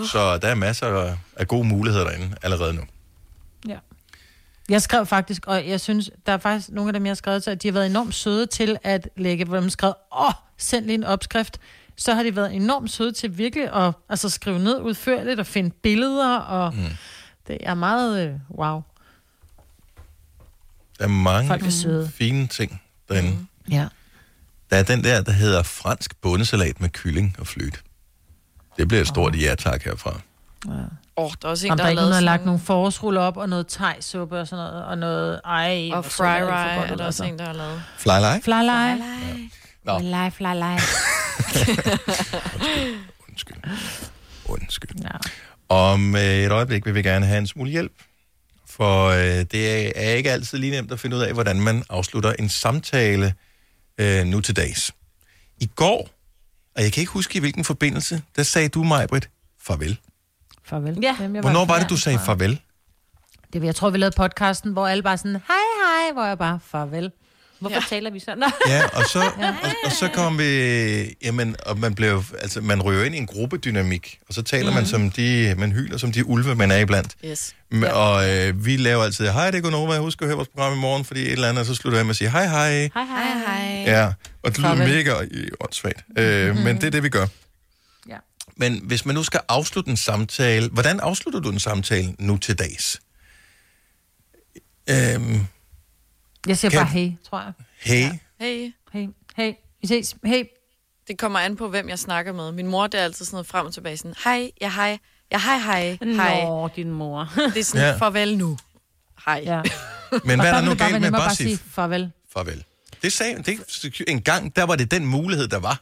[SPEAKER 1] så der er masser af, af gode muligheder derinde allerede nu.
[SPEAKER 3] Jeg skrev faktisk, og jeg synes, der er faktisk nogle af dem, jeg har skrevet til, at de har været enormt søde til at lægge, hvor de skrev, åh, send lige en opskrift. Så har de været enormt søde til virkelig at altså, skrive ned udførligt og finde billeder, og mm. det er meget øh, wow.
[SPEAKER 1] Der er mange
[SPEAKER 3] Folk er søde.
[SPEAKER 1] fine ting derinde. Mm.
[SPEAKER 3] Ja.
[SPEAKER 1] Der er den der, der hedder fransk bondesalat med kylling og flyt. Det bliver et stort ja tak herfra.
[SPEAKER 2] Åh, oh, der er også en,
[SPEAKER 3] Om
[SPEAKER 2] der,
[SPEAKER 3] der
[SPEAKER 2] har
[SPEAKER 3] ikke nogen
[SPEAKER 2] lavet
[SPEAKER 3] har
[SPEAKER 2] sådan
[SPEAKER 3] lagt nogle forårsruller op, og noget thejsuppe og sådan noget, og noget, ej,
[SPEAKER 2] Og
[SPEAKER 3] hvor så
[SPEAKER 2] fry
[SPEAKER 3] det alt for
[SPEAKER 2] rye
[SPEAKER 3] godt
[SPEAKER 2] er
[SPEAKER 3] ud,
[SPEAKER 2] der også
[SPEAKER 3] altså.
[SPEAKER 2] en, der har lavet.
[SPEAKER 1] Fly like?
[SPEAKER 3] Fly lie.
[SPEAKER 1] Nå.
[SPEAKER 3] Fly lie, fly lie.
[SPEAKER 1] Undskyld. Om øh, et øjeblik vil vi gerne have en smule hjælp, for øh, det er ikke altid lige nemt at finde ud af, hvordan man afslutter en samtale øh, nu til dags. I går, og jeg kan ikke huske i hvilken forbindelse, der sagde du, Majbrit, farvel.
[SPEAKER 3] Farvel. Ja. Jamen, jeg
[SPEAKER 1] Hvornår var det, du sagde farvel?
[SPEAKER 3] Det, var- jeg tror, vi lavede podcasten, hvor alle bare sådan, hej, hej, hvor jeg bare, farvel.
[SPEAKER 4] Hvorfor ja. taler vi sådan?
[SPEAKER 1] Ja, og så, og, og så kom vi... Jamen, og man, blev, altså, man ryger ind i en gruppedynamik, og så taler mm. man som de... Man hyler som de ulve, man er iblandt.
[SPEAKER 2] Yes.
[SPEAKER 1] M- Og øh, vi laver altid, hej, det er Gunova, husk at høre vores program i morgen, fordi et eller andet, og så slutter jeg med at sige, hej, hej.
[SPEAKER 4] Hej, hej, hej.
[SPEAKER 1] Ja, og det lyder
[SPEAKER 4] Farvel.
[SPEAKER 1] mega øh, åndssvagt, øh, men det er det, vi gør.
[SPEAKER 3] Ja.
[SPEAKER 1] Men hvis man nu skal afslutte en samtale, hvordan afslutter du en samtale nu til dags? Øhm,
[SPEAKER 3] Jeg siger
[SPEAKER 1] Kan-
[SPEAKER 3] bare, hey, tror jeg.
[SPEAKER 1] hey,
[SPEAKER 2] Hey.
[SPEAKER 3] Hey, hey, vi ses, hey.
[SPEAKER 2] Det kommer an på, hvem jeg snakker med. Min mor, det er altid sådan noget frem og tilbage, sådan, hej, ja, hej, ja, hej, hej, hej.
[SPEAKER 4] Nå, din mor.
[SPEAKER 2] det er sådan,
[SPEAKER 1] Ja.
[SPEAKER 2] ja. farvel nu. Hej. Ja.
[SPEAKER 1] men
[SPEAKER 3] Og
[SPEAKER 1] hvad er
[SPEAKER 3] der
[SPEAKER 1] der
[SPEAKER 3] vil
[SPEAKER 1] nu
[SPEAKER 3] det bare
[SPEAKER 1] galt
[SPEAKER 3] være
[SPEAKER 1] med
[SPEAKER 3] nemmere
[SPEAKER 1] bare at
[SPEAKER 3] bare
[SPEAKER 1] sige
[SPEAKER 3] sige farvel?
[SPEAKER 1] farvel? Det sagde, det, en gang, der var det den mulighed, der var.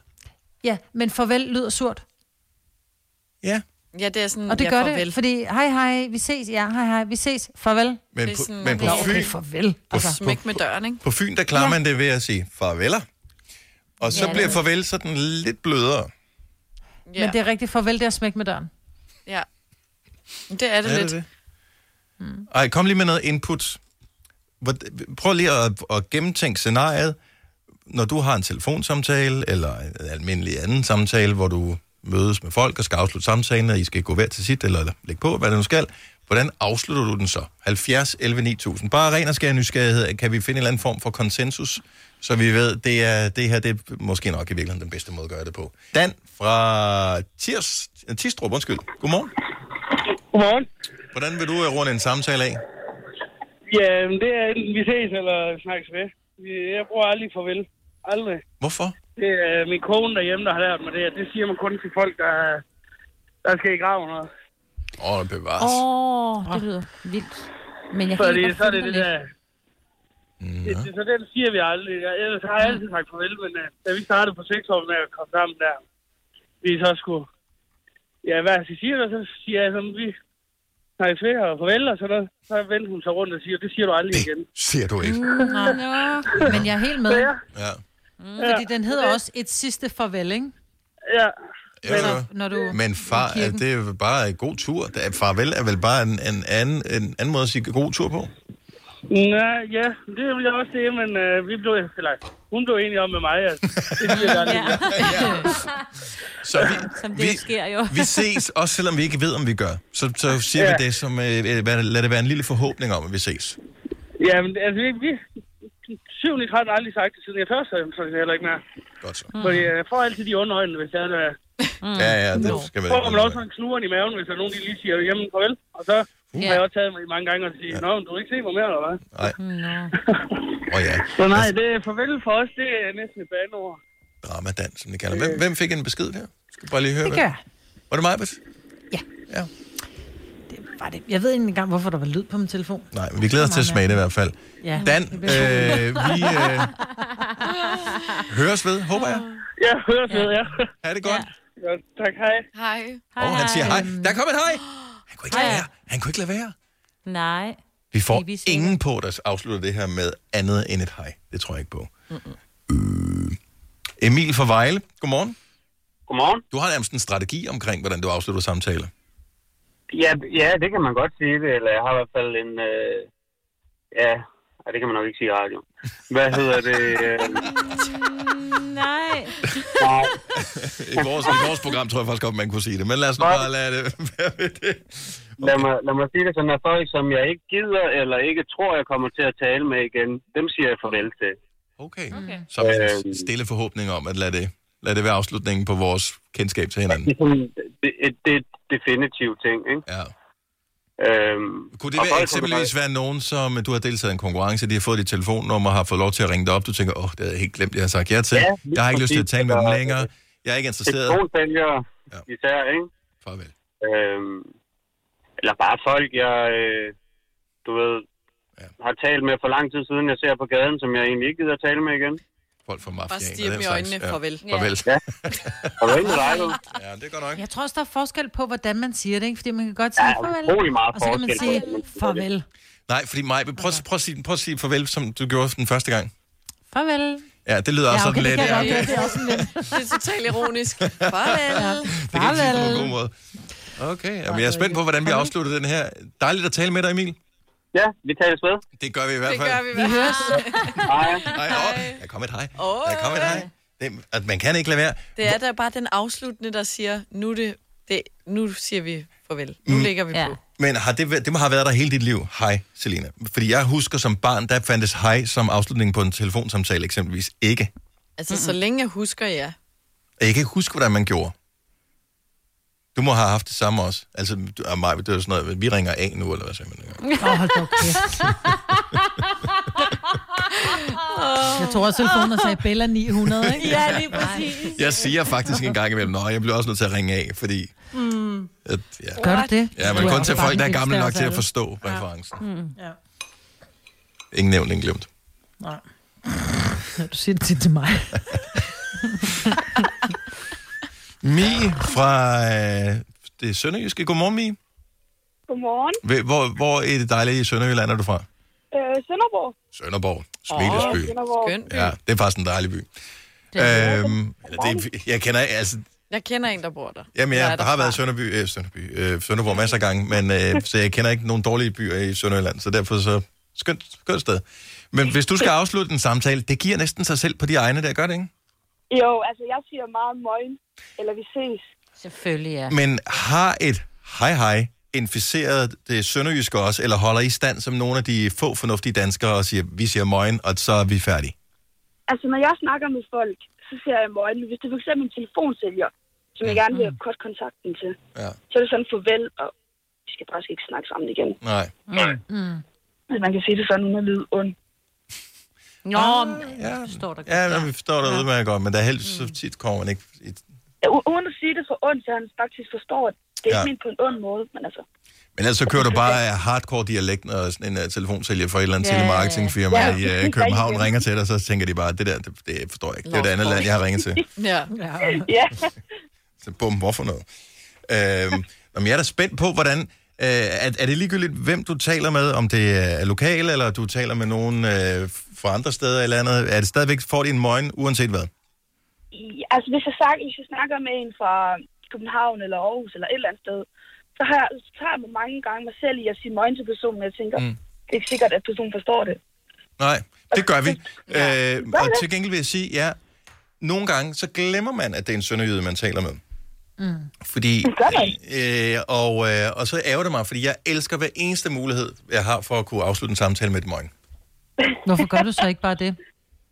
[SPEAKER 3] Ja, men farvel lyder surt.
[SPEAKER 1] Ja.
[SPEAKER 2] Ja, det er sådan,
[SPEAKER 3] Og det
[SPEAKER 2] ja,
[SPEAKER 3] gør
[SPEAKER 2] farvel.
[SPEAKER 3] det, fordi hej, hej, vi ses, ja, hej, hej, vi ses, farvel.
[SPEAKER 1] Men
[SPEAKER 2] Det er
[SPEAKER 1] på,
[SPEAKER 2] sådan-
[SPEAKER 1] men på
[SPEAKER 2] Nå,
[SPEAKER 1] Fyn,
[SPEAKER 2] okay,
[SPEAKER 3] farvel.
[SPEAKER 1] På, altså. på,
[SPEAKER 2] Smæk med døren, ikke?
[SPEAKER 1] på Fyn, der klarer ja. man det ved at sige farveler. Og så
[SPEAKER 3] Ja,
[SPEAKER 1] ja,
[SPEAKER 3] det
[SPEAKER 1] bliver
[SPEAKER 3] er-
[SPEAKER 1] farvel sådan lidt blødere.
[SPEAKER 3] Men det er rigtigt, farvel, det er smæk med døren.
[SPEAKER 2] Ja. Det er det
[SPEAKER 1] Er det
[SPEAKER 2] lidt.
[SPEAKER 1] det? Ej, kom lige med noget input. Hvor- Prøv lige at, at gennemtænke scenariet, når du har en telefonsamtale, eller en almindelig anden samtale, hvor du mødes med folk og skal afslutte samtalen, og I skal gå hver til sit, eller lægge på, hvad det nu skal. Hvordan afslutter du den så? 70, 11, 9000. Bare ren og skær nysgerrighed. Kan vi finde en eller anden form for konsensus, så vi ved, det, er, det her det er måske nok i virkeligheden den bedste måde at gøre det på. Dan fra Tirs, Tistrup, undskyld. Godmorgen.
[SPEAKER 13] Godmorgen.
[SPEAKER 1] Hvordan vil du øh, runde en samtale af?
[SPEAKER 13] Ja, men det er enten vi ses eller snakkes ved. Vi- Jeg bruger aldrig farvel. Aldrig.
[SPEAKER 1] Hvorfor?
[SPEAKER 13] Det er min kone derhjemme, der har lært mig det. at Det siger man kun til folk, der, der skal i graven. Og...
[SPEAKER 1] Åh, oh, bevares.
[SPEAKER 4] Åh, oh, det lyder vildt. Men jeg kan
[SPEAKER 13] Fordi
[SPEAKER 4] ikke
[SPEAKER 13] så er det det der... Det, det, så den siger vi aldrig. Jeg- Ellers har jeg altid sagt farvel, men uh, da vi startede på seks år med at komme sammen der, vi så skulle... Ja, hvad jeg skal sige, og så siger jeg sådan, vi snakkes ved og farvel og sådan noget. Så vendte hun sig rundt og siger, det siger du aldrig det igen.
[SPEAKER 1] Ser du ikke?
[SPEAKER 3] Nå, nå. Men jeg er helt med.
[SPEAKER 1] Ja.
[SPEAKER 3] Mm. Fordi den hedder også et sidste farvel, ikke?
[SPEAKER 13] Ja.
[SPEAKER 1] Ja,
[SPEAKER 3] Når du...
[SPEAKER 1] Men far, er det er jo bare en god tur. Det er- Farvel er vel bare en, en, anden, en anden måde at sige god tur på.
[SPEAKER 13] Nej, ja, det vil jeg også det, men øh, vi blev, eller, hun blev enig om med mig, at det bliver jeg aldrig.
[SPEAKER 1] Så vi,
[SPEAKER 4] Som det
[SPEAKER 1] vi-
[SPEAKER 4] jo sker jo.
[SPEAKER 1] Vi ses, også selvom vi ikke ved, om vi gør. Så, så siger ja.
[SPEAKER 13] Ja.
[SPEAKER 1] vi det som, øh, øh, hvad- lad det være en lille forhåbning om, at vi ses.
[SPEAKER 13] Ja, men altså, vi, vi syvende har jeg aldrig sagt det, siden jeg først så det er heller ikke mere.
[SPEAKER 1] Godt så.
[SPEAKER 4] Mm.
[SPEAKER 13] Fordi jeg får altid de underøjne, hvis jeg er der.
[SPEAKER 1] Mm. Ja, ja, det skal
[SPEAKER 13] Så
[SPEAKER 1] man
[SPEAKER 13] får man også en knurren i maven, hvis der er nogen, de lige siger, jamen farvel. Og så har jeg også taget mig i mange gange og sige, nå, men du vil ikke se mig mere, eller hvad?
[SPEAKER 1] Nej. Og ja,
[SPEAKER 13] Så nej, det er farvel for os, det er næsten et bandeord.
[SPEAKER 1] dramadan, som de kalder det. Hvem, hvem fik en besked der? Skal bare lige høre,
[SPEAKER 3] Det
[SPEAKER 1] hvem?
[SPEAKER 3] gør jeg.
[SPEAKER 1] Var det mig, Britt? Ja.
[SPEAKER 3] Det var det. Jeg ved ikke engang, hvorfor der var lyd på min telefon.
[SPEAKER 1] Nej, men vi glæder os til at smage det i hvert fald.
[SPEAKER 3] Ja.
[SPEAKER 1] Dan,
[SPEAKER 3] Det bliver-
[SPEAKER 1] øh, vi øh, høres ved, håber jeg.
[SPEAKER 13] Ja, høres ved, ja.
[SPEAKER 1] Er det godt?
[SPEAKER 13] Ja, tak, hej.
[SPEAKER 2] Hej.
[SPEAKER 1] Åh, oh, han siger hej.
[SPEAKER 4] Øhm.
[SPEAKER 1] Der kom et hej! Han kunne ikke lade være. Han kunne ikke lade være.
[SPEAKER 4] Nej.
[SPEAKER 1] Vi får ingen på, der afslutter det her med andet end et hej. Det tror jeg ikke på. Øh, Emil fra Vejle, godmorgen.
[SPEAKER 22] Godmorgen.
[SPEAKER 1] Du har nærmest en strategi omkring, hvordan du afslutter samtaler.
[SPEAKER 22] Ja, ja, det kan man godt sige det, eller jeg har i hvert fald en... Øh, ja, ej, det kan man nok ikke sige i radio. Hvad hedder det? Øh,
[SPEAKER 4] Nej.
[SPEAKER 22] nej.
[SPEAKER 1] I vores, I vores program tror jeg faktisk godt, man kunne sige det, men lad os nu bare lade det være ved det.
[SPEAKER 22] lad, mig, lad mig sige det sådan, at folk, som jeg ikke gider eller ikke tror, jeg kommer til at tale med igen, dem siger jeg farvel til.
[SPEAKER 1] Okay. okay. Så med
[SPEAKER 22] Øhm.
[SPEAKER 1] en stille forhåbning om, at lade det, lad det være afslutningen på vores kendskab til hinanden.
[SPEAKER 22] Det, det, det er et definitivt ting, ikke?
[SPEAKER 1] Ja.
[SPEAKER 22] Øhm,
[SPEAKER 1] Kunne det
[SPEAKER 22] og
[SPEAKER 1] være,
[SPEAKER 22] folk
[SPEAKER 1] eksempelvis være nogen, som du har deltaget i en konkurrence, de har fået dit telefonnummer og har fået lov til at ringe dig op, du tænker, åh, oh, det havde jeg helt glemt, jeg har sagt ja til.
[SPEAKER 22] Ja, lige
[SPEAKER 1] jeg har ikke lyst til at
[SPEAKER 22] præcis.
[SPEAKER 1] tale med dem
[SPEAKER 22] Så,
[SPEAKER 1] længere. Jeg er ikke interesseret.
[SPEAKER 22] Telefonsælgere ja. især, ikke?
[SPEAKER 1] Farvel.
[SPEAKER 22] Øhm, eller bare folk, jeg, øh, du ved, ja. har talt med for lang tid siden, jeg ser på gaden, som jeg egentlig ikke gider at tale med igen.
[SPEAKER 1] Folk fra
[SPEAKER 22] mafiaen.
[SPEAKER 2] Bare stige dem i øjnene. Farvel.
[SPEAKER 1] Farvel.
[SPEAKER 22] Ja. Farvel med dig, du.
[SPEAKER 1] Ja, det er godt nok.
[SPEAKER 3] Jeg tror også, der er forskel på, hvordan man siger det, ikke? Fordi man kan godt sige
[SPEAKER 1] Ja,
[SPEAKER 3] farvel.
[SPEAKER 1] utrolig meget
[SPEAKER 3] og så kan man
[SPEAKER 1] forskel på,
[SPEAKER 3] sige
[SPEAKER 1] hvordan man siger det.
[SPEAKER 3] farvel.
[SPEAKER 1] Nej, fordi mig, prøv, prøv, prøv, at sige, prøv at sige farvel, som du gjorde den første gang.
[SPEAKER 3] Farvel.
[SPEAKER 1] Ja, det lyder
[SPEAKER 3] Ja,
[SPEAKER 1] også
[SPEAKER 3] okay, det
[SPEAKER 1] sådan lidt.
[SPEAKER 3] kan jeg godt
[SPEAKER 1] ja,
[SPEAKER 3] høre, det er også sådan lidt.
[SPEAKER 2] Det er totalt ironisk. Farvel.
[SPEAKER 1] Det kan ikke sige på en god måde. Okay, jamen, jeg er spændt på, hvordan vi afslutter den her. Dejligt at tale med dig, Emil.
[SPEAKER 22] Ja, vi tales ved.
[SPEAKER 1] Det gør vi i hvert fald.
[SPEAKER 2] Vi høres.
[SPEAKER 22] Hej.
[SPEAKER 1] Hej. Der kom et hej. Der kom et hej. Det, at man kan ikke lade være.
[SPEAKER 2] Det er da bare den afsluttende, der siger, nu, er det, det, nu siger vi farvel. Nu
[SPEAKER 1] Mm.
[SPEAKER 2] lægger vi på.
[SPEAKER 1] Men har det, væ- det må have været der hele dit liv. Hej, Selina. Fordi jeg husker som barn, der fandtes hej som afslutning på en telefonsamtale eksempelvis ikke.
[SPEAKER 2] Altså, så længe jeg husker jer.
[SPEAKER 1] Og jeg kan ikke huske, hvordan man gjorde. Du må have haft det samme også. Altså, du, og mig, det er jo sådan noget, vi ringer af nu, eller hvad siger man?
[SPEAKER 3] Åh, hold da op, kæft. Jeg tror også, telefonen sagde Bella 900, ikke?
[SPEAKER 2] Ja, lige præcis.
[SPEAKER 1] Jeg siger faktisk en gang imellem, nej, jeg bliver også nødt til at ringe af, fordi...
[SPEAKER 2] Mm.
[SPEAKER 1] At, ja.
[SPEAKER 3] Gør du det?
[SPEAKER 1] Ja,
[SPEAKER 3] Du
[SPEAKER 1] men
[SPEAKER 3] er
[SPEAKER 1] kun
[SPEAKER 3] også
[SPEAKER 1] til
[SPEAKER 3] bare
[SPEAKER 1] folk, der er
[SPEAKER 3] den
[SPEAKER 1] gamle nok
[SPEAKER 3] vildeste
[SPEAKER 1] til
[SPEAKER 3] af
[SPEAKER 1] at
[SPEAKER 3] alle.
[SPEAKER 1] forstå referencen.
[SPEAKER 3] Mm. Ja.
[SPEAKER 1] Ingen nævnt, ingen glemt.
[SPEAKER 3] Nej. Du siger det tit til mig.
[SPEAKER 1] Mie fra øh, det sønderjyske. Godmorgen, Mie.
[SPEAKER 23] Godmorgen.
[SPEAKER 1] Hvor- Hvor, hvor i det dejlige Sønderjylland er du fra?
[SPEAKER 23] Øh, Sønderborg.
[SPEAKER 1] Sønderborg. Smilesby.
[SPEAKER 23] Ja, Sønderborg. Skønt.
[SPEAKER 1] Ja, det er faktisk en dejlig by.
[SPEAKER 23] Det er
[SPEAKER 1] Øhm, eller det, jeg kender, altså,
[SPEAKER 2] Jeg kender en, der bor der.
[SPEAKER 1] Jamen, jeg, jeg har været i Sønderby, øh, Sønderby, øh, Sønderborg masser af gange, men, øh, så jeg kender ikke nogen dårlige byer i Sønderjylland, så derfor så skønt, skønt sted. Men hvis du skal afslutte en samtale, det giver næsten sig selv på de egne der, gør det ikke?
[SPEAKER 23] Jo, altså jeg siger meget møgen, eller vi ses.
[SPEAKER 4] Selvfølgelig, ja.
[SPEAKER 1] Men har et hej hej inficeret det sønderjyske også, eller holder I stand som nogle af de få fornuftige danskere og siger, vi siger morgen, og så er vi færdige?
[SPEAKER 23] Altså når jeg snakker med folk, så siger jeg møgen. Hvis det er for eksempel en telefonsælger, som jeg gerne vil have kort kontakten til,
[SPEAKER 1] Mm. Ja.
[SPEAKER 23] så er det sådan farvel, og vi skal faktisk ikke snakke sammen igen.
[SPEAKER 1] Nej. Nej.
[SPEAKER 23] Mm. Altså, man kan sige det sådan uden at lyde ond.
[SPEAKER 4] Nå,
[SPEAKER 23] Ah.
[SPEAKER 4] men, ja, forstår dig
[SPEAKER 1] Ja, men vi forstår dig ja. udmærket godt, men der er helst så tit kommer man ikke... i-
[SPEAKER 23] Ja, u- uden at sige det for ondt, så han faktisk forstår, at det er
[SPEAKER 1] Ja.
[SPEAKER 23] ikke ment på en ond måde, men altså...
[SPEAKER 1] Men ellers så kører du bare øh, hardcore dialekt, når sådan en uh, telefonsælger fra et eller andet
[SPEAKER 23] Ja, ja, ja.
[SPEAKER 1] telemarketingfirma
[SPEAKER 23] Ja,
[SPEAKER 1] i uh,
[SPEAKER 23] rigtig
[SPEAKER 1] København
[SPEAKER 23] igen.
[SPEAKER 1] ringer til dig, så tænker de bare, det der, det, det forstår jeg ikke. Det er et andet land, jeg har ringet til.
[SPEAKER 2] Ja.
[SPEAKER 23] ja.
[SPEAKER 1] Så bum, hvorfor noget? Øhm, nå, men jeg er da spændt på, hvordan... Øh, er, er det ligegyldigt, hvem du taler med? Om det er lokale, eller du taler med nogen øh, fra andre steder eller andet? Er det stadigvæk, får de en morgen, uanset hvad?
[SPEAKER 23] I- Altså, hvis jeg, snakker, hvis jeg snakker med en fra København eller Aarhus eller et eller andet sted, så har jeg, så tager jeg mig mange gange mig selv i at sige morgen til personen, og jeg tænker,
[SPEAKER 1] Mm.
[SPEAKER 23] mm. det er ikke sikkert, at personen forstår det.
[SPEAKER 1] Nej, det gør vi. Øh, og til gengæld vil jeg sige, ja, nogle gange, så glemmer man, at det er en sønderjyde, man taler med.
[SPEAKER 23] Mm.
[SPEAKER 1] Fordi, øh, og, øh, og så ærger det mig, fordi jeg elsker hver eneste mulighed, jeg har for at kunne afslutte en samtale med et morgen.
[SPEAKER 3] Hvorfor gør du så ikke bare det?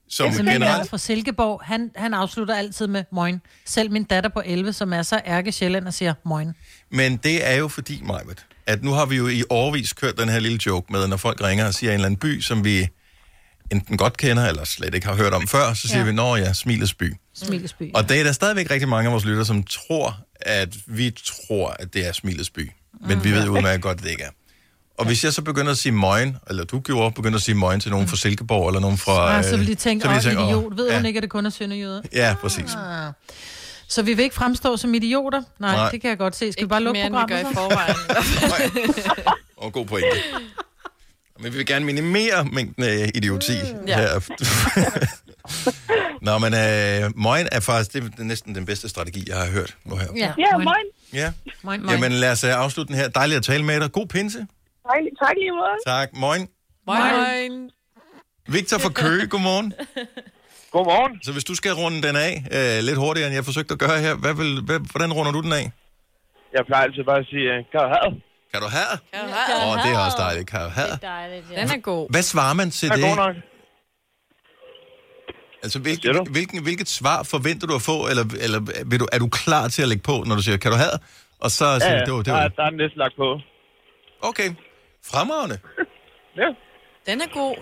[SPEAKER 1] Som
[SPEAKER 3] altså, min mand
[SPEAKER 1] generelt,
[SPEAKER 3] fra Silkeborg, han, han afslutter altid med morgen. Selv min datter på 11, som er så ærke sjældent og siger morgen.
[SPEAKER 1] men det er jo fordi, Majbet, at nu har vi jo i årvis kørt den her lille joke med, når folk ringer og siger en eller anden by, som vi enten godt kender, eller slet ikke har hørt om før, så siger
[SPEAKER 3] Ja.
[SPEAKER 1] ja. vi, nå ja, Smilets by.
[SPEAKER 3] Smilesby.
[SPEAKER 1] Og det er der stadigvæk rigtig mange af vores lyttere, som tror, at vi tror, at det er Smilets by. Men
[SPEAKER 3] Mm.
[SPEAKER 1] vi ved udmærket godt, at det ikke er. Og hvis jeg så begynder at sige møgen, eller du gjorde, begynder at sige møgen til nogen fra Silkeborg, eller nogen fra...
[SPEAKER 3] Ah, så vil de
[SPEAKER 1] øh,
[SPEAKER 3] tænke,
[SPEAKER 1] så vil
[SPEAKER 3] åh,
[SPEAKER 1] "Åh,
[SPEAKER 3] idiot, ved
[SPEAKER 1] ja,
[SPEAKER 3] hun ikke, at det kun er sønderjyder?
[SPEAKER 1] Ja, præcis.
[SPEAKER 3] Ah. Så vi vil ikke fremstå som idioter? Nej,
[SPEAKER 1] Nej.
[SPEAKER 3] Nej. det kan jeg godt se. Skal vi bare lukke
[SPEAKER 2] mere, end vi
[SPEAKER 3] programmet?
[SPEAKER 2] gør i
[SPEAKER 3] så?
[SPEAKER 1] Og god pointe. Men vi vil gerne minimere mængden af idioti
[SPEAKER 2] Mm. Ja.
[SPEAKER 1] her. Nå, men øh, møgen er faktisk det er næsten den bedste strategi, jeg har hørt nu her.
[SPEAKER 23] Ja, ja morgen.
[SPEAKER 1] Ja.
[SPEAKER 3] Moin,
[SPEAKER 1] Jamen lad os øh, afslutte den her. Dejligt at tale med dig. God pinse.
[SPEAKER 23] Tak, tak lige måde.
[SPEAKER 1] Tak. Moin.
[SPEAKER 2] Moin.
[SPEAKER 1] Victor fra Køge, godmorgen.
[SPEAKER 15] Godmorgen.
[SPEAKER 1] Så hvis du skal runde den af øh, lidt hurtigere, end jeg forsøgte at gøre her, hvad vil, hvad, hvordan runder du den af?
[SPEAKER 15] Jeg plejer altid bare at sige, øh, kan du have?
[SPEAKER 1] Kan du have?
[SPEAKER 2] Åh,
[SPEAKER 1] Åh, oh, det er også dejligt, kan du have.
[SPEAKER 4] dejligt, ja.
[SPEAKER 2] Den er god.
[SPEAKER 1] Hvad svarer man til
[SPEAKER 2] Ja,
[SPEAKER 1] det?
[SPEAKER 2] god nok.
[SPEAKER 1] Altså, hvilken, hvilken, hvilket svar forventer du at få, eller, eller vil du, er du klar til at lægge på, når du siger, kan du have? Og så siger du,
[SPEAKER 15] Ja, ja.
[SPEAKER 1] det var det.
[SPEAKER 15] Der,
[SPEAKER 1] Var.
[SPEAKER 15] er- der er den næste lagt på.
[SPEAKER 1] Okay, fremragende.
[SPEAKER 2] Den er god.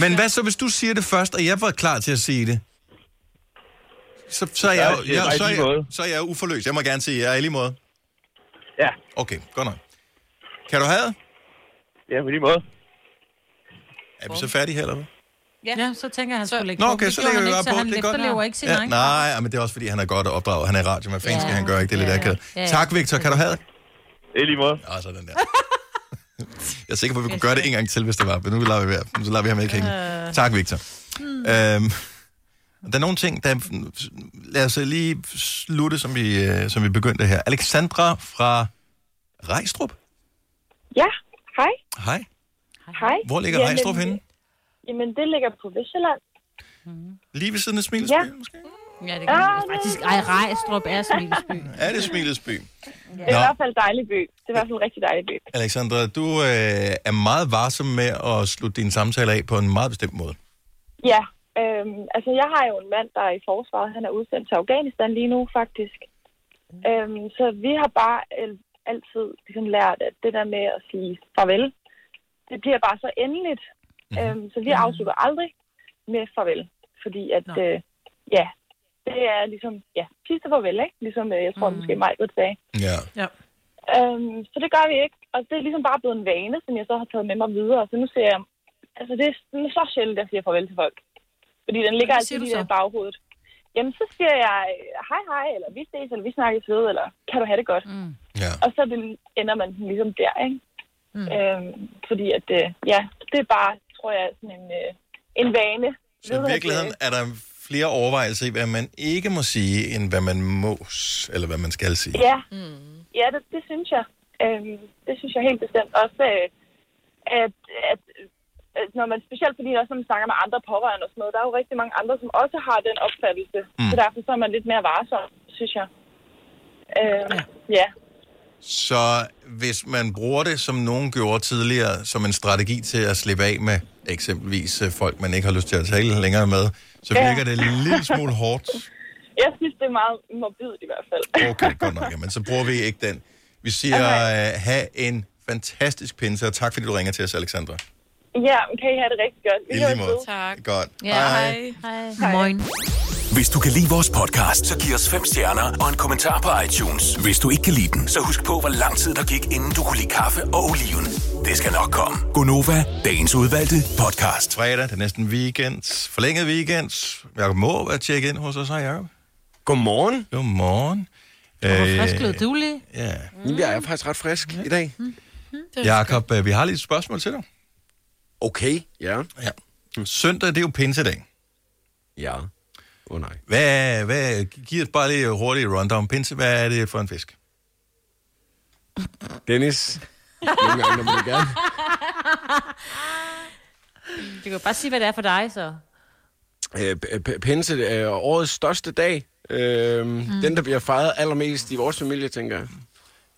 [SPEAKER 1] Men hvad så, hvis du siger det først, og jeg var klar til at sige det? Så, så, er,
[SPEAKER 15] Ja,
[SPEAKER 1] jeg,
[SPEAKER 15] det er
[SPEAKER 1] jeg, jeg,
[SPEAKER 15] bare
[SPEAKER 1] så, er
[SPEAKER 15] i lige
[SPEAKER 1] jeg,
[SPEAKER 15] måde.
[SPEAKER 1] så er jeg uforløst. Jeg må gerne sige, jeg er i lige måde.
[SPEAKER 15] Ja.
[SPEAKER 1] Okay, godt nok. Kan du have?
[SPEAKER 15] Ja, på lige måde.
[SPEAKER 1] Er vi så færdige her, eller hvad?
[SPEAKER 3] Ja. ja, så tænker jeg, han skulle lægge
[SPEAKER 1] Nå,
[SPEAKER 3] på.
[SPEAKER 1] okay,
[SPEAKER 3] Det
[SPEAKER 1] så
[SPEAKER 3] gjorde
[SPEAKER 1] lægger vi
[SPEAKER 3] han ikke,
[SPEAKER 1] bare på.
[SPEAKER 3] Så han
[SPEAKER 1] det er godt.
[SPEAKER 3] efterlever ikke sin
[SPEAKER 1] ja,
[SPEAKER 3] egen
[SPEAKER 1] Nej, ja, men det er også, fordi han er godt opdraget. Han er i radio, men fanden skal han gøre ikke det er lidt akavet.
[SPEAKER 3] Ja, ja.
[SPEAKER 1] Tak, Victor. Kan du have det?
[SPEAKER 15] Det er lige måde.
[SPEAKER 1] Ja, sådan Altså der. Jeg er sikker på, at vi kunne gøre det en gang til, hvis det var, men nu lader vi være. Nu lader vi ham ikke hænge.
[SPEAKER 14] Øh.
[SPEAKER 1] Tak, Victor.
[SPEAKER 14] Hmm.
[SPEAKER 1] Øhm, der er nogle ting, der... Lad os lige slutte, som vi, øh, som vi begyndte her. Alexandra fra Rejstrup.
[SPEAKER 23] Ja, hej.
[SPEAKER 1] Hej.
[SPEAKER 23] Hej.
[SPEAKER 1] Hvor ligger
[SPEAKER 23] Jamen,
[SPEAKER 1] Rejstrup henne?
[SPEAKER 23] Jamen, det ligger på Vestjylland.
[SPEAKER 1] Lige ved siden af Smilesby,
[SPEAKER 23] Ja.
[SPEAKER 1] måske?
[SPEAKER 4] Ja, det
[SPEAKER 23] kan
[SPEAKER 4] kan
[SPEAKER 23] man
[SPEAKER 4] ah,
[SPEAKER 23] vist
[SPEAKER 4] faktisk. Ej, Rejstrup er Smilesby.
[SPEAKER 1] Er det Smilesby?
[SPEAKER 23] Det er i hvert fald en dejlig by. Det er i hvert fald en rigtig dejlig by.
[SPEAKER 1] Alexandra, du øh, er meget varsom med at slutte dine samtaler af på en meget bestemt måde.
[SPEAKER 23] Ja, øhm, altså jeg har jo en mand, der er i forsvaret. Han er udsendt til Afghanistan lige nu, faktisk. Mm. Øhm, så vi har bare el- altid ligesom lært, at det der med at sige farvel, det bliver bare så endeligt.
[SPEAKER 1] Mhm.
[SPEAKER 23] Mm. Øhm, så vi afslutter aldrig med farvel, fordi at, øh, ja, det er ligesom, ja, sidste farvel, ikke? Ligesom øh, jeg tror mm. måske mig sagde.
[SPEAKER 1] Ja.
[SPEAKER 3] Ja.
[SPEAKER 23] Øhm, så det gør vi ikke. Og det er ligesom bare blevet en vane, som jeg så har taget med mig videre. Så nu ser jeg... Altså, det er sådan så sjældent, at jeg siger farvel til folk. Fordi den ligger
[SPEAKER 3] Hvad
[SPEAKER 23] altid
[SPEAKER 3] siger du
[SPEAKER 23] lige der
[SPEAKER 3] så?
[SPEAKER 23] i baghovedet. Jamen, så siger jeg, øh, hej hej, eller vi ses, eller vi snakkes ved, eller kan du have det godt.
[SPEAKER 4] Mm.
[SPEAKER 1] Ja.
[SPEAKER 23] Og så vil- ender man den ligesom der, ikke? Mm. Øhm, fordi at, øh, ja, det er bare, tror jeg, sådan en, øh, en vane.
[SPEAKER 1] Så i virkeligheden er der flere overvejelser i, hvad man ikke må sige, end hvad man må, s- eller hvad man skal sige.
[SPEAKER 23] Ja, mm. ja det, det synes jeg. Øhm, det synes jeg helt bestemt. Også, øh, at, at, at når man, specielt fordi også, når man snakker med andre pårørende og sådan noget, der er jo rigtig mange andre, som også har den opfattelse.
[SPEAKER 1] Mm.
[SPEAKER 23] Mm. Så derfor så er man lidt mere varsom, synes jeg. Øhm, ja. ja.
[SPEAKER 1] Så hvis man bruger det, som nogen gjorde tidligere, som en strategi til at slippe af med eksempelvis øh, folk, man ikke har lyst til at tale længere med, så
[SPEAKER 23] Ja.
[SPEAKER 1] virker det en lille smule hårdt.
[SPEAKER 23] Jeg synes, det er meget morbidt i hvert fald.
[SPEAKER 1] Okay, godt nok. Jamen, så bruger vi ikke den. Vi siger, okay. uh, have en fantastisk pinse, og tak fordi du ringer til os, Alexandra.
[SPEAKER 23] Ja, men kan I have det rigtig godt.
[SPEAKER 1] I lige måde. Tak. Godt.
[SPEAKER 23] Hej.
[SPEAKER 3] Moin.
[SPEAKER 5] Hvis du kan lide vores podcast, så giv os fem stjerner og en kommentar på iTunes. Hvis du ikke kan lide den, så husk på, hvor lang tid der gik, inden du kunne lide kaffe og oliven. Det skal nok komme.
[SPEAKER 1] Gonova, dagens udvalgte podcast. Fredag, det er næsten weekend. Forlænget weekend. Jakob må at tjekke ind hos os, hej Jacob. Godmorgen. Godmorgen. Øh,
[SPEAKER 3] Hvor frisk lød du lige?
[SPEAKER 1] Ja.
[SPEAKER 14] Mm. Jeg er faktisk ret frisk i dag.
[SPEAKER 1] Jakob, øh, vi har lige et spørgsmål til dig.
[SPEAKER 14] Okay, ja.
[SPEAKER 1] ja. Søndag, det er jo pinsedag.
[SPEAKER 14] Ja. Åh oh, nej.
[SPEAKER 1] Hvad, hvad, giv os bare lige hurtigt rundown. Pinse, hvad er det for en fisk?
[SPEAKER 14] Dennis. Nogle gange, når man gerne.
[SPEAKER 4] Du kan bare sige, hvad det er for dig, så.
[SPEAKER 14] Øh, p- p- Pinse er årets største dag. Øh, mm. Den, der bliver fejret allermest i vores familie, tænker jeg.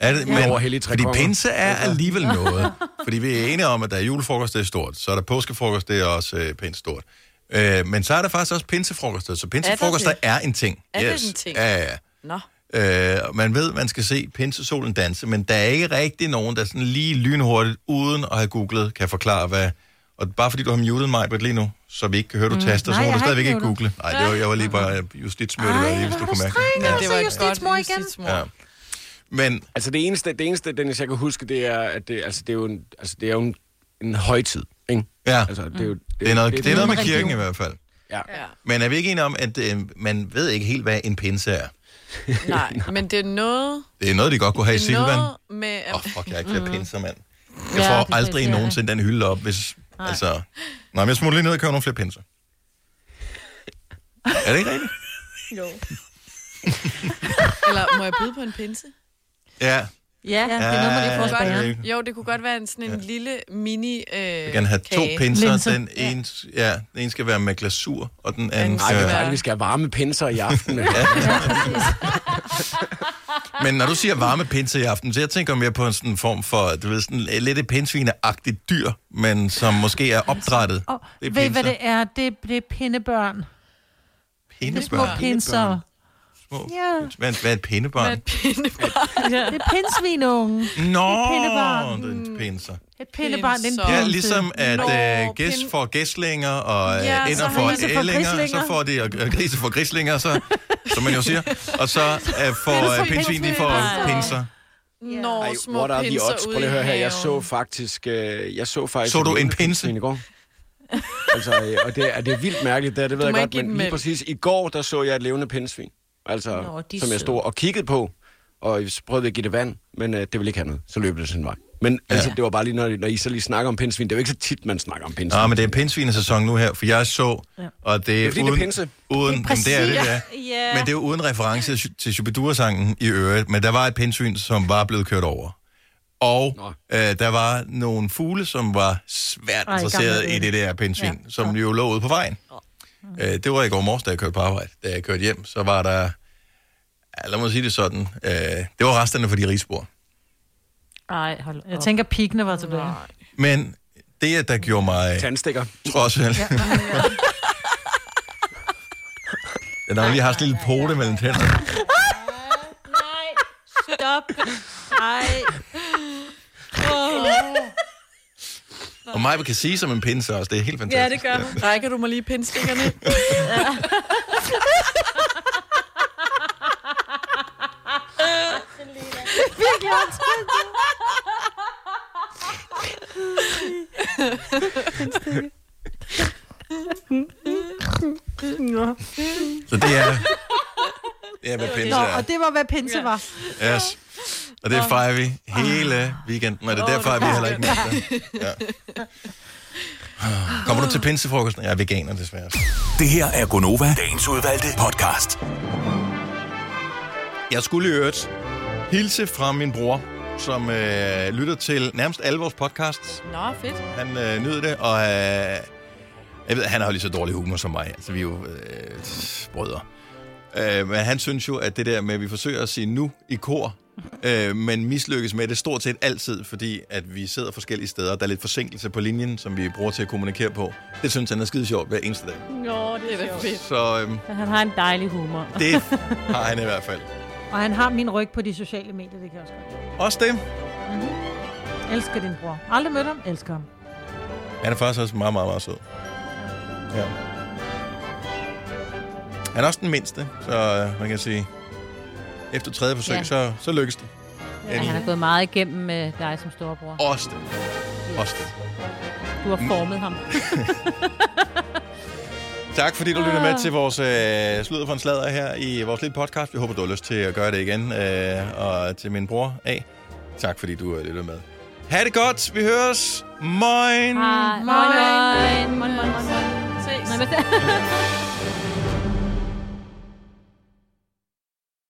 [SPEAKER 1] Er det,
[SPEAKER 14] Ja.
[SPEAKER 1] men,
[SPEAKER 14] Over hellige tre
[SPEAKER 1] fordi
[SPEAKER 14] konger.
[SPEAKER 1] pinse er
[SPEAKER 14] Altså.
[SPEAKER 1] alligevel noget. Fordi vi er enige om, at der er julefrokost, det er stort. Så er der påskefrokost, det er også øh, pænt stort. Øh, men så er der faktisk også pinsefrokoster. Så pinsefrokoster
[SPEAKER 2] Er
[SPEAKER 1] er,
[SPEAKER 2] der det?
[SPEAKER 1] er en ting.
[SPEAKER 2] Er det en ting?
[SPEAKER 1] Ja, ja.
[SPEAKER 2] Nå.
[SPEAKER 1] Øh, og man ved, man skal se pinsesolen danse, men der er ikke rigtig nogen, der sådan lige lynhurtigt, uden at have googlet, kan forklare, hvad... Og bare fordi du har muted mig Britt, lige nu, så vi ikke kan høre, du
[SPEAKER 3] Mm.
[SPEAKER 1] mm. taster, så
[SPEAKER 3] Nej,
[SPEAKER 1] må
[SPEAKER 3] jeg
[SPEAKER 1] du
[SPEAKER 3] har
[SPEAKER 1] stadigvæk
[SPEAKER 3] ikke
[SPEAKER 1] ikke google.
[SPEAKER 3] muted.
[SPEAKER 1] Nej, det var, jeg var lige bare justitsmødet, lige, hvis du kunne mærke det.
[SPEAKER 3] Ja, det var justitsmor igen.
[SPEAKER 1] Ja. Men...
[SPEAKER 14] Altså det eneste, det eneste, Dennis, jeg kan huske, det er, at det, altså, det er jo en, altså, det er jo en, en højtid, ikke?
[SPEAKER 1] Ja. Mm.
[SPEAKER 14] Altså, det er jo...
[SPEAKER 1] Det er noget, det er noget med kirken i hvert fald.
[SPEAKER 14] Ja.
[SPEAKER 1] Men er vi ikke enige om, at øh, man ved ikke helt, hvad en pinse er?
[SPEAKER 2] Nej, men det er noget...
[SPEAKER 1] Det er noget, de godt kunne have i
[SPEAKER 2] det er
[SPEAKER 1] Silvan.
[SPEAKER 2] noget med... Åh, oh,
[SPEAKER 1] Fuck, jeg har ikke flere
[SPEAKER 2] Mhm.
[SPEAKER 1] pinser, mand. Jeg
[SPEAKER 2] Ja,
[SPEAKER 1] ja,
[SPEAKER 2] det
[SPEAKER 1] får
[SPEAKER 2] er
[SPEAKER 1] aldrig
[SPEAKER 2] det, ja.
[SPEAKER 1] nogensinde den hylde op, hvis...
[SPEAKER 2] Nej.
[SPEAKER 1] Nej. Altså... Nej, men jeg smutter lige ned og køber nogle flere pinser. er det ikke rigtigt?
[SPEAKER 2] Jo. Eller må jeg byde på en pinse?
[SPEAKER 1] Ja.
[SPEAKER 2] Ja,
[SPEAKER 1] det er noget, man lige får hos Ja, bageren.
[SPEAKER 2] Jo, det kunne godt være en, sådan en ja. lille mini øh, Jeg
[SPEAKER 1] Vi kan have to pinser. Den ene, ja, den ene skal være med glasur, og den anden...
[SPEAKER 14] Ej, vi,
[SPEAKER 1] øh,
[SPEAKER 14] skal, vi skal have varme pinser i aften.
[SPEAKER 1] Men når du siger varme pinse i aften, så jeg tænker mere på en sådan form for, du ved, sådan lidt et pindsvineagtigt dyr, men som måske er opdrættet.
[SPEAKER 3] Og ved I, hvad det er? Det er, det er pindebørn. Det er små
[SPEAKER 1] Pindebørn.
[SPEAKER 3] pinser.
[SPEAKER 1] Små-
[SPEAKER 3] Ja.
[SPEAKER 1] Hvad, hvad er et pindebarn?
[SPEAKER 3] Hvad Det er pindsvinungen.
[SPEAKER 1] Nå,
[SPEAKER 3] Et pindebarn.
[SPEAKER 1] det er en pinser.
[SPEAKER 3] Et pindebarn, det er en pinse.
[SPEAKER 1] Ja, ligesom at øh, gæs får gæslinger, og øh,
[SPEAKER 3] Ja,
[SPEAKER 1] ja,
[SPEAKER 3] så
[SPEAKER 1] ender
[SPEAKER 3] har
[SPEAKER 1] får
[SPEAKER 3] grise får
[SPEAKER 1] ællinger,
[SPEAKER 3] grislinger.
[SPEAKER 1] så får de, og og grise får grislinger, så, som man jo siger, og så øh, får øh, pindsvin, de får pinser.
[SPEAKER 2] Når
[SPEAKER 14] Ej,
[SPEAKER 2] små
[SPEAKER 14] what are the
[SPEAKER 2] pinser
[SPEAKER 14] odds? Prøv
[SPEAKER 2] ude i
[SPEAKER 14] lige at høre her. Jeg
[SPEAKER 2] haven.
[SPEAKER 14] så faktisk... Øh, jeg så faktisk...
[SPEAKER 1] Så du en
[SPEAKER 14] pinse? I går. altså, øh, og det, er, det er vildt mærkeligt, det, her, det ved
[SPEAKER 2] Du
[SPEAKER 14] jeg
[SPEAKER 2] må
[SPEAKER 14] godt,
[SPEAKER 2] ikke give
[SPEAKER 14] men
[SPEAKER 2] dem
[SPEAKER 14] lige
[SPEAKER 2] mælk.
[SPEAKER 14] præcis i går, der så jeg et levende pindsvin. Altså,
[SPEAKER 2] Nå, de er
[SPEAKER 14] Nå, som jeg stod
[SPEAKER 2] søde.
[SPEAKER 14] og kiggede på, og så prøvede jeg at give det vand, men øh, det ville ikke have noget. Så løb det sin vej. Men ja. altså, det var bare lige, når, når I så lige snakker om pindsvin. Det er jo ikke så tit, man snakker om pindsvin.
[SPEAKER 1] Nå, men det er pindsvinesæson nu her, for jeg så, og det
[SPEAKER 14] Det
[SPEAKER 1] er
[SPEAKER 14] er fordi, det er
[SPEAKER 1] uden...
[SPEAKER 14] pinse.
[SPEAKER 1] uden det er, det er det, ja.
[SPEAKER 4] Ja.
[SPEAKER 1] Men det er jo uden reference til- til Shubidua-sangen i øvrigt, men der var et pindsvin, som var blevet kørt over. Og øh, der var nogle fugle, som var svært
[SPEAKER 14] Ej,
[SPEAKER 1] interesseret
[SPEAKER 14] gamle
[SPEAKER 1] i det der pindsvin, ja. som jo lå ude på vejen. Øh, det var i går morges, da jeg kørte på arbejde. Da jeg kørte hjem, så var der... Ja, lad mig sige det sådan. Øh, det var resterne for de rigsbord.
[SPEAKER 3] Ej, hold Jeg tænker, pikkene var tilbage.
[SPEAKER 1] Men det, der gjorde mig...
[SPEAKER 14] Tandstikker.
[SPEAKER 1] Trods alt. Ja. Den har lige haft sådan en lille pote mellem tænderne.
[SPEAKER 4] Nej, stop. Nej.
[SPEAKER 1] Og mig kan sige som en pinse også. Det er helt fantastisk.
[SPEAKER 2] Ja, det gør hun. Rækker du mig lige pindstikkerne?
[SPEAKER 3] Virkelig
[SPEAKER 1] Så det er, det er hvad pinse
[SPEAKER 3] Nå,
[SPEAKER 1] er.
[SPEAKER 3] og det var, hvad pinse var.
[SPEAKER 1] Yes. Og det
[SPEAKER 3] Ah.
[SPEAKER 1] fejrer vi hele weekenden, og det er derfor, at vi heller ikke med. Ja. Kommer du til pinsefrokosten? Jeg er veganer, desværre.
[SPEAKER 5] Det her er Gonova, dagens udvalgte podcast.
[SPEAKER 1] Jeg skulle i øvrigt hilse fra min bror, som øh, lytter til nærmest alle vores podcasts.
[SPEAKER 2] Nå, fedt.
[SPEAKER 1] Han øh, nyder det, og øh, jeg ved, han har jo lige så dårlig humor som mig. Altså, vi er jo øh, brødre. Øh, men han synes jo, at det der med, at vi forsøger at sige nu i kor, øh, men mislykkes med det stort set altid, fordi at vi sidder forskellige steder, og der er lidt forsinkelse på linjen, som vi bruger til at kommunikere på. Det synes han er skide sjovt hver eneste dag.
[SPEAKER 4] Nå, det er da fedt.
[SPEAKER 1] Så øh,
[SPEAKER 4] Men Han har en dejlig humor.
[SPEAKER 1] det har han i hvert fald.
[SPEAKER 3] Og han har min ryg på de sociale medier, det kan jeg også godt. Mm-hmm.
[SPEAKER 1] Også det.
[SPEAKER 3] Elsker din bror. Aldrig mødt ham, elsker ham.
[SPEAKER 1] Han er faktisk også meget, meget, meget sød. Ja. Han er også den mindste, så øh, man kan sige, efter tredje forsøg,
[SPEAKER 4] Ja.
[SPEAKER 1] ja. så, så lykkes det.
[SPEAKER 4] Ja, han har gået meget igennem med dig som storebror.
[SPEAKER 1] Også det. Også det.
[SPEAKER 4] Du har formet ham.
[SPEAKER 1] Tak fordi du lytter
[SPEAKER 4] Ah.
[SPEAKER 1] med til vores øh, sludder for en sladder her i vores lille podcast. Vi håber, du har lyst til at gøre det igen. Øh, og til min bror A, tak fordi du øh, lytter med. Ha' det godt. Vi høres. Moin. Uh,
[SPEAKER 4] Hej. Moin, moin. Moin, moin, moin, moin. Ses.